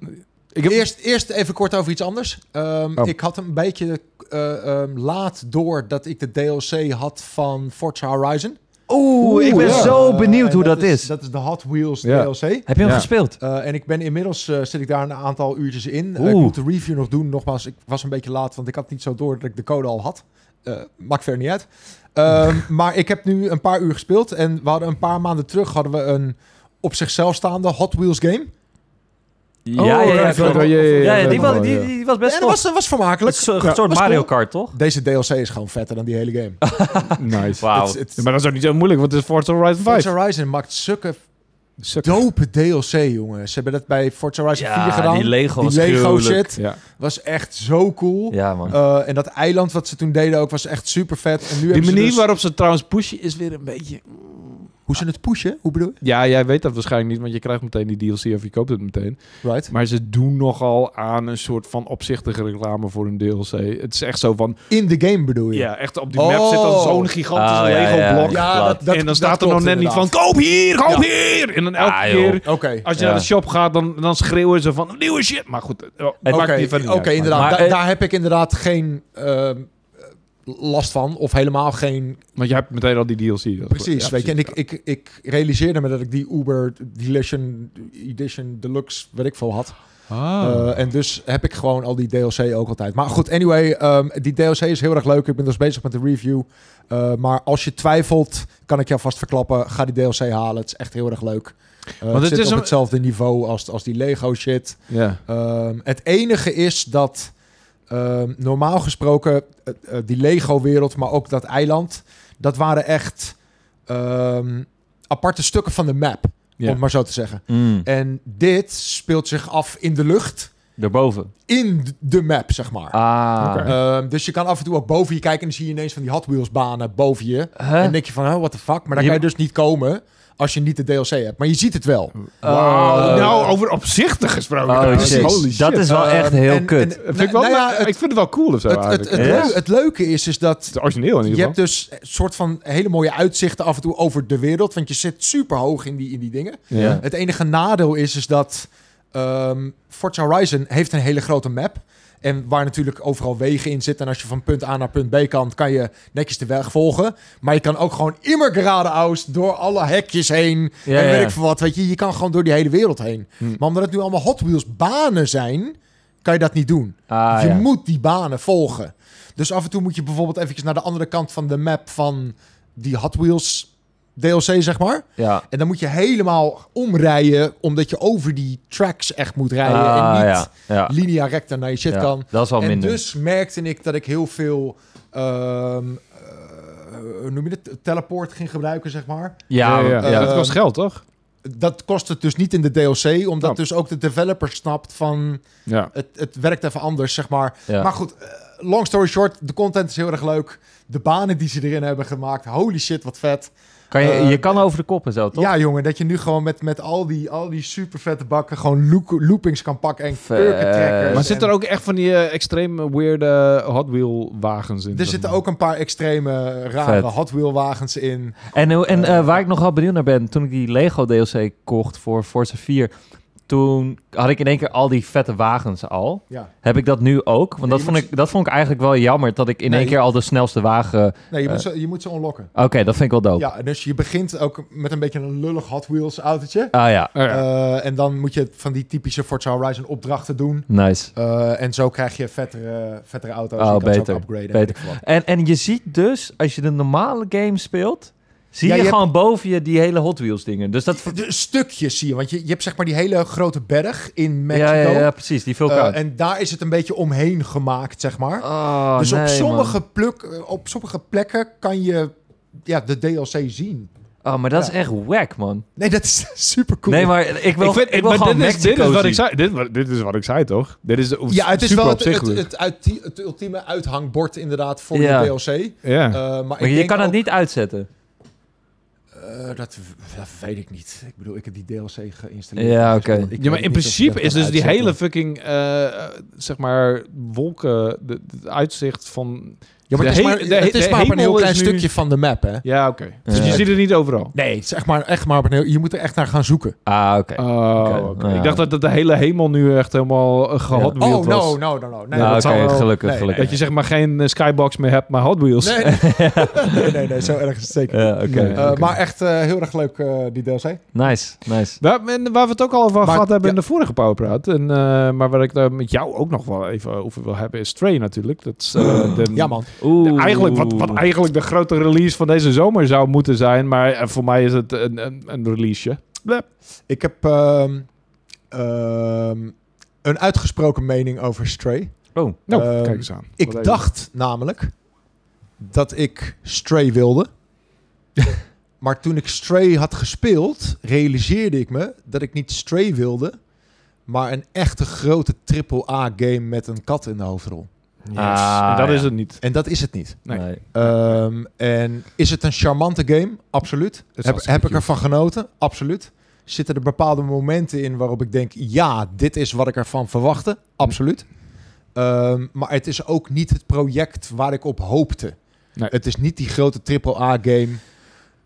S1: ik heb,
S2: eerst, eerst even kort over iets anders. Ehm,
S1: Oh.
S2: Ik had een beetje eh, ehm, laat door dat ik de DLC had van Forza Horizon.
S3: Oeh, ik ben
S1: ja.
S3: zo
S2: Eh,
S3: benieuwd
S2: en
S3: hoe dat is.
S2: Dat is de Hot Wheels
S1: Ja.
S2: DLC.
S3: Heb je hem
S1: Ja.
S3: gespeeld?
S2: Eh, en ik ben inmiddels eh, zit ik daar een aantal uurtjes in. Eh, ik
S3: Oeh.
S2: moet de review nog doen. Nogmaals, ik was een beetje laat, want ik had niet zo door dat ik de code al had. Eh, maakt verder niet uit. Ehm, maar ik heb nu een paar uur gespeeld. En we hadden een paar maanden terug hadden we een op zichzelf staande Hot Wheels game.
S3: Ja, ja, ja,
S1: Oh, ja,
S3: ik wil-
S1: ja, ja, ja,
S3: ja,
S1: ja,
S3: die,
S1: ja,
S3: was,
S1: ja.
S3: die, die was best
S2: en dat
S3: tof.
S2: was, dat was vermakelijk.
S3: Het is een soort
S2: was
S3: Mario
S2: cool.
S3: Kart, toch?
S2: Deze DLC is gewoon vetter dan die hele game.
S1: nice.
S3: Wauw.
S2: Het- het-
S1: Ja, maar dat is ook niet zo moeilijk, want het is Forza Horizon 5.
S2: Forza Horizon maakt zulke
S1: Suck.
S2: dope DLC, jongen. Ze hebben dat bij Forza Horizon 4
S3: Ja,
S2: gedaan.
S3: die Lego was
S2: Lego
S3: gruwelijk.
S2: shit
S1: Ja.
S2: was echt zo cool.
S3: Ja, man.
S2: Eh, en dat eiland wat ze toen deden ook was echt super vet. En nu
S1: Die
S2: hebben ze
S1: manier
S2: dus-
S1: waarop ze trouwens pushen is weer een beetje.
S2: Hoe ze het pushen? Hoe bedoel je?
S1: Ja, jij weet dat waarschijnlijk niet, want je krijgt meteen die DLC of je koopt het meteen.
S2: Right.
S1: Maar ze doen nogal aan een soort van opzichtige reclame voor een DLC. Het is echt zo van...
S2: In de game bedoel je?
S1: Ja, echt op die
S2: Oh.
S1: map zit dan zo'n gigantische
S3: Oh, ja, ja, ja.
S1: Lego-blok.
S2: Ja, dat, dat,
S1: en dan
S2: dat
S1: staat er
S2: klopt
S1: nog net niet van...
S2: inderdaad.
S1: Koop hier, koop
S2: Ja.
S1: hier! En dan elke
S3: Ah, joh.
S1: keer...
S2: Oké.
S1: Als je
S3: Ja.
S1: naar de shop gaat, dan, dan schreeuwen ze van... Nieuwe shit! Maar goed, het
S3: Oké,
S1: maakt
S2: Oké,
S1: niet verder
S2: oké,
S1: uit.
S2: inderdaad.
S3: Maar,
S2: Da-
S3: eh,
S2: daar heb ik inderdaad geen ehm, last van. Of helemaal geen...
S1: Maar- Want jij hebt meteen al die DLC. dat-
S2: Precies,
S1: ja,
S2: weet je. En ik,
S1: precies,
S2: ik, ik realiseerde me dat ik die Uber Edition, Edition Deluxe, weet ik veel, had.
S1: ja. Ah.
S2: Eh, en dus heb ik gewoon al die DLC ook altijd. Maar goed, anyway, ehm, die DLC is heel erg leuk. Ik ben dus bezig met de review. Eh, maar als je twijfelt, kan ik jou vast verklappen. Ga die DLC halen. Het is echt heel erg leuk. Eh,
S1: het
S2: het zit
S1: is
S2: op
S1: een-
S2: hetzelfde niveau als, als die Lego shit.
S1: ja.
S2: Ehm, het enige is dat... ehm, ehm, normaal gesproken, eh, eh, die Lego-wereld, maar ook dat eiland, dat waren echt ehm, aparte stukken van de map,
S1: Ja.
S2: om het maar zo te zeggen.
S3: Mm.
S2: En dit speelt zich af in de lucht,
S3: Daarboven.
S2: in de map, zeg maar.
S3: Ah.
S1: Oké.
S2: Ehm, dus je kan af en toe ook boven je kijken en dan zie je ineens van die Hot Wheels banen boven je.
S3: Huh?
S2: En dan denk je van, oh, what the fuck? Maar daar
S3: Eh. Je-
S2: kan je dus niet komen als je niet de DLC hebt. Maar je ziet het wel.
S1: Wauw.
S3: Oh.
S1: nou, over opzichtig gesproken.
S3: Oh,
S1: trouwens.
S3: shit.
S1: Holy
S3: Dat is wel
S2: Ehm,
S3: echt heel
S2: en-
S3: kut.
S2: en-
S1: Vind ik, wel,
S2: nou ja,
S1: maar
S2: het-
S1: ik vind het wel cool of zo
S2: Het, het,
S1: eigenlijk.
S2: het,
S1: Ja.
S3: Ja.
S2: leu- het leuke is, is dat
S1: Het is origineel in
S2: je
S1: ieder
S2: hebt
S1: geval.
S2: dus een soort van hele mooie uitzichten af en toe over de wereld. Want je zit super hoog in die, in die dingen.
S1: Ja.
S2: Het enige nadeel is, is dat ehm, Forza Horizon heeft een hele grote map. En waar natuurlijk overal wegen in zitten. En als je van punt A naar punt B kan, kan je netjes de weg volgen. Maar je kan ook gewoon immer geradeaus door alle hekjes heen.
S3: Ja,
S2: en
S3: ja,
S2: weet
S3: ja.
S2: ik veel wat, weet je. Je kan gewoon door die hele wereld heen.
S1: Hm.
S2: Maar omdat het nu allemaal Hot Wheels banen zijn, kan je dat niet doen.
S3: Ah,
S2: je
S3: ja.
S2: moet die banen volgen. Dus af en toe moet je bijvoorbeeld eventjes naar de andere kant van de map van die Hot Wheels DLC, zeg maar.
S3: ja.
S2: En dan moet je helemaal omrijden, omdat je over die tracks echt moet rijden.
S3: Ah,
S2: en niet
S3: ja. Ja.
S2: linea recta naar je shit
S3: Ja.
S2: kan.
S3: Dat is wel
S2: en
S3: minder.
S2: dus merkte ik dat ik heel veel, ehm, eh, hoe noem je het, teleport ging gebruiken, zeg maar.
S3: ja,
S1: ja, ja.
S2: eh,
S1: dat kost geld, toch?
S2: Dat kost het dus niet in de DLC, omdat
S1: Oh.
S2: dus ook de developer snapt van,
S1: Ja.
S2: het, het werkt even anders, zeg maar.
S3: ja.
S2: Maar goed, eh, long story short, de content is heel erg leuk. De banen die ze erin hebben gemaakt, holy shit, wat vet.
S3: Kan je,
S2: eh,
S3: je kan over de kop en zo, toch?
S2: Ja, jongen, dat je nu gewoon met, met al die, al die super vette bakken gewoon loop, loopings kan pakken en
S3: Vet.
S2: kurkentrackers.
S1: Maar zitten
S2: en-
S1: er ook echt van die eh, extreem weirde Hot Wheel wagens in?
S2: Er
S1: zeg
S2: zitten
S1: maar?
S2: ook een paar extreme rare
S3: Vet.
S2: Hot Wheel wagens in.
S3: En, hoe- en
S2: Eh,
S3: eh, waar ik nogal benieuwd naar ben, toen ik die Lego DLC kocht voor Forza 4, toen had ik in één keer al die vette wagens al.
S2: Ja.
S3: Heb ik dat nu ook? Want
S2: Nee,
S3: dat,
S2: je
S3: vond
S2: moet-
S3: ik, dat vond ik eigenlijk wel jammer, dat ik in
S2: Nee,
S3: één
S2: je-
S3: keer al de snelste wagen...
S2: Nee, je,
S3: Eh.
S2: moet ze, je moet ze unlocken.
S3: Oké, dat vind ik wel dope.
S2: Ja, dus je begint ook met een beetje een lullig Hot Wheels autootje.
S3: Ah ja,
S1: Oh, ja.
S2: Eh, en dan moet je van die typische Forza Horizon opdrachten doen.
S3: nice.
S2: Eh, en zo krijg je vettere, vettere auto's.
S3: Oh,
S2: je kan ze ook
S3: beter,
S2: upgraden. en
S3: beter.
S2: weet ik veel wat.
S3: En, en je ziet dus, als je de normale game speelt, zie
S2: Ja,
S3: je,
S2: je hebt-
S3: gewoon boven je die hele Hot Wheels dingen. Dus dat...
S2: De stukjes zie je, want je, je hebt zeg maar die hele grote berg in
S3: Ja,
S2: Mexico.
S3: ja, ja, precies, die vulkaan.
S2: Eh, en daar is het een beetje omheen gemaakt, zeg maar.
S3: Oh,
S2: dus op,
S3: nee,
S2: sommige pluk, op sommige plekken kan je ja, de DLC zien.
S3: man. Oh, maar dat
S2: Ja.
S3: is echt wack, man.
S2: Nee, dat is super cool.
S3: Nee, maar ik wil, ik
S1: ik vind,
S3: wil
S1: maar
S3: gewoon
S1: dit, is,
S3: Mexico
S1: dit is wat
S3: zien.
S1: ik zei. Dit, wa- dit is wat ik zei, toch? Dit is de-
S2: ja, het is
S1: super
S2: wel het, het,
S1: opzichtelijk.
S2: het, ulti- het ultieme uithangbord inderdaad voor
S3: Ja.
S2: de DLC.
S1: ja.
S2: Eh, maar ik
S3: Maar je
S2: denk
S3: kan
S2: ook-
S3: het niet uitzetten.
S2: Eh, dat, dat weet ik niet. Ik bedoel, ik heb die DLC geïnstalleerd.
S3: Ja,
S2: Dus
S3: oké.
S2: ik weet
S1: ja, maar in
S2: niet of je
S1: principe
S2: dat
S1: is
S2: kan
S1: dus die
S2: uitzetten.
S1: hele fucking, eh, eh, zeg maar, wolken, de- de- het uitzicht van...
S2: Ja, maar het
S1: de
S2: is maar,
S1: he- de he-
S2: het is
S1: de
S2: maar, een heel
S1: hemel
S2: klein
S1: is nu-
S2: stukje van de map, hè?
S1: Ja, oké. Dus
S3: Ja.
S1: je ziet het niet overal.
S2: Nee, zeg maar, echt maar op een heel- je moet er echt naar gaan zoeken.
S3: Ah, oké.
S1: Oh,
S3: Oké,
S1: oké.
S3: nou ja.
S1: Ik dacht dat, dat de hele hemel nu echt helemaal uh, gehad
S2: Oh, no,
S1: was.
S2: no, no, no. Nee,
S3: Nou,
S2: dat zou
S3: oké,
S2: wel-
S3: gelukkig,
S2: nee,
S3: gelukkig.
S1: Dat je zeg maar geen eh, skybox meer hebt, maar Hot Wheels.
S2: Nee, nee, nee, nee, nee, zo erg is het zeker. niet.
S3: Ja, oké.
S1: Nee.
S2: Eh,
S1: oké. Mm.
S2: Maar echt eh, heel erg leuk, eh, die DLC.
S3: Nice, nice.
S1: Waar, en waar we het ook al over
S2: Maar-
S1: gehad hebben in
S2: ja.
S1: de vorige Powerpraat. En, eh, maar waar ik daar met jou ook nog wel even over wil hebben, is Stray natuurlijk. Dat is, eh, de-
S2: Ja, man.
S3: Oeh.
S1: Eigenlijk wat, wat eigenlijk de grote release van deze zomer zou moeten zijn. Maar eh, voor mij is het een, een, een releaseje. Blep.
S2: Ik heb ehm, ehm, een uitgesproken mening over Stray.
S3: Oh,
S1: Nou,
S2: Ehm,
S1: kijk eens aan.
S2: Ik
S1: Wat even.
S2: dacht namelijk dat ik Stray wilde. maar toen ik Stray had gespeeld, realiseerde ik me dat ik niet Stray wilde, maar een echte grote AAA-game met een kat in de hoofdrol.
S1: Yes.
S3: Ah,
S1: en dat
S3: ja.
S1: is het niet.
S2: En dat is het niet.
S1: Nee.
S3: nee.
S2: Ehm, en is het een charmante game? Absoluut.
S1: is
S2: Heb,
S1: hartstikke
S2: heb ik
S1: cute.
S2: ervan genoten? Absoluut. Zitten er bepaalde momenten in waarop ik denk: ja, dit is wat ik ervan verwachtte? Absoluut. Ehm, maar het is ook niet het project waar ik op hoopte.
S1: Nee.
S2: Het is niet die grote AAA-game.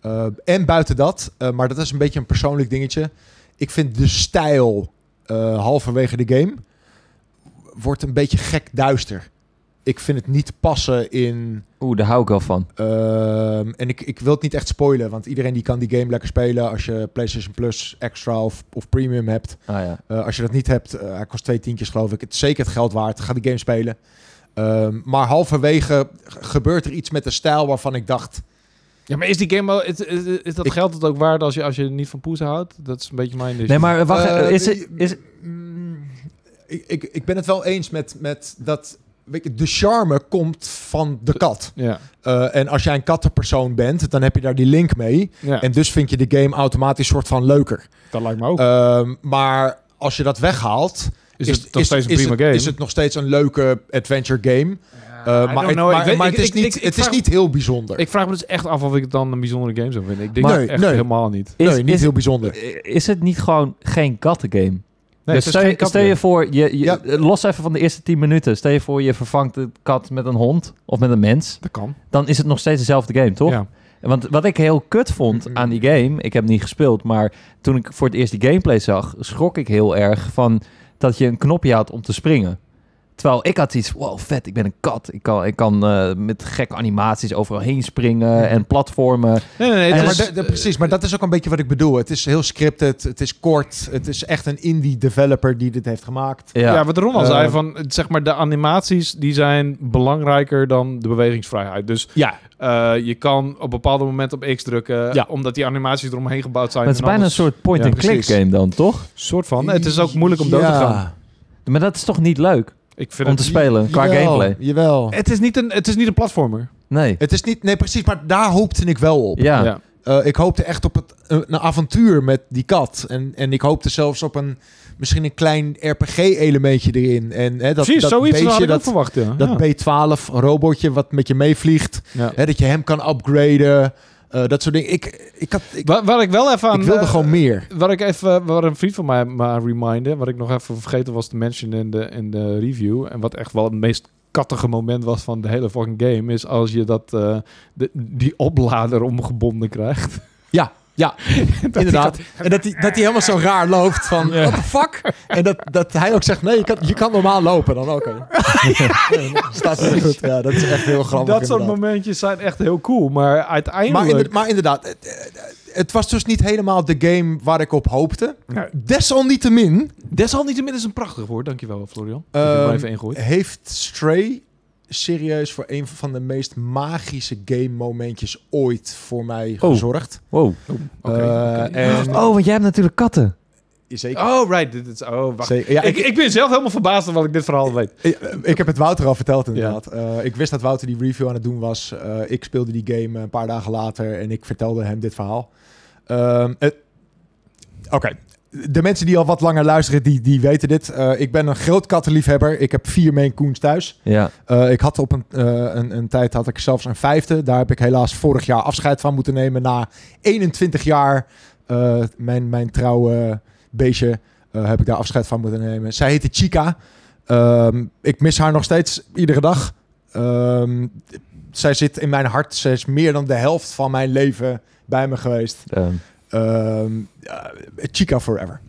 S2: Ehm, en buiten dat, eh, maar dat is een beetje een persoonlijk dingetje. Ik vind de stijl eh, halverwege de game wordt een beetje gek duister. Ik vind het niet passen in
S3: Oeh, daar hou ik wel van.
S2: Ehm, en ik, ik wil het niet echt spoilen, want iedereen die kan die game lekker spelen als je PlayStation Plus Extra of, of Premium hebt.
S3: Ah ja.
S2: Eh, als je dat niet hebt, eh, hij kost twee tientjes geloof ik. Het is zeker het geld waard. Ga die game spelen. Ehm, maar halverwege g- gebeurt er iets met de stijl waarvan ik dacht...
S1: Ja, maar is die game wel... Is, is, is dat
S2: Ik-
S1: geld het ook waard als je, als je niet van poes houdt? Dat is een beetje mijn issue.
S3: Nee, maar wacht,
S2: eh,
S3: is, het,
S2: die-
S3: is,
S2: Mm, ik, ik, ik ben het wel eens met, met dat weet je, de charme komt van de kat.
S1: Ja.
S2: Eh, en als jij een kattenpersoon bent, dan heb je daar die link mee.
S1: ja.
S2: En dus vind je de game automatisch soort van leuker.
S1: dat lijkt me ook.
S2: Ehm, maar als je dat weghaalt,
S1: is, het nog steeds een
S2: is
S1: prima
S2: het-
S1: game?
S2: Is het nog steeds een leuke adventure game? Eh,
S1: I
S2: maar
S1: don't
S2: het,
S1: know. Ik
S2: maar,
S1: weet-
S2: maar
S1: ik-
S2: het is,
S1: ik-
S2: niet,
S1: ik- ik
S2: het is
S1: vraag-
S2: niet heel bijzonder.
S1: Ik vraag me dus echt af of ik het dan een bijzondere game zou vinden. Ik denk
S2: Maar-
S1: het echt
S2: nee.
S1: helemaal niet.
S3: Is,
S2: nee, niet
S3: is-
S2: heel bijzonder.
S3: Is het niet gewoon geen kattengame?
S1: Nee, het
S3: dus
S1: is
S3: stel,
S1: geen
S3: je- stel je
S1: kattenbeer.
S3: voor, je, je,
S2: Ja.
S3: los even van de eerste 10 minuten. Stel je voor, je vervangt de kat met een hond of met een mens.
S1: Dat kan.
S3: Dan is het nog steeds dezelfde game, toch?
S1: Ja.
S3: Want wat ik heel kut vond aan die game, ik heb hem niet gespeeld, maar toen ik voor het eerst die gameplay zag, schrok ik heel erg van dat je een knopje had om te springen. Terwijl ik had iets, wow, vet, ik ben een kat. Ik kan, ik kan eh, met gekke animaties overal heen springen en platformen.
S1: Nee, nee, nee.
S2: Ja,
S1: het
S2: maar
S1: is-
S2: da- da- precies, maar dat is ook een beetje wat ik bedoel. Het is heel scripted, het is kort, het is echt een indie developer die dit heeft gemaakt.
S1: ja.
S3: Ja,
S1: wat Ron al zei,
S2: Eh,
S1: van, het- zeg maar de animaties die zijn belangrijker dan de bewegingsvrijheid. Dus
S2: Ja,
S1: eh, je kan op bepaalde momenten op X drukken,
S2: Ja.
S1: omdat die animaties eromheen gebouwd zijn.
S3: maar het is
S1: en
S3: bijna een
S1: anders-
S3: soort point-and-click
S2: precies.
S3: game dan, toch?
S1: soort van. Het is ook moeilijk om dood te gaan.
S3: Maar dat is toch niet leuk
S1: Ik vind
S3: om
S1: het,
S3: te spelen qua gameplay?
S2: Jawel.
S1: het, is niet een, het is niet een platformer.
S3: Nee.
S2: Het is niet, nee precies, maar daar hoopte ik wel op.
S3: Ja.
S1: Ja.
S2: Eh, ik hoopte echt op het, eh, een, een avontuur met die kat. En, en ik hoopte zelfs op een, misschien een klein RPG-elementje erin. En, hè, dat,
S1: Precies,
S2: dat
S1: zoiets
S2: beestje,
S1: had ik ook
S2: dat,
S1: verwacht. Ja.
S2: dat
S1: Ja.
S2: B12-robotje wat met je meevliegt.
S1: Ja.
S2: Hè, dat je hem kan upgraden. eh, dat soort dingen. Ik, ik, had, ik,
S1: Wa- Waar ik wel even aan...
S2: ik wilde
S1: eh,
S2: gewoon meer.
S1: Wat ik even, waar een vriend van mij me aan remindde, wat ik nog even vergeten was te mentionen in de, in de review, en wat echt wel het meest kattige moment was van de hele fucking game, is als je dat, eh, de, die oplader omgebonden krijgt.
S2: Ja, ja, inderdaad. En dat hij dat die helemaal zo raar loopt van,
S1: Ja.
S2: what the fuck? En dat, dat hij ook zegt, nee, je kan, je kan normaal lopen dan, oké. Ja, Staat niet goed. Ja, dat is echt heel grappig
S1: dat soort
S2: inderdaad.
S1: momentjes zijn echt heel cool, maar
S2: Maar,
S1: uiteindelijk...
S2: inder- maar inderdaad, het, het- het was dus niet helemaal de game waar ik op hoopte.
S1: Nee.
S2: Desalniettemin
S1: Desalniettemin is een prachtig woord, dankjewel Florian. Dat je
S2: Ehm,
S1: er maar even ingooit.
S2: heeft Stray serieus voor een van de meest magische game momentjes ooit voor mij
S3: Oh.
S2: gezorgd.
S3: Wow.
S1: Oké,
S2: Eh,
S1: oké.
S2: en-
S3: Oh, want jij hebt natuurlijk katten.
S2: Zeker.
S1: Oh, right. Dit is, oh, wacht.
S2: zeker. Ja,
S1: ik, ik ben zelf helemaal verbaasd omdat ik dit verhaal weet.
S2: Ik, ik heb het Wouter al verteld inderdaad. Eh, ik wist dat Wouter die review aan het doen was. Eh, ik speelde die game een paar dagen later en ik vertelde hem dit verhaal. Ehm, het- Oké. De mensen die al wat langer luisteren, die, die weten dit. Eh, ik ben een groot kattenliefhebber. Ik heb vier Maine Coons thuis.
S3: Ja.
S2: Eh, ik had op een, eh, een, een tijd had ik zelfs een vijfde. Daar heb ik helaas vorig jaar afscheid van moeten nemen. Na 21 jaar eh, mijn, mijn trouwe beestje eh, heb ik daar afscheid van moeten nemen. Zij heette Chica. Ehm, ik mis haar nog steeds iedere dag. Ehm, zij zit in mijn hart. Ze is meer dan de helft van mijn leven bij me geweest.
S3: Ehm,
S2: Ehm, ja, Chica Forever.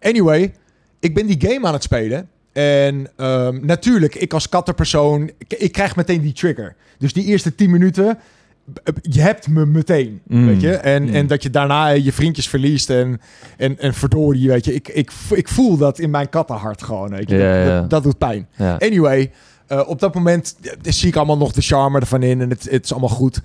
S2: Anyway, ik ben die game aan het spelen. En ehm, natuurlijk, ik als kattenpersoon, ik, ik krijg meteen die trigger. Dus die eerste 10 minuten, b- b- je hebt me meteen,
S3: Mm.
S2: weet je. En,
S3: Mm.
S2: en dat je daarna eh, je vriendjes verliest en, en, en verdorie, weet je. Ik, ik, vo- ik voel dat in mijn kattenhart gewoon, weet je.
S3: Ja,
S2: Dat-
S3: ja.
S2: Dat, dat doet pijn.
S3: ja.
S2: Anyway, eh, op dat moment eh, zie ik allemaal nog de charme ervan in en het, het is allemaal goed.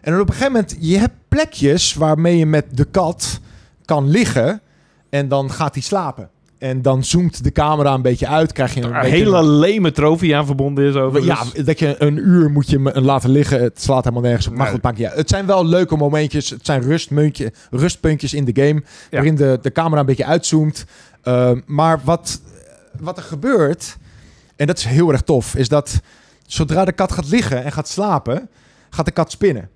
S2: En dan op een gegeven moment, je hebt plekjes waarmee je met de kat kan liggen en dan gaat hij slapen. En dan zoomt de camera een beetje uit, krijg je een
S1: Een
S2: beetje
S1: hele leme trofee aan verbonden is over. dus-
S2: ja, dat je een uur moet je hem laten liggen. Het slaat helemaal nergens op. Maar
S1: Nee.
S2: goed, maakt niet uit. Het zijn wel leuke momentjes. Het zijn rustmuntje, rustpuntjes in de game. Waarin de, de camera een beetje uitzoomt. Ehm, maar wat, wat er gebeurt, en dat is heel erg tof, is dat zodra de kat gaat liggen en gaat slapen, gaat de kat spinnen.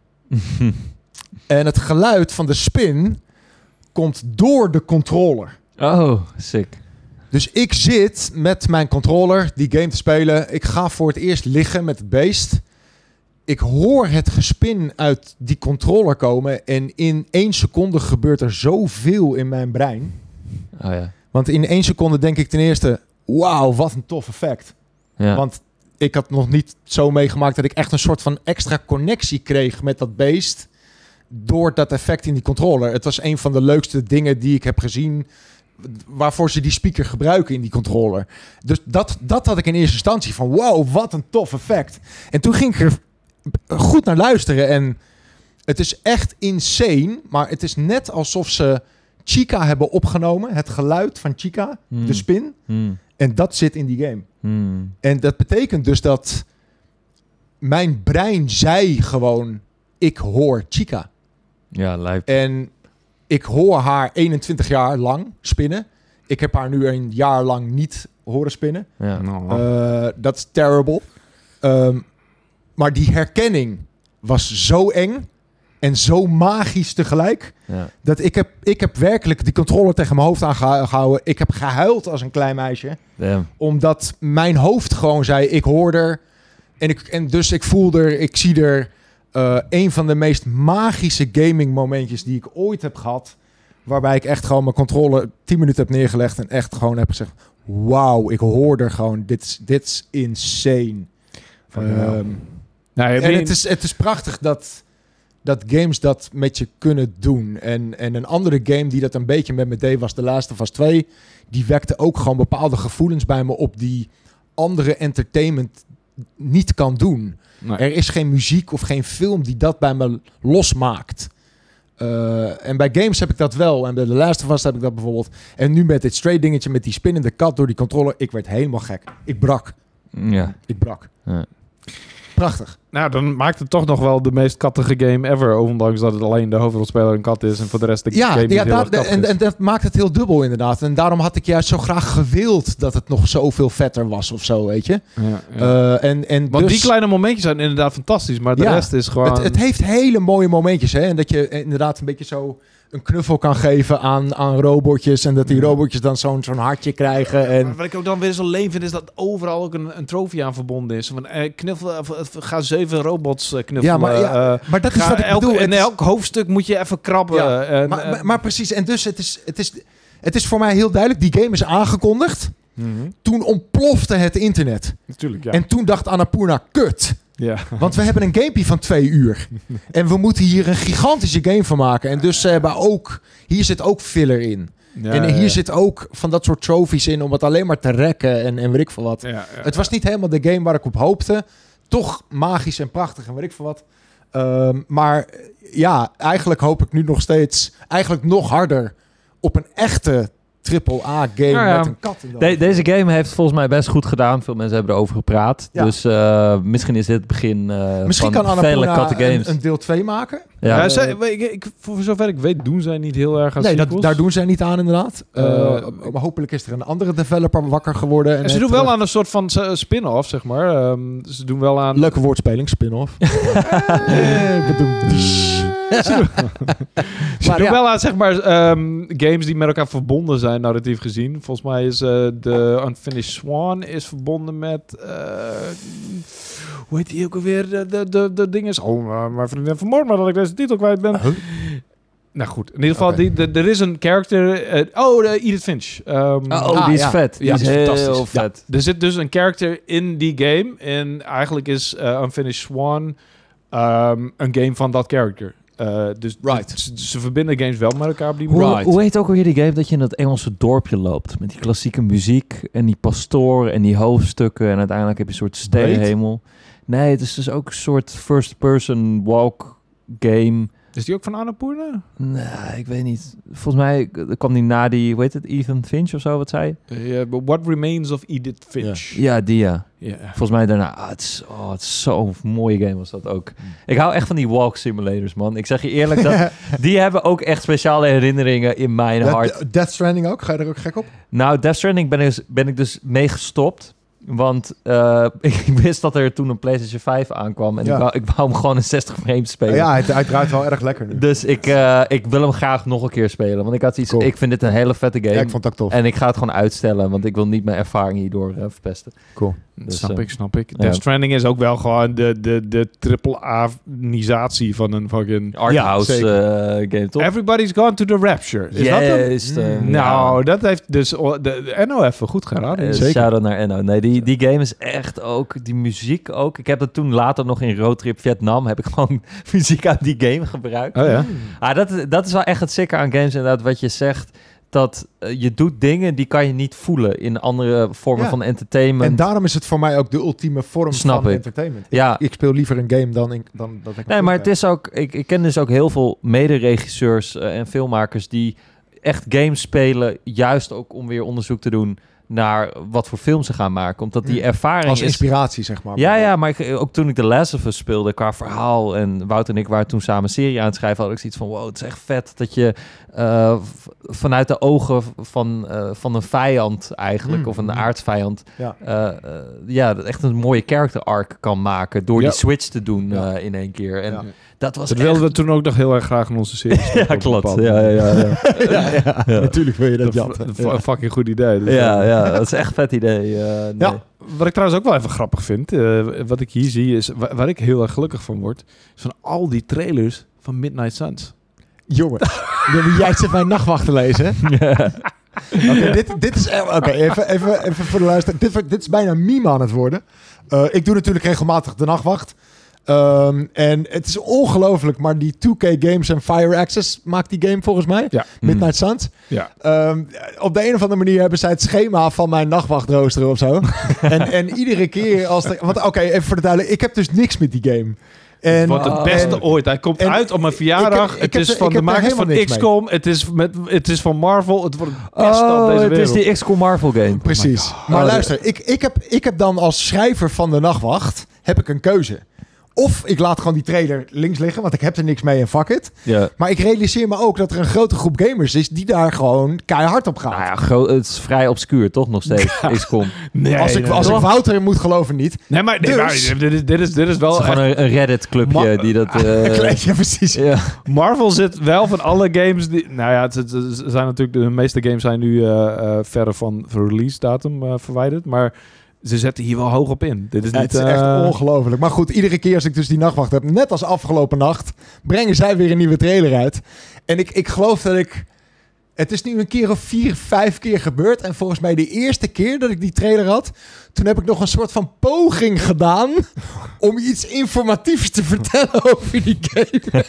S2: en het geluid van de spin komt door de controller.
S3: Oh, sick.
S2: Dus ik zit met mijn controller die game te spelen. Ik ga voor het eerst liggen met het beest. Ik hoor het gespin uit die controller komen. En in één seconde gebeurt er zoveel in mijn brein.
S3: Oh ja.
S2: Want in één seconde denk ik ten eerste... Wauw, wat een tof effect.
S3: Ja.
S2: Want ik had nog niet zo meegemaakt dat ik echt een soort van extra connectie kreeg met dat beest. Door dat effect in die controller. Het was een van de leukste dingen die ik heb gezien. Waarvoor ze die speaker gebruiken in die controller. Dus dat, dat had ik in eerste instantie van wow, wat een tof effect. En toen ging ik er goed naar luisteren. En het is echt insane. Maar het is net alsof ze Chica hebben opgenomen. Het geluid van Chica,
S3: Hmm.
S2: de spin.
S3: Hmm.
S2: En dat zit in die game.
S3: Hmm.
S2: En dat betekent dus dat mijn brein zei gewoon, ik hoor Chica.
S3: Ja, lijp.
S2: En ik hoor haar 21 jaar lang spinnen. Ik heb haar nu een jaar lang niet horen spinnen.
S3: Ja.
S5: Nou,
S2: Eh, Dat is terrible. Ehm, maar die herkenning was zo eng en zo magisch tegelijk.
S3: Ja.
S2: Dat ik heb, ik heb werkelijk die controle tegen mijn hoofd aangehouden. Ik heb gehuild als een klein meisje.
S3: Damn.
S2: Omdat mijn hoofd gewoon zei, ik hoor er. En, ik, en dus ik voel er, ik zie er. eh, een van de meest magische gaming momentjes die ik ooit heb gehad. Waarbij ik echt gewoon mijn controle 10 minuten heb neergelegd. En echt gewoon heb gezegd, wauw, ik hoor er gewoon. Dit is, dit is insane.
S1: Fucking hell.
S2: Ehm,
S1: Nou, I
S2: en
S1: mean-
S2: het is, het is prachtig dat, dat games dat met je kunnen doen. En, en een andere game die dat een beetje met me deed was The Last of Us 2. Die wekte ook gewoon bepaalde gevoelens bij me op die andere entertainment niet kan doen.
S1: Nee.
S2: Er is geen muziek of geen film die dat bij me losmaakt. Eh, en bij games heb ik dat wel. En bij The Last of Us heb ik dat bijvoorbeeld. En nu met dit stray dingetje met die spinnende kat door die controller. Ik werd helemaal gek. Ik brak.
S3: Ja.
S2: Ik brak.
S3: Ja.
S2: Prachtig.
S1: Nou, dan maakt het toch nog wel de meest kattige game ever. Ondanks dat het alleen de hoofdrolspeler een kat is en voor de rest de
S2: Ja,
S1: game niet
S2: ja
S1: heel erg
S2: dat,
S1: kattig
S2: en,
S1: is.
S2: en dat maakt het heel dubbel inderdaad. En daarom had ik juist zo graag gewild dat het nog zoveel vetter was of zo, weet je.
S1: Ja, ja.
S2: Eh, en, en
S1: Want
S2: dus
S1: die kleine momentjes zijn inderdaad fantastisch, maar de
S2: Ja,
S1: rest is gewoon...
S2: het, het heeft hele mooie momentjes, hè. En dat je inderdaad een beetje zo een knuffel kan geven aan, aan robotjes. En dat die robotjes dan zo'n zo'n hartje krijgen. En
S1: Maar wat ik ook dan weer zo leen vind, is dat overal ook een, een trofee aan verbonden is. Van, eh, knuffel, of, of ga zeven robots eh, knuffelen.
S2: Ja, maar ja,
S1: eh,
S2: maar dat is
S1: ga
S2: wat ik
S1: elk,
S2: bedoel.
S1: In
S2: Het is-
S1: elk hoofdstuk moet je even krabben.
S2: Ja,
S1: en,
S2: maar,
S1: eh,
S2: maar, maar precies, en dus het is, het, is, het is voor mij heel duidelijk, die game is aangekondigd.
S1: mhm.
S2: Toen ontplofte het internet.
S1: Natuurlijk, ja.
S2: En toen dacht Annapurna, kut.
S1: ja.
S2: Want we hebben een gamepje van twee uur. En we moeten hier een gigantische game van maken. En dus ze hebben ook... Hier zit ook filler in.
S1: Ja,
S2: en
S1: ja,
S2: hier
S1: ja.
S2: zit ook van dat soort trophies in... om het alleen maar te rekken en, en weet ik veel wat.
S1: Ja, ja.
S2: Het was niet helemaal de game waar ik op hoopte. Toch magisch en prachtig en weet ik veel wat. Ehm, maar eh, ja, eigenlijk hoop ik nu nog steeds... Eigenlijk nog harder op een echte AAA-game
S3: Nou ja.
S2: met een kat in de
S3: De-
S2: hand.
S3: deze game heeft volgens mij best goed gedaan. Veel mensen hebben erover gepraat.
S2: Ja.
S3: Dus eh, misschien is dit het begin eh
S2: Misschien
S3: van
S2: kan
S3: vele
S2: Annapurna
S3: katten games.
S2: een, een deel 2 maken.
S3: ja.
S1: Ja, zij- ik, ik- voor zover ik weet, doen zij niet heel erg aan
S2: Nee, dat,
S1: sequels.
S2: daar doen zij niet aan inderdaad. Eh,
S1: Eh,
S2: maar hopelijk is er een andere developer wakker geworden. En
S1: En ze
S2: heeft,
S1: doen wel
S2: eh,
S1: aan een soort van eh, spin-off, zeg maar. Ehm, ze doen wel aan...
S2: Leuke woordspeling, spin-off. Eh, bedoel-
S1: Ze
S2: Maar
S1: doen
S2: ja.
S1: wel aan, zeg maar, ehm, games die met elkaar verbonden zijn, narratief gezien. Volgens mij is eh, de Unfinished Swan is verbonden met... eh, hoe heet die ook alweer? De, de, de, de ding is... Oh, maar mijn vriendin heeft vermoord maar dat ik deze titel kwijt ben.
S2: Huh?
S1: Nou goed, in ieder geval,
S2: Oké.
S1: die, de- er is een character... eh, oh, de Edith Finch. Ehm,
S3: Oh, oh,
S2: Ah,
S3: die is
S2: ja.
S3: vet. Die
S2: Ja,
S3: is,
S2: die is
S3: heel
S2: fantastisch. Ja.
S3: vet.
S1: Er zit dus een character in die game. En eigenlijk is eh, Unfinished Swan ehm, een game van dat character. Eh, dus
S2: Right.
S1: ze, ze verbinden games wel met elkaar op die
S3: Hoe,
S1: manier.
S3: hoe heet ook alweer die game dat je in dat Engelse dorpje loopt? Met die klassieke muziek en die pastoor en die hoofdstukken. En uiteindelijk heb je een soort sterrenhemel. Nee, het is dus ook een soort first-person walk game.
S1: Is die ook van Annapurna?
S3: Nee, ik weet niet. Volgens mij eh, kwam die na die, hoe heet het, Ethan Finch of zo, wat zei je?
S1: Ja, Eh, but What Remains of Edith Finch.
S3: Ja, die ja.
S1: Ja.
S3: Volgens mij daarna. Ah, het is, oh, het is zo'n mooie game was dat ook. Ik hou echt van die walk simulators, man. Ik zeg je eerlijk, dat, die hebben ook echt speciale herinneringen in mijn hart.
S2: Death, Death Stranding ook, ga je er ook gek op?
S3: Nou, Death Stranding ben ik, dus- ben ik dus mee gestopt. Want eh, ik wist dat er toen een PlayStation 5 aankwam. En
S2: Ja. Oh
S3: ik, wou, ik wou hem gewoon in 60 frames spelen.
S2: ja, het, hij draait wel erg lekker nu.
S3: Dus ik, eh, ik wil hem graag nog een keer spelen. Want ik had iets.
S2: Cool.
S3: Ik vind dit een hele vette game.
S2: Ja, ik vond dat tof.
S3: En ik ga het gewoon uitstellen. Want ik wil niet mijn ervaring hierdoor eh, verpesten.
S2: Cool.
S3: Dus,
S1: snap
S3: eh,
S1: ik, snap ik.
S3: ja.
S1: Death Stranding is ook wel gewoon de, de, de triple-A-nisatie van een fucking...
S3: Arthouse
S2: zeker.
S3: eh, game, toch?
S1: Everybody's gone to the rapture. Is dat hem?
S3: Yes, eh,
S1: Nou, dat heeft dus o- de, de NO even goed gedaan.
S3: Eh, Shout-out naar Enno. Nee, die, die game is echt ook... Die muziek ook. Ik heb dat toen later nog in Roadtrip Vietnam... heb ik gewoon muziek uit die game gebruikt.
S1: Oh ja.
S3: Ah, dat, is- dat is wel echt het sicker aan games inderdaad, wat je zegt. Dat eh, je doet dingen die kan je niet voelen in andere vormen
S2: Ja.
S3: van entertainment.
S2: En daarom is het voor mij ook de ultieme vorm
S3: Snap
S2: van
S3: ik.
S2: entertainment.
S3: ja.
S2: Ik speel liever een game dan, ik, dan dat ik...
S3: Nee, maar het is ook... Ik, ik ken dus ook heel veel mederegisseurs eh, en filmmakers die echt games spelen, juist ook om weer onderzoek te doen naar wat voor films ze gaan maken. Omdat die
S2: Ja.
S3: ervaring
S2: Mm. Als
S3: is...
S2: inspiratie, zeg maar.
S3: Ja, ja, maar ik, eh, ook toen ik The Last of Us speelde qua verhaal... en Wout en ik waren toen samen een serie aan het schrijven... had ik zoiets van, wow, het is echt vet dat je eh, v- vanuit de ogen van, eh, van een vijand eigenlijk...
S2: Mm.
S3: of een aardsvijand,
S2: Ja.
S3: eh, eh, ja, dat echt een mooie character arc kan maken... door
S2: Ja.
S3: die switch te doen
S2: Ja.
S3: eh, in één keer. En
S2: Ja.
S3: dat was
S1: Dat
S3: echt...
S1: wilden we toen ook nog heel erg graag in onze serie. stoppen op
S3: Ja,
S1: een
S3: klopt.
S1: bepaald
S3: Ja, ja,
S1: moment.
S3: ja, ja.
S2: Ja, ja. Natuurlijk wil je dat,
S1: Dat
S2: jatten.
S1: is een fucking goed idee. Dus,
S3: ja,
S1: eh,
S3: ja, dat is echt een vet idee. eh, nee.
S2: Ja.
S1: Wat ik trouwens ook wel even grappig vind, eh, wat ik hier zie, is wa- waar, ik heel erg gelukkig van word, is van al die trailers van Midnight Suns.
S2: Jongen, Ja, maar jij zit mijn nachtwachten lezen. hè? Oké, dit, dit is. eh, Oké, even, even, even voor de luisteraar. Dit, wordt- dit is bijna meme aan het worden. Eh, ik doe natuurlijk regelmatig de nachtwacht. Ehm, en het is ongelooflijk, maar die 2K Games en Fire Access maakt die game volgens mij.
S1: Ja.
S3: Mm.
S2: Midnight Suns.
S1: Ja.
S2: Ehm, op de een of andere manier hebben zij het schema van mijn nachtwachtrooster of zo. en, en iedere keer als er. Want oké, even voor de duidelijkheid. Ik heb dus niks met die game. En, eh,
S1: Wat het
S3: Oh.
S1: beste
S2: en-
S1: ooit. Hij komt
S2: en
S1: uit op mijn
S2: ik-
S1: verjaardag.
S2: ik heb- ik
S1: het
S2: heb
S1: is
S2: er-
S1: van
S2: ik
S1: de
S2: heb er
S1: makers van
S2: helemaal niks mee.
S1: XCOM. Het is, met, het is van Marvel. Het wordt het beste op
S3: Oh,
S1: deze
S3: het
S1: wereld.
S3: is die XCOM Marvel game.
S2: Precies.
S3: Oh,
S2: maar
S3: ja.
S2: luister, ik, ik, heb, ik heb dan als schrijver van de nachtwacht heb ik een keuze. Of ik laat gewoon die trailer links liggen, want ik heb er niks mee en fuck it.
S3: Ja.
S2: Maar ik realiseer me ook dat er een grote groep gamers is die daar gewoon keihard op
S3: Nou
S2: gaat.
S3: ja, gro- het is vrij obscuur, toch nog steeds, XCOM.
S1: Nee,
S2: als ik,
S1: nee,
S2: als
S1: nee.
S2: ik Wouter moet geloven niet.
S1: Nee, maar, nee,
S2: Dus-
S1: maar dit, is, dit, is, dit is
S2: Oh,
S3: Het
S1: wel
S3: is gewoon
S1: echt-
S3: een, een Reddit-clubje
S1: Ma-
S3: die dat... eh,
S2: Kleed, ja, precies.
S3: ja.
S1: Marvel zit wel van alle games die... Nou ja, het, het- het zijn natuurlijk, de meeste games zijn nu eh, eh, verder van release datum eh, verwijderd. Maar ze zetten hier wel hoog op in. Dit is
S2: Ja,
S1: niet...
S2: het is echt
S1: eh,
S2: ongelooflijk. Maar goed, iedere keer als ik dus die nachtwacht heb, net als afgelopen nacht, brengen zij weer een nieuwe trailer uit. En ik, ik geloof dat ik. Het is nu een keer of vier, vijf keer gebeurd. En volgens mij de eerste keer dat ik die trailer had, toen heb ik nog een soort van poging gedaan om iets informatiefs te vertellen over die game.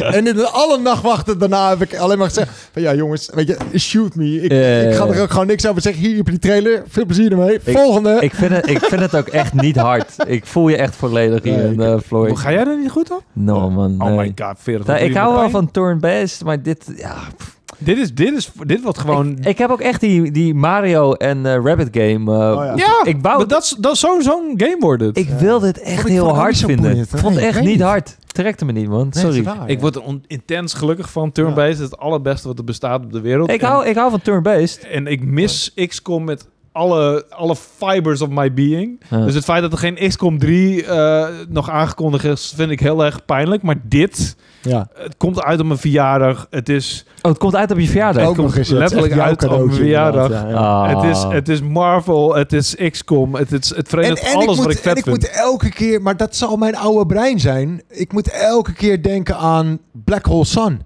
S2: en in alle nachtwachten daarna heb ik alleen maar gezegd van ja jongens, weet je, shoot me. Ik,
S3: Ja, ja, ja.
S2: ik ga er ook gewoon niks over zeggen. Hier heb je die trailer. Veel plezier ermee. Volgende.
S3: Ik vind, het, ik vind het ook echt niet hard. Ik voel je echt volledig hier,
S2: Nee,
S3: in
S2: ik-
S3: eh Floyd.
S1: Ga jij er niet goed op?
S3: No, man.
S1: Oh
S3: nee.
S1: my god, 40
S3: Nou, ik
S1: miljoen
S3: hou wel
S1: pijn.
S3: van turn-based, maar dit... Ja,
S1: Dit is, dit is, dit wordt gewoon...
S3: ik, ik heb ook echt die, die Mario en eh, Rabbit game. eh,
S2: Oh ja.
S1: ja,
S3: Ik wou
S1: maar dat, is- dat is zo'n zo'n game wordt het.
S3: Ik wil dit echt
S2: vond ik
S3: heel
S2: vooral
S3: hard
S2: niet zo
S3: vinden. Ik
S2: boeiend, hè?
S3: vond het
S2: Nee, ik
S3: echt
S2: weet
S3: niet
S2: niet.
S3: hard. Trekte me niet, man.
S2: Nee, het is
S3: Sorry.
S2: waar,
S1: Ik
S2: ja.
S1: word er on- intens gelukkig van. Turn-based is het allerbeste wat er bestaat op de wereld.
S3: Ik
S1: En-
S3: hou, ik hou van turn-based.
S1: En, ik mis XCOM met alle, alle fibers of my being.
S3: Ja.
S1: Dus het feit dat er geen XCOM 3 eh, nog aangekondigd is, vind ik heel erg pijnlijk. Maar dit,
S2: Ja.
S1: het komt uit op mijn verjaardag. Het is,
S3: Oh, het komt uit op je verjaardag.
S2: Ook nog eens, ja, het is
S1: letterlijk
S2: echt jouw
S1: uit op
S2: cadeautje,
S1: mijn verjaardag.
S2: inderdaad, ja, ja.
S3: Ah.
S1: het, is, het is Marvel, het is XCOM, het, is, het verenigt alles
S2: moet,
S1: wat ik vet
S2: en ik
S1: vind.
S2: moet elke keer, maar dat zal mijn oude brein zijn. Ik moet elke keer denken aan Black Hole Sun.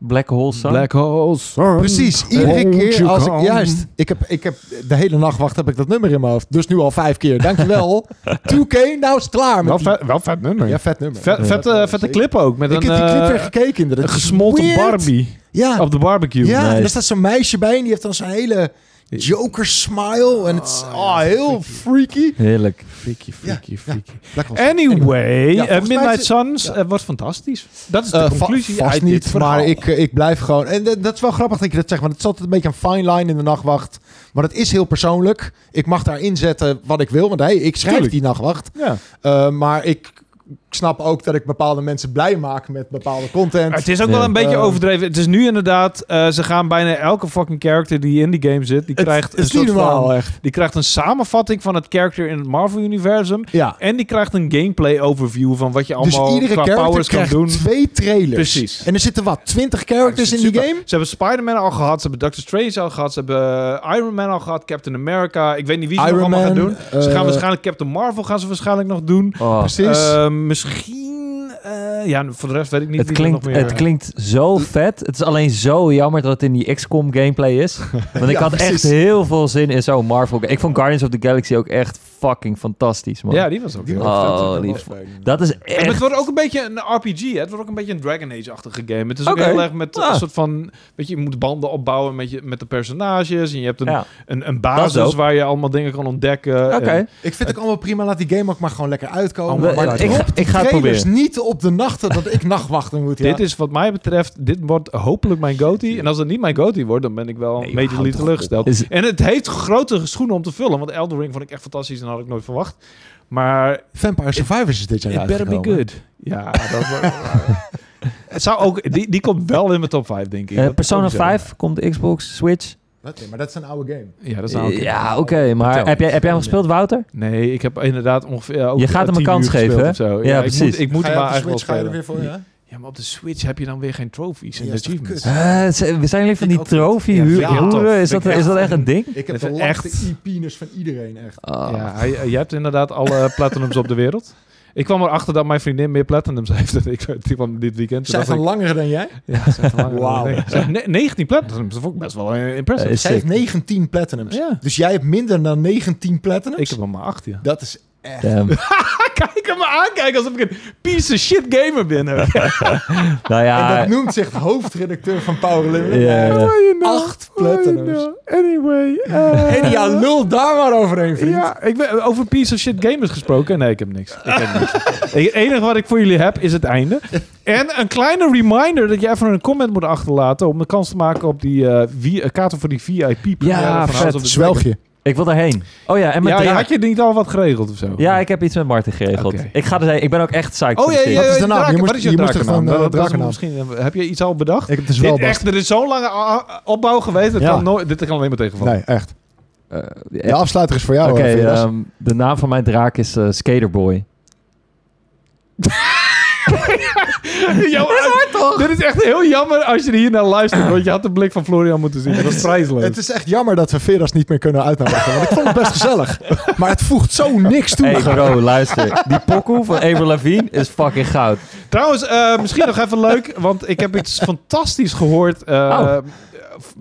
S3: Black Hole Sun.
S1: holes.
S2: Precies, iedere keer als ik juist. Ik heb, ik heb de hele nachtwacht heb ik dat nummer in mijn hoofd. Dus nu al vijf keer. Dankjewel. 2K, nou is het klaar. Met
S1: Wel
S2: die-
S1: vet, wel vet nummer.
S2: ja, vet nummer.
S1: Vet- vette, vette clip ook. Met
S2: Ik
S1: een,
S2: heb die clip
S1: eh,
S2: weer gekeken inderdaad.
S1: een
S2: Het is
S1: gesmolten
S2: weird.
S1: Barbie
S2: Ja,
S1: op de barbecue.
S2: ja
S3: Nice.
S2: en daar staat zo'n meisje bij en die heeft dan zo'n hele Joker smile. En het is oh, heel freaky.
S3: Heerlijk.
S1: Freaky, freaky,
S2: freaky,
S1: freaky.
S2: Black Hole Sun.
S1: Anyway,
S2: Ja,
S1: eh,
S2: volgens mij
S1: Midnight
S2: is-
S1: Suns
S2: ja.
S1: eh, wordt fantastisch. Dat is de
S2: Eh, va-
S1: conclusie
S2: vast
S1: uit
S2: niet,
S1: dit verhaal.
S2: maar ik, eh, ik blijf gewoon... En dat, dat is wel grappig dat je dat zegt, want het is altijd een beetje een fine line in de nachtwacht. Maar het is heel persoonlijk. Ik mag daarin zetten wat ik wil, want hey, ik schrijf
S1: Tuurlijk.
S2: die nachtwacht.
S1: Ja.
S2: Eh, maar ik snap ook dat ik bepaalde mensen blij maak met bepaalde content.
S1: Het is ook
S3: Ja.
S1: wel een beetje
S2: Eh,
S1: overdreven. Het is nu inderdaad, eh, ze gaan bijna elke fucking character die in die game zit, die
S2: Het-
S1: krijgt,
S2: het
S1: een
S2: is niet
S1: soort van,
S2: normaal, echt.
S1: die krijgt een samenvatting van het character in het Marvel-universum.
S2: Ja.
S1: En die krijgt een gameplay overview van wat je
S2: Dus
S1: allemaal
S2: iedere
S1: qua
S2: character
S1: powers kan
S2: krijgt
S1: doen.
S2: twee trailers.
S1: Precies.
S2: En er zitten wat, twintig characters
S1: Ja,
S2: in
S1: dat is super.
S2: die game?
S1: Ze hebben Spider-Man al gehad, ze hebben Doctor Strange al gehad, ze hebben eh, Iron Man al gehad, Captain America. Ik weet niet wie ze nog
S2: Iron
S1: allemaal gaan
S2: Man,
S1: doen. Ze gaan
S2: eh,
S1: waarschijnlijk Captain Marvel gaan ze waarschijnlijk nog doen.
S3: Oh,
S2: Precies.
S1: Eh, misschien. eh, ja, voor de rest weet ik niet.
S3: het,
S1: wie er
S3: klinkt,
S1: nog meer.
S3: het klinkt zo vet. Het is alleen zo jammer dat het in die XCOM gameplay is. Want ik
S2: Ja,
S3: had
S2: precies.
S3: echt heel veel zin in zo'n Marvel game. Ik vond Guardians of the Galaxy ook echt fucking fantastisch, man.
S1: Ja, die was ook
S2: Die
S1: heel
S3: was-
S1: vet.
S2: wordt
S3: Oh,
S2: vet.
S3: die-
S2: was fijn.
S3: Dat is
S1: En
S3: echt...
S1: het wordt ook een beetje een RPG, hè? Het wordt ook een beetje een Dragon Age-achtige game. Het is ook
S3: Oké. Ah.
S1: heel erg met
S3: Ja.
S1: een soort van... Weet je, je moet banden opbouwen met, je, met de personages. En je hebt een,
S3: Ja,
S1: een, een
S3: Dat is
S1: basis
S3: dope.
S1: waar je allemaal dingen kan ontdekken.
S3: oké. Eh,
S1: En-
S2: Ik vind het ook allemaal prima. Laat die game ook maar gewoon lekker uitkomen.
S3: Oh, maar
S2: maar
S3: ik-
S2: drop
S3: ik
S2: die
S3: ga het
S2: trailers
S3: proberen.
S2: niet op de nachten dat ik nachtwachten moet. Ja.
S1: Dit is wat mij betreft, dit wordt hopelijk mijn goatee. En als het niet mijn goatee wordt, dan ben ik wel
S3: Nee,
S1: een
S3: joh,
S1: beetje
S3: houd
S1: lief
S3: toch
S1: teleurgesteld.
S3: op. Is-
S1: En het heeft grote schoenen om te vullen, want Elden Ring vond ik echt fantastisch en had ik nooit verwacht. Maar
S2: Vampire Survivors is dit jaar
S1: it better be
S2: uitgekomen.
S1: good. Ja, dat wordt... Het zou ook, die, die komt wel in mijn top 5, denk ik.
S3: Eh,
S1: Dat
S3: Persona
S1: komt zo.
S3: 5 komt de Xbox, Switch.
S2: Dat- nee, maar dat is een oude game.
S1: Ja, dat zou ook.
S3: Ja, oké. maar
S2: Vertel.
S3: heb jij, heb jij hem gespeeld, Wouter?
S1: Nee, ik heb inderdaad ongeveer. Ook
S3: Je gaat hem een
S1: 10
S3: kans
S1: uur gespeeld
S3: geven,
S1: of zo.
S3: Ja, precies.
S1: Ik moet, ik moet
S2: Ga
S1: hem
S2: je op
S1: maar
S2: de
S1: echt wel
S2: Switch ga je er
S1: spelen.
S2: weer voor, ja?
S1: Ja, maar op de Switch heb je dan weer geen trophies en
S2: Ja, is toch
S1: achievements.
S2: kut?
S3: Eh, zijn zijn jullie van die
S2: Vind ik ook
S3: trofee
S1: Ja, vind
S3: hu-
S2: ik heel tof.
S3: hoeren? Is dat,
S1: Vind ik
S3: is dat
S1: echt-
S3: echt een ding?
S2: Ik heb
S1: Dit
S2: de
S1: is
S2: langste
S1: echt-
S2: e-penis van iedereen, echt.
S3: Ah.
S1: Ja, hij- eh, jij hebt inderdaad alle platinums op de wereld. Ik kwam erachter dat mijn vriendin meer platinums heeft dan ik. Die kwam dit weekend. Toen
S2: Zijn
S1: dacht
S2: van langer dan jij?
S1: ik, ja, ze heeft een lange-
S2: Wauw.
S1: ze heeft ne- 19 platinums, dat vond ik best wel eh, impressive.
S3: Eh, is
S2: Zij heeft
S3: sick.
S2: 19 platinums.
S1: ja.
S2: Dus jij hebt minder dan 19 platinums?
S1: Ik heb hem maar 8, ja.
S2: Dat is echt...
S3: Damn.
S1: Kijk hem maar aankijken alsof ik een piece of shit gamer ben.
S3: nou
S2: En
S3: ja,
S2: dat noemt zich de hoofdredacteur van Power Limit.
S3: Ja, ja.
S2: Acht platinums.
S1: Anyway. eh,
S2: En ja, lul daar maar overheen, vriend.
S1: Ja, ik ben, over piece of shit gamers gesproken. Nee, ik heb niks. Ik heb niks. Het enige wat ik voor jullie heb is het einde. En een kleine reminder dat je even een comment moet achterlaten om de kans te maken op die eh, vi- eh, kaarten voor die VIP. première
S3: Ja,
S1: van
S3: vet.
S1: House of the
S2: Zwelgje.
S3: ik wil daarheen. Oh ja, en
S1: Dragon.
S3: mijn
S1: Ja, je
S3: draak.
S1: had je niet al wat geregeld of zo?
S3: Ja, ik heb iets met Marten geregeld.
S1: Oké.
S3: Ik ga er zijn. Ik ben ook echt psyched.
S1: Oh
S3: voor
S1: ja,
S3: dit
S1: ja,
S3: ding.
S1: ja,
S2: Wat is de
S1: je
S2: naam? Je
S1: draken.
S2: moest-
S1: Wat is je
S2: je moest
S1: drakennaam?
S2: gewoon, eh,
S1: Dat- dat is
S2: drakennaam.
S1: Misschien, heb je iets al bedacht?
S2: Ik heb de
S1: Dit
S2: zwelbad.
S1: echt, er is zo'n lange a- a- opbouw geweest. Dat
S2: Ja.
S1: kan nooit, dit kan alleen maar tegenvallen.
S2: Nee, echt.
S3: Eh,
S2: De afsluiter is voor
S1: oh,
S2: jou.
S3: Oké,
S2: hoor, Veras.
S3: ehm, de naam van mijn draak is eh, Skaterboy.
S1: Jammer, Dit is echt heel jammer als je hier naar luistert. Want je had de blik van Florian moeten zien. Dat was prijsloos.
S2: het is echt jammer dat we Veras niet meer kunnen uitnodigen. Want ik vond het best gezellig. Maar het voegt zo niks toe.
S3: hey bro, luister. Die pokoe van Avril Lavigne is fucking goud.
S1: Trouwens, eh, misschien nog even leuk, want ik heb iets fantastisch gehoord eh,
S3: Oh.
S1: f-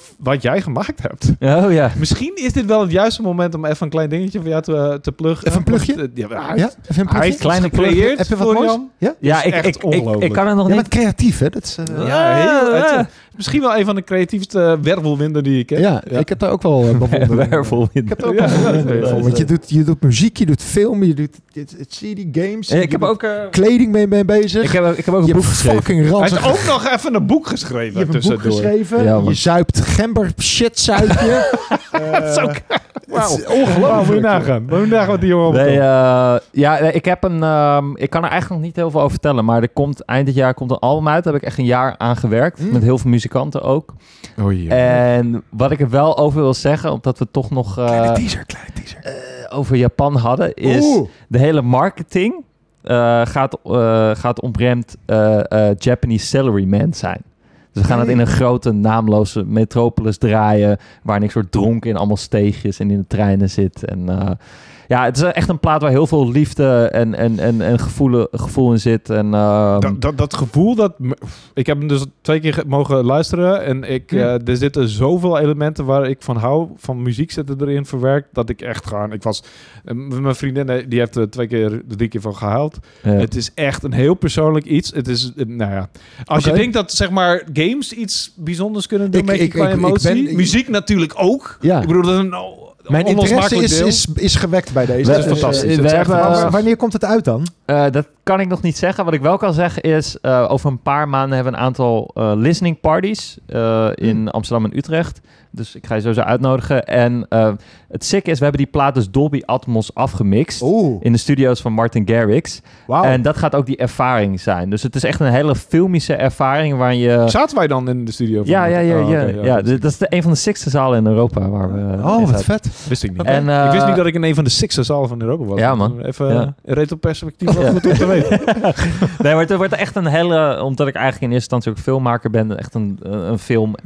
S1: f- wat jij gemaakt hebt.
S3: Oh ja.
S1: Misschien is dit wel het juiste moment om even een klein dingetje voor jou te, eh, te pluggen.
S2: Even een plugje?
S1: Want, eh, ja, hij,
S2: Ja, even een
S1: hij
S2: plugje.
S1: heeft
S3: Kleine
S1: iets gecreëerd,
S2: Heb je wat moois?
S1: Florian.
S2: Ja?
S3: Ja,
S1: is
S3: ik,
S1: echt
S3: ik, ik,
S1: ongelooflijk.
S3: ik kan het nog
S2: Je bent
S3: niet.
S2: creatief, hè? Dat is, eh,
S1: Ja, heel,
S3: Ja.
S1: het is misschien wel een van de creatiefste wervelwinden die ik heb.
S2: ja, ik heb daar ook wel eh, bewondering voor.
S3: Wervel in.
S1: Ja, ja, ja.
S2: Want je doet, je doet muziek, je doet film, je doet het, het CD games.
S3: Eh,
S2: je
S3: Ik heb
S2: doet
S3: ook, eh,
S2: kleding mee mee bezig.
S3: ik heb, ook- ik heb ook
S2: je
S3: een boek
S2: hebt
S3: geschreven.
S2: fucking
S1: Hij
S2: ranzig.
S1: heeft ook nog even een boek geschreven
S2: Je hebt een boek
S1: tussendoor.
S2: geschreven.
S3: Ja, man.
S2: je zuipt gember shit zuip je. Eh,
S1: Zo-
S2: het
S1: Wauw.
S2: is ongelooflijk.
S1: Wauw, moet je nagaan. Moet je nagaan wat die jongen
S3: Nee,
S1: allemaal
S3: eh, ja, nee, ik heb een. ehm, ik kan er eigenlijk nog niet heel veel over vertellen. Maar er komt eind dit jaar komt een album uit. Daar heb ik echt een jaar aan gewerkt.
S1: Hm?
S2: Mm.
S3: Met heel veel muzikanten ook.
S1: kan.
S3: En wat ik er wel over wil zeggen, omdat we toch nog eh,
S2: Kleine teaser, kleine teaser.
S3: over Japan hadden, is
S2: Oeh.
S3: de hele marketing eh, gaat, eh gaat omremd eh, eh, Japanese salaryman zijn. Dus we gaan het in een grote, naamloze metropolis draaien, waar ik soort dronken in allemaal steegjes en in de treinen zit. En eh, ja, het is echt een plaat waar heel veel liefde en, en, en, en gevoel, gevoel in zit. En, ehm,
S1: dat, dat, dat gevoel dat. me- Ik heb hem dus twee keer ge- mogen luisteren. En ik, eh, er zitten zoveel elementen waar ik van hou. Van muziek zitten erin verwerkt. Dat ik echt gewoon. Ik was. eh, m- Mijn vriendin eh, die heeft er twee keer, drie keer van gehuild.
S3: ja.
S1: Het is echt een heel persoonlijk iets. Het is. eh, Nou ja. Als
S2: Oké.
S1: je denkt dat zeg maar games iets bijzonders kunnen doen
S2: Ik-
S1: met je
S2: ik-
S1: qua
S2: ik- ik
S1: emotie.
S2: ben- ik-
S1: muziek natuurlijk ook.
S2: Ja.
S1: Ik bedoel, dat is een. o-
S2: Mijn interesse
S1: onlosmakelijk
S2: is,
S1: deel.
S2: is, is gewekt bij deze.
S3: We-
S1: het is fantastisch.
S3: we
S1: Het is echt
S3: hebben-
S1: fantastisch.
S2: Maar wanneer komt het uit dan?
S3: Eh, dat kan ik nog niet zeggen. Wat ik wel kan zeggen is, eh, over een paar maanden hebben we een aantal eh, listening parties eh, in Amsterdam en Utrecht. Dus ik ga je sowieso uitnodigen. En eh, het sick is, we hebben die plaat dus Dolby Atmos afgemixt.
S2: Oeh,
S3: In de studio's van Martin Garrix.
S2: Oh. wauw.
S3: En dat gaat ook die ervaring zijn. Dus het is echt een hele filmische ervaring waar je...
S1: Zaten wij dan in de studio? van
S3: Eh, Ja, ja, ja, ja.
S1: Oh, oké,
S3: ja, dit- dat is de, een van de sixte zalen in Europa waar we... in
S2: Oh, wat
S3: zaten.
S2: vet.
S1: Wist ik niet.
S3: En, eh,
S1: ik wist niet dat ik in een van de sixers zalen van Europa was.
S3: Ja, man.
S1: Even
S3: Ja.
S1: in retro perspectief wel
S3: Ja.
S1: goed om te weten.
S3: Nee, maar het wordt echt een hele... Omdat ik eigenlijk in eerste instantie ook filmmaker ben... echt een, eh, een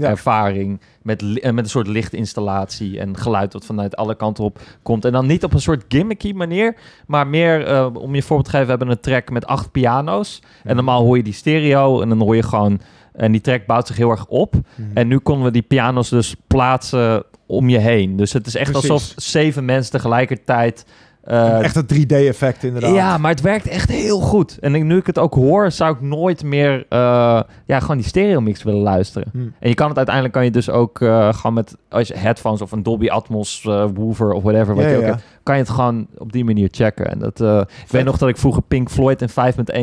S3: filmervaring met, li- eh, met een soort lichtinstallatie... en geluid dat vanuit alle kanten op komt. En dan niet op een soort gimmicky manier... maar meer, eh, om je een voorbeeld te geven... we hebben een track met acht piano's.
S2: Mhm.
S3: En normaal hoor je die stereo en dan hoor
S2: Mhm.
S3: je gewoon... En die track bouwt zich heel erg op. En nu konden we die piano's dus plaatsen om je heen. Dus het is echt
S2: Precies.
S3: alsof zeven mensen tegelijkertijd... eh,
S2: Echt dat 3D-effect inderdaad.
S3: ja, maar het werkt echt heel goed. En ik- nu ik het ook hoor, zou ik nooit meer eh, ja, gewoon die stereo mix willen luisteren.
S2: Hm.
S3: En je kan het uiteindelijk kan je dus ook eh, gewoon met als je headphones of een Dolby Atmos eh woofer of whatever, wat
S2: Ja,
S3: je
S2: ja,
S3: ook
S2: ja.
S3: hebt, kan je het gewoon op die manier checken. En dat, eh, ik weet nog dat ik vroeger Pink Floyd in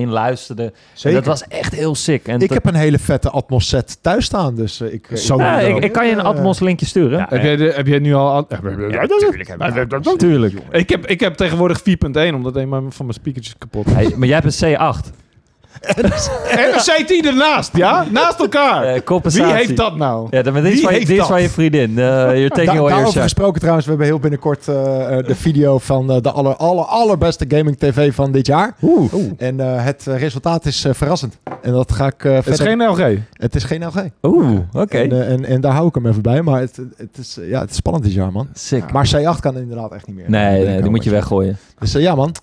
S3: 5.1 luisterde. En
S2: Zeker.
S3: dat was echt heel sick. En
S2: Ik
S3: dat-
S2: heb een hele vette Atmos set thuis staan, dus eh, ik... eh,
S1: Zo.
S3: Ja,
S1: Sowieso.
S3: ik, ik kan je een Atmos linkje sturen.
S1: Heb, jij de- heb jij nu al...
S3: Ja, tuurlijk heb ik dat. Tuurlijk.
S1: Ik heb, ik heb tegenwoordig 4.1, omdat een van mijn speakertjes kapot is.
S3: Hey, maar jij hebt een C8.
S1: en een CT ernaast, ja? Naast elkaar.
S3: Eh,
S1: Wie
S3: compensatie.
S1: heeft dat nou?
S3: Ja, dan dit is
S1: Wie
S3: van je,
S1: heeft
S3: dit is
S1: dat?
S3: van je vriendin. Eh you're taking
S2: Da-
S3: away your
S2: daarover
S3: shot.
S2: gesproken trouwens, we hebben heel binnenkort eh, eh, de video van eh, de aller, aller, allerbeste gaming tv van dit jaar.
S1: Oeh.
S2: En eh, het eh, resultaat is eh, verrassend. En dat ga ik eh,
S1: Het is
S2: verder...
S1: geen LG.
S2: het is geen LG.
S3: Oeh, oké.
S2: En, eh, en, en daar hou ik hem even bij. Maar het, het, is, eh, ja, het is spannend dit jaar, man.
S1: Ah.
S3: Sick.
S2: Maar C8 kan inderdaad echt niet meer.
S3: Nee, nee,
S2: Binnenkort.
S3: die moet je weggooien.
S2: Dus eh, ja, man.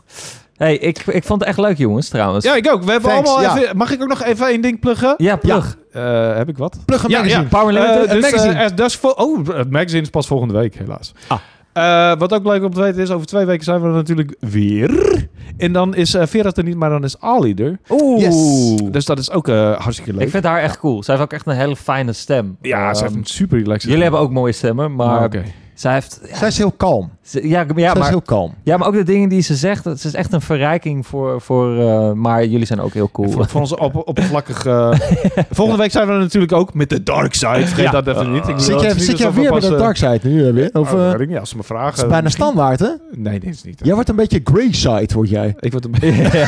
S3: hey, ik, ik vond het echt leuk, jongens, trouwens.
S1: Ja, ik ook. We hebben
S2: Thanks,
S1: allemaal
S2: ja.
S1: even... Mag ik ook nog even één ding pluggen?
S3: ja plug.
S1: Eh, heb ik wat?
S2: Plug een
S1: Ja,
S2: magazine.
S3: Power Limited.
S1: Eh,
S2: het
S1: dus,
S2: magazine.
S1: eh, as dusk fall- oh, het magazine is pas volgende week, helaas.
S2: Ah.
S1: Eh, wat ook leuk om te weten is, over twee weken zijn we er natuurlijk weer. En dan is eh Vera er niet, maar dan is Ali er.
S3: Oeh.
S2: yes.
S1: Dus dat is ook eh, hartstikke leuk.
S3: Ik vind haar echt cool. Zij heeft ook echt een hele fijne stem.
S1: ja, ze
S3: Ehm,
S1: heeft een Ah, super relaxed. Nou,
S3: Jullie hebben ook mooie stemmen, maar
S1: Maar,
S3: zij heeft...
S2: Zij is heel kalm.
S3: ze- ja, ja,
S2: Zij is
S3: maar,
S2: heel kalm.
S3: ja, maar ook de dingen die ze zegt, het is echt een verrijking voor... voor eh, maar jullie zijn ook heel cool.
S1: Voor, voor onze op, oppervlakkige... volgende week zijn we er natuurlijk ook met de Dark Side. Vergeet
S2: Ja.
S1: dat even niet. Ik bedoel,
S2: Zit
S1: dat
S2: je,
S1: is
S2: zit
S1: niet
S2: je
S1: alsof we
S2: weer met
S1: pas,
S2: de
S1: eh,
S2: dark side nu eh, weer? Of,
S1: oh,
S2: eh,
S1: weet ik niet, als ze me vragen...
S2: het is bijna
S1: misschien-
S2: standaard, hè?
S1: Nee, dit is niet.
S2: Jij wordt een beetje grey side, word jij.
S1: Ik word een beetje...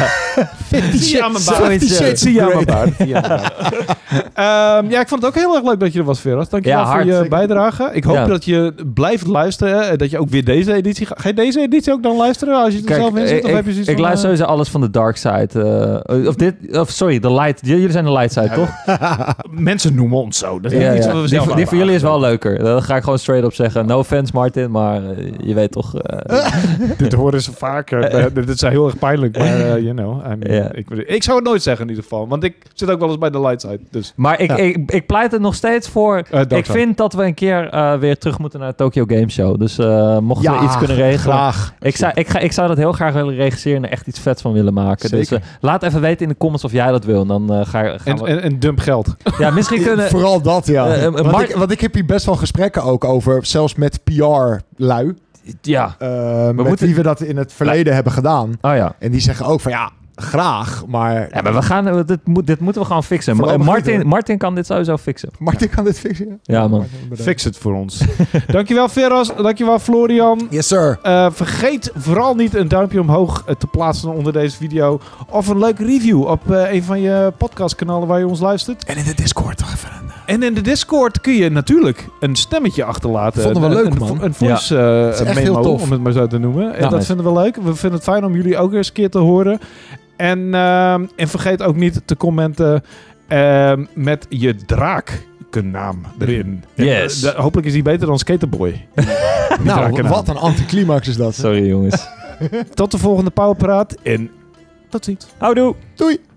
S2: Fifty
S1: Zie je aan mijn baard.
S2: Fifty
S3: Zoiets, eh,
S2: Shades
S1: Zie je aan
S2: Grey.
S1: mijn baard. Zie je aan mijn baard. Ehm, ja, ik vond het ook heel erg leuk dat je er was, Veras. Dankjewel
S3: Ja,
S1: voor
S3: hard.
S1: je
S3: Zeker.
S1: bijdrage. Ik hoop
S3: Ja.
S1: dat je blijft luisteren. hè, en Dat je ook weer deze editie... Ga ga je deze editie ook dan luisteren als je er
S3: Kijk,
S1: zelf in zit?
S3: ik,
S1: Of heb je
S3: ik,
S1: zoiets
S3: ik
S1: van,
S3: luister
S1: eh,
S3: sowieso alles van de dark side. eh, of dit, of sorry, de light. J- Jullie zijn de light side, toch?
S1: eh, Mensen noemen ons zo. Dat is
S3: Ja,
S1: niet iets
S3: ja.
S1: wat we
S3: Die,
S1: zelf
S3: voor- die voor
S1: aanmaken.
S3: jullie is wel leuker. Dat ga ik gewoon straight op zeggen. No offense, Martin, maar eh, je weet toch... eh,
S1: Dit horen ze vaker. Eh, dit is heel erg pijnlijk, maar eh, you know. I mean,
S3: Ja.
S1: ik, ik zou het nooit zeggen in ieder geval. Want ik zit ook wel eens bij de light side. Dus,
S3: Maar ik,
S2: Ja.
S3: ik, ik pleit er nog steeds voor.
S1: eh, dark
S3: Ik
S1: side.
S3: vind dat we een keer eh, weer terug moeten naar de Tokyo Game Show. Dus eh, mochten
S2: Ja,
S3: we iets kunnen regelen.
S2: Graag.
S3: Ik zou, ik, ga, ik zou dat heel graag willen regisseren en er echt iets vets van willen maken. Dus
S2: Zeker.
S3: eh, laat even weten in de comments of jij dat wil. En dan eh, ga, gaan
S1: En,
S3: we...
S1: en, en dump geld.
S3: ja, misschien kunnen...
S2: Vooral dat, ja.
S3: Eh, eh,
S2: want,
S3: Mark-
S2: ik, want ik heb hier best wel gesprekken ook over, zelfs met PR-lui.
S3: Ja.
S2: eh, met
S3: moeten-
S2: wie we dat in het verleden hebben gedaan.
S3: Oh ja.
S2: En die zeggen ook van, ja, graag, maar...
S3: Ja, maar we gaan, eh, dit, moet, dit moeten we gewoon fixen. Ma-
S2: Voorlopig niet,
S3: Martin,
S2: hoor.
S3: Martin kan dit sowieso fixen.
S2: eh, Martin kan dit fixen?
S3: Ja, man.
S2: Martin, bedankt.
S1: Fix het voor ons. dankjewel Veras. Dankjewel Florian.
S2: Yes, sir.
S1: Eh, vergeet vooral niet een duimpje omhoog eh, te plaatsen onder deze video. Of een leuke review op eh, een van je podcastkanalen waar je ons luistert.
S2: En in de Discord toch even.
S1: En in de Discord kun je natuurlijk een stemmetje achterlaten.
S2: Vonden we
S1: Een-
S2: leuk,
S1: een,
S2: man.
S1: Een, voice eh,
S2: is echt
S1: memo,
S2: heel tof.
S1: om het maar zo te noemen. En dat
S3: nice.
S1: vinden we leuk. We vinden het fijn om jullie ook eens een keer te horen. En, ehm, en vergeet ook niet te commenten ehm, met je draaknaam erin.
S3: Yes.
S1: En, eh, de- hopelijk is die beter dan Skaterboy. draak
S2: Nou,
S1: eraan.
S2: wat een anticlimax is dat.
S3: Sorry, jongens.
S1: Tot de volgende Powerpraat en tot ziens.
S3: Houdoe.
S2: Doei.